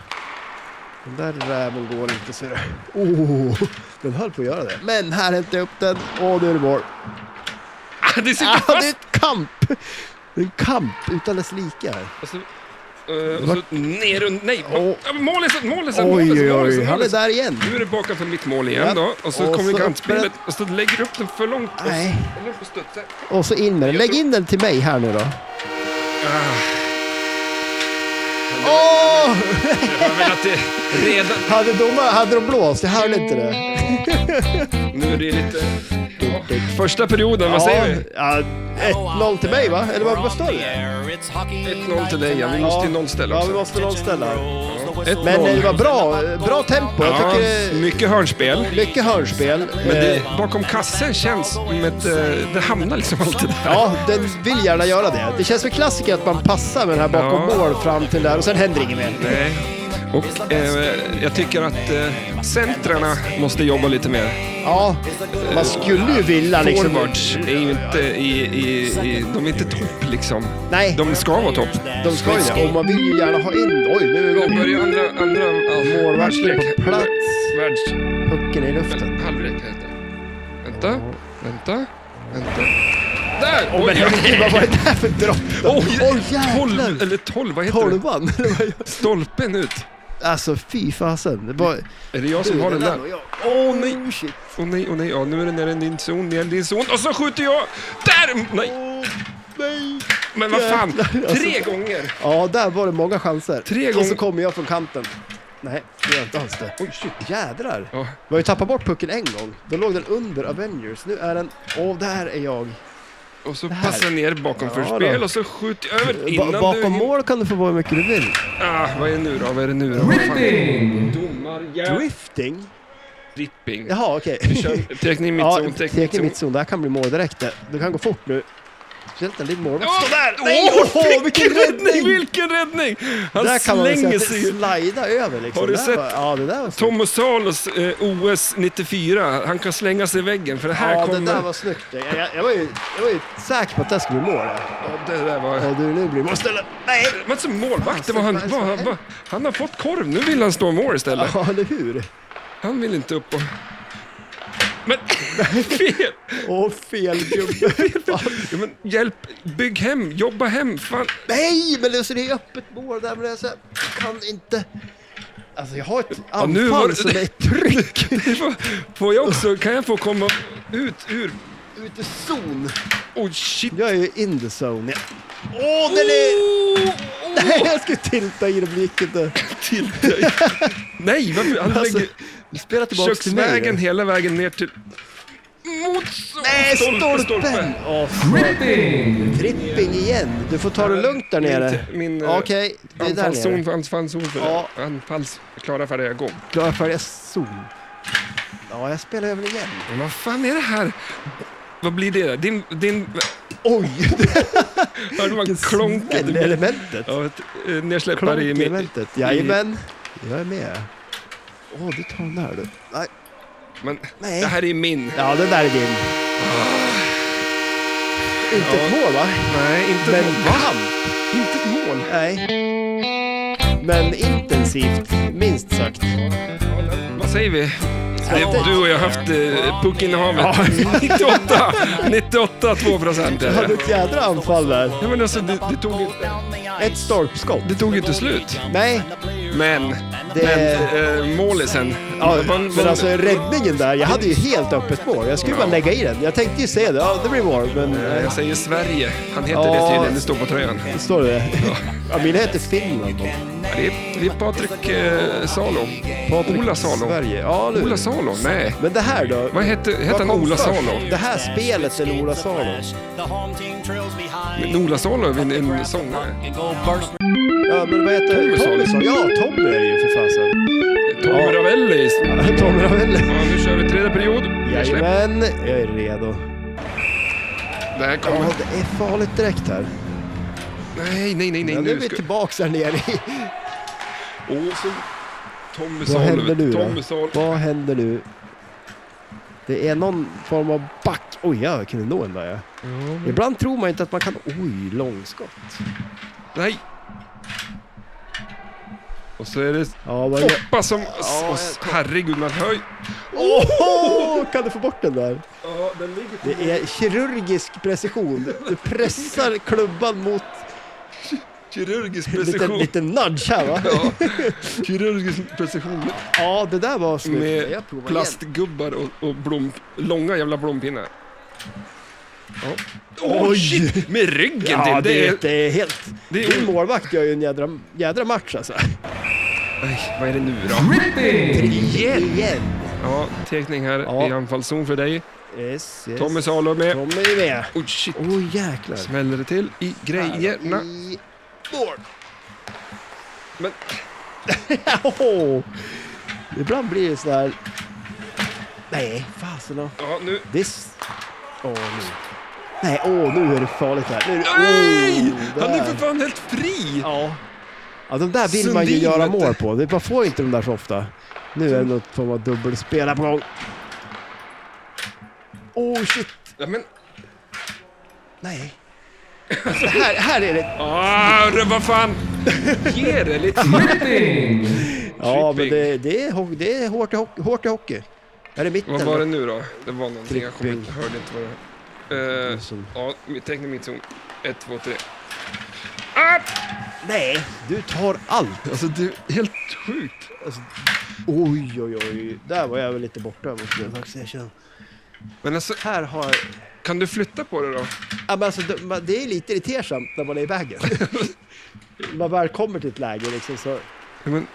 B: Den där räven går inte ser du. Oh, den höll på att göra det. Men här hämtar jag upp den och nu är det mål.
A: Ah, det sitter
B: Ah, det är
A: fast!
B: ett kamp! Det är en kamp utan dess like här.
A: Och så, eh, och så ner och... Nej!
B: Åh.
A: Oh. Målet, målet,
B: Oj,
A: målet,
B: oj, oj,
A: målet,
B: han är
A: målet.
B: där igen.
A: Nu är det bakom för mitt mål igen
B: Ja.
A: då. Och så
B: Och
A: kommer
B: så
A: kantspelet
B: öppnar
A: och så lägger du upp den för långt. Och
B: Nej.
A: så, eller på studsen.
B: Och så in med den. Lägg in den till mig här nu då.
A: Ah.
B: Åh!
A: Jag har velat det redan...
B: Hade, domar, hade de blåst? Jag hörde inte det.
A: Nu är det lite... Ja. Första perioden, vad säger vi?
B: Ja, ja, 1-0 till mig va? Eller vad vad står det?
A: 1-0
D: 1-0
A: till dig, ja. Vi måste ju
B: Ja.
A: nollställa
B: Ja, vi
A: också.
B: måste nollställa.
A: Ett
B: Men
A: noll.
B: eh, det var bra, eh, bra tempo. Jag
A: Ja,
B: tycker det är
A: mycket hörnspel.
B: mycket hörnspel.
A: Men det,
B: Eh,
A: bakom kassen känns som ett... eh, Det hamnar liksom alltid där.
B: Ja, den vill gärna göra det. Det känns som klassiker att man passar med den här bakom
A: Ja.
B: mål fram till där och sen händer inget mer.
A: Nej. Och eh, jag tycker att eh, centrarna måste jobba lite mer.
B: Ja, man skulle ju vilja liksom...
A: Forwards är ju inte i, i, i... De är inte topp liksom.
B: Nej,
A: De ska vara topp.
B: de ska ju det. Och man vill ju gärna ha in... Oj, nu är
A: Då
B: vi
A: börjar andra... andra ja,
B: Målvakten
A: världslek.
B: på plats.
A: Världs...
B: Pucken i luften.
A: Halvlek heter det. Vänta, vänta, vänta. Där! Oj,
B: Men herregud, vad var det där för dropp?
A: Oj,
B: Oj, jävlar.
A: tolv, eller tolv, vad heter det?
B: Tolvan? eller vad-
A: Stolpen ut.
B: Alltså fy fasen. Det var...
A: Är det jag som har den där?
B: och
A: Åh
B: jag.
A: oh, nej! Åh nej, åh nej, ja, nu är den nere i din zon, nere i din zon. Och så skjuter jag! Där! Nej!
B: Nej!
A: Men vad fan,
B: alltså.
A: tre gånger!
B: Ja, där var det många chanser.
A: Tre
B: Och så
A: gånger-
B: kommer jag från kanten. Nej, det gör inte alls det. Oj, shit, jädrar.
A: Ja.
B: Vi har ju tappat bort pucken en gång. Då låg den under Avengers. Nu är den... Åh, där är jag.
A: Och så
B: här.
A: passar jag ner bakom
B: Ja,
A: förspel
B: då.
A: och så skjuter jag över
B: Ba
A: innan du...
B: bakom mål kan du få vara hur mycket du vill.
A: Ah, vad är det nu då? Vad är det nu då? Vad fan? Domarjävel.
B: Drifting?
A: Dripping.
B: Jaha, okej.
A: Kör- Teckning i
B: Ja,
A: mittzon, teckning i
B: tecken i
A: mittzon.
B: mittzon. Det här kan bli mål direkt. det. Du kan gå fort nu. Speciellt när din målvakt
A: Åh,
B: står där.
A: åh,
B: Nej, åh, vilken räddning!
A: Vilken räddning! Han
B: där kan man väl säga
A: slänger
B: att
A: sig ju.
B: det slida över liksom.
A: Har du
B: Där
A: sett
B: var- Ja, det där var snyggt.
A: Tom Salos eh, OS 94, han kan slänga sig i väggen för det här
B: Ja,
A: kommer...
B: det där var snyggt. Jag, jag, jag, var ju, jag var ju säker på att det skulle bli mål.
A: Ja, det där var...
B: Ja, du, nu blir det mål istället. Nej!
A: Men som målvakt, det var han,
B: Fan,
A: vad-
B: vad-
A: vad- han har fått korv, nu vill han stå i mål istället.
B: Ja, eller hur?
A: Han vill inte upp och... Men fel!
B: Åh, fel gubbe.
A: Ja, men hjälp, bygg hem, jobba hem, fan.
B: Nej, men det så det är öppet mål där, men alltså, jag kan inte... Alltså, jag har ett
A: Ja, nu
B: anfall
A: var det-
B: som är ett tryck
A: Det får, får jag också, kan jag få komma ut ur...
B: ut i zon.
A: Oh shit!
B: Jag är ju in the zone. ja. Åh, den är...
A: Oh, oh,
B: Nej, jag skulle tilta i det, men det gick inte.
A: till dig. Nej, varför? Han
B: Alltså,
A: lägger
B: Spela tillbaka till mig.
A: köksvägen
B: nu.
A: hela vägen ner till... Mot så-
B: Nej, stolpen! Åh, fan. Tripping igen. Du får ta det lugnt där nere.
A: Min, min eh,
B: Okej, det är där nere.
A: anfallszon, anfallszon för
B: Ja.
A: det. Anfalls... Klara färdiga, gå.
B: Klara färdiga zon. Ja, jag spelar över igen.
A: Men vad fan är det här? Vad blir det där? Din... din
B: Oj,
A: hörde man klonket?
B: det elementet.
A: Ja, ett eh, nedsläppare i mitt...
B: Klonkelementet. Jajamän. Jag är med. Åh, du tar den där du. Nej.
A: Men
B: Nej.
A: det här är min.
B: Ja, den där är din.
A: Ah.
B: Inte ett mål va?
A: Nej, inte
B: Men
A: ett mål. Va?
B: kamp.
A: Inte ett mål.
B: Nej. Men intensivt, minst sagt.
A: Vad säger vi?
B: Svettigt.
A: Du och jag har haft eh, puckinnehavet. 98! 98, 2 procent.
B: Du hade ett jädra anfall där.
A: Ja, men alltså, det, det, tog, ju-
B: Ett stolpskott.
A: det tog ju inte slut.
B: Nej,
A: Men,
B: det...
A: men eh, målisen.
B: Ja,
A: Man- man-
B: men alltså räddningen där, jag hade ju helt öppet mål. Jag skulle bara lägga i den. Jag tänkte ju säga det, ja det blir mål, men... eh,
A: Jag säger Sverige. Han heter
B: Ja.
A: det tydligen. Det står på tröjan.
B: Står det det? Ja, mina heter Finland då.
A: Det är, det är Patrik eh, Salo.
B: Patrik
A: Ola Salo.
B: Sverige. Ja, nu.
A: Ola Salo? Nej.
B: Men det här då?
A: Vad hette, hette
B: Vad
A: han
B: kom
A: Ola
B: först?
A: Salo?
B: Det här spelet eller Ola Salo?
A: Men Ola Salo är väl en, en sångare?
B: Ja, men vad heter
A: Tommy Salo.
B: Tommy Salo? Ja, Tommy är det ju för fasen.
A: Tommy
B: Ja.
A: Ravelli. Ja,
B: Tommy Ravelli.
A: nu kör vi tredje period. Jag släpper.
B: Jajamän, jag är redo.
A: Det här kommer...
B: Ja, det är farligt direkt här.
A: Nej, nej, nej, nej.
B: Ja, nu är
A: nu
B: vi
A: ska...
B: tillbaks här nere i...
A: Åh, så... Tommy
B: Vad
A: Salo.
B: händer nu
A: Tommy
B: då?
A: Salo.
B: Vad händer nu? Det är någon form av back. Oj, jag kunde nå den där ja. Ibland tror man inte att man kan... Oj, långskott.
A: Nej. Och så är det
B: Ja, vad gör...
A: Foppa som...
B: Ja, jag-
A: Herregud, man hör ju-
B: Åh, kan du få bort den där?
A: Ja, den ligger på...
B: Det är kirurgisk precision. Du pressar klubban mot
A: Kirurgisk
B: en liten,
A: precision.
B: liten nudge här va?
A: Ja, kirurgisk precision
B: Ja, det där var snyggt.
A: med
B: Jag provar igen.
A: plastgubbar och, och blom, långa jävla blompinnar. Ja. Åh
B: Oj.
A: shit! Med ryggen
B: Ja,
A: till!
B: det,
A: Det
B: är-
A: är...
B: det är helt...
A: Det är-
B: Din målvakt gör ju en jädra, jädra match alltså.
A: Nej, vad är det nu då?
B: Igen! Igen!
A: Ja, teckning här
B: Ja.
A: i anfallszon för dig.
B: Yes, yes.
A: Tommy Salo med.
B: Tommy är med.
A: Oj shit,
B: Åh oh, jäklar.
A: smäller det till i grejerna.
B: I mål!
A: Men-
B: Åhå. Ibland blir det sådär... Nej, fasen då.
A: Ja, nu...
B: This... Åh, nu. Nej, åh, nu är det farligt här. Nu är det...
A: Oh, Nej!
B: Åh,
A: Han är
B: där.
A: för fan helt fri!
B: Ja. Ja, de där vill man ju
A: Sundin,
B: göra
A: vet du.
B: mål på. Det- Man får inte de där så ofta. Nu är det något form av dubbelspel här på gång. Oh shit!
A: Ja, men...
B: Nej. Alltså, här, här är det...
A: Ah, det- vad fan! Ge det lite Martin!
B: Ja, men
A: Tripping.
B: det, det, är, ho- det är hårt i hockey. Hårt i hockey. Är det mitten?
A: Vad var det nu då? Det var någonting, jag kommer inte,
B: Tripping.
A: hörde inte vad det var. Eh, ja, teckna mittzon. Ett, två, tre. Ah!
B: Nej, du tar allt.
A: Alltså det är helt sjukt.
B: Oj, oj, oj. Där var jag väl lite borta. måste jag faktiskt erkänna.
A: Men alltså,
B: Här har jag...
A: Kan du flytta på det då?
B: Ja, men alltså, det, man- det är lite irritersamt när man är i vägen. man väl kommer till ett läge liksom så...
A: Ja, Men,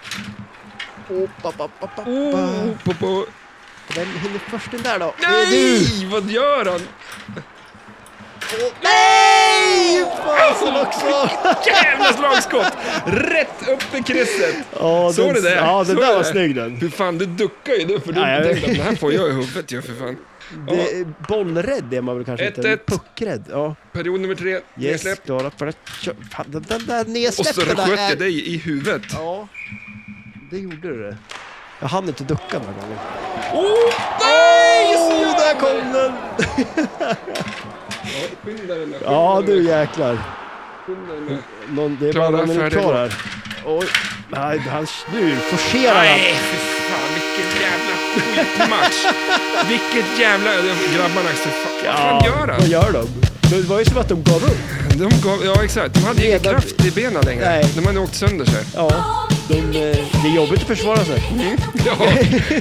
B: Oh, ba, ba, ba, ba,
A: oh,
B: ba.
A: på, på.
B: Vem hinner först in där då? Det är du!
A: Nej! Vad gör han?
B: Åh, nej! Fasen också!
A: Jävla slagskott! Rätt upp i krysset!
B: Ja,
A: Såg du det?
B: Ja, den
A: Såg
B: där
A: du
B: var
A: det?
B: snygg den.
A: Hur fan, du duckar ju nu för du
B: Ja, jag
A: tänkte
B: vet.
A: att den här får jag i huvudet ju för fan. Ja,
B: Det, bollrädd är man väl kanske inte?
A: 1-1.
B: Puckrädd. Ja.
A: period nummer tre,
B: Yes,
A: nedsläpp.
B: klara för att kö- Fan, den den där
A: Och så
B: nedsläppta
A: sköt
B: där
A: jag
B: är...
A: dig i huvudet.
B: Ja, det gjorde du det. Jag hann inte ducka några gånger.
A: Oh, nej!
B: Oh, där kom den!
A: Ja, skynda dig nu, skynda
B: Ja,
A: dig
B: du
A: nu,
B: jäklar.
A: skynda dig nu.
B: Någon, det är
A: Klara,
B: bara någon minut
A: färdig,
B: kvar här. Oj, nej, han, nu forcerar han.
A: Nej, fy fan vilken jävla skitmatch. Vilket jävla... Grabbarna, så fan, vad fan gör han?
B: Vad gör de? Det var ju som att de gav upp.
A: De gav, ja exakt, de hade ingen
B: Redan-
A: kraft i benen längre.
B: Nej.
A: De hade åkt sönder sig.
B: Ja, de, eh, det är jobbigt att försvara sig.
A: Ja,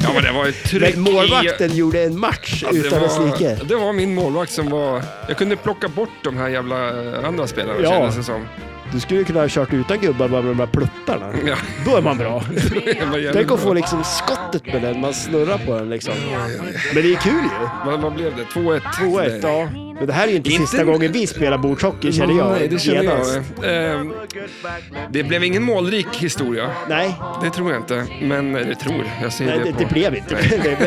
A: ja men det var ett tryck
B: Men målvakten gjorde en match
A: i-
B: utan dess like.
A: var, det var min målvakt som var... Jag kunde plocka bort de här jävla eh, andra spelarna
B: Ja.
A: kändes det som.
B: Du skulle ju kunna ha kört utan gubbar bara med de här pluttarna.
A: Ja,
B: Då är man bra.
A: det var jävligt
B: Tänk att få
A: bra.
B: liksom skottet med den, man snurrar på den liksom. Men det är kul ju.
A: vad, vad blev det? 2-1?
B: 2-1,
A: Nej.
B: ja. Men det här är ju inte,
A: Inte-
B: sista gången vi spelar bordshockey känner jag.
A: Nej, det känner jag.
B: genast.
A: Ehm, Det blev ingen målrik historia.
B: Nej,
A: Det tror jag inte. Men, eller tror, jag ser
B: nej
A: det
B: det,
A: på...
B: det blev inte det.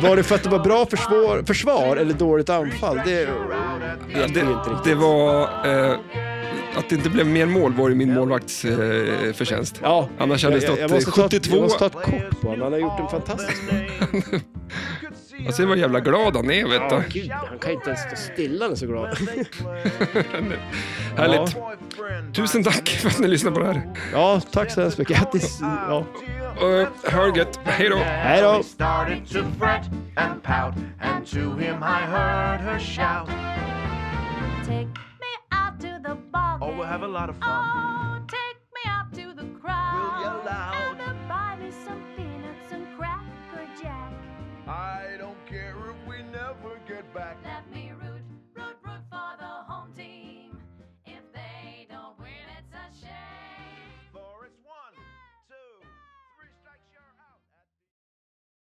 B: Men var det för att det var bra försvar, försvar eller dåligt anfall? Det
A: Ja,
B: vet vi ju inte
A: det,
B: riktigt.
A: det var... Eh, att det inte blev mer mål var ju min målvakts eh, förtjänst.
B: Ja,
A: Annars hade det
B: jag,
A: stått
B: jag, måste
A: 72.
B: Ta, jag måste ta ett kort på honom, han har gjort en fantastisk
C: Ah,
A: Alltså, Jag ser vad jävla glad han är vet du.
B: Gud, han kan inte ens stå stilla, han är så glad.
A: Härligt. Tusen tack för att ni lyssnade på det här.
B: Ja, tack så hemskt mycket. Det- Ja.
A: Uh, ha det gött. Hej då.
B: Hej då.
D: He started to fret and pout, and to him I heard her shout.
E: Take me out to the ball.
D: Oh, we'll have a lot of
E: game.
D: fun.
E: Oh, take me out to the crowd.
D: yell loud.
E: And then buy me some peanuts and cracker jack.
D: I don't care if we never get back.
E: Let me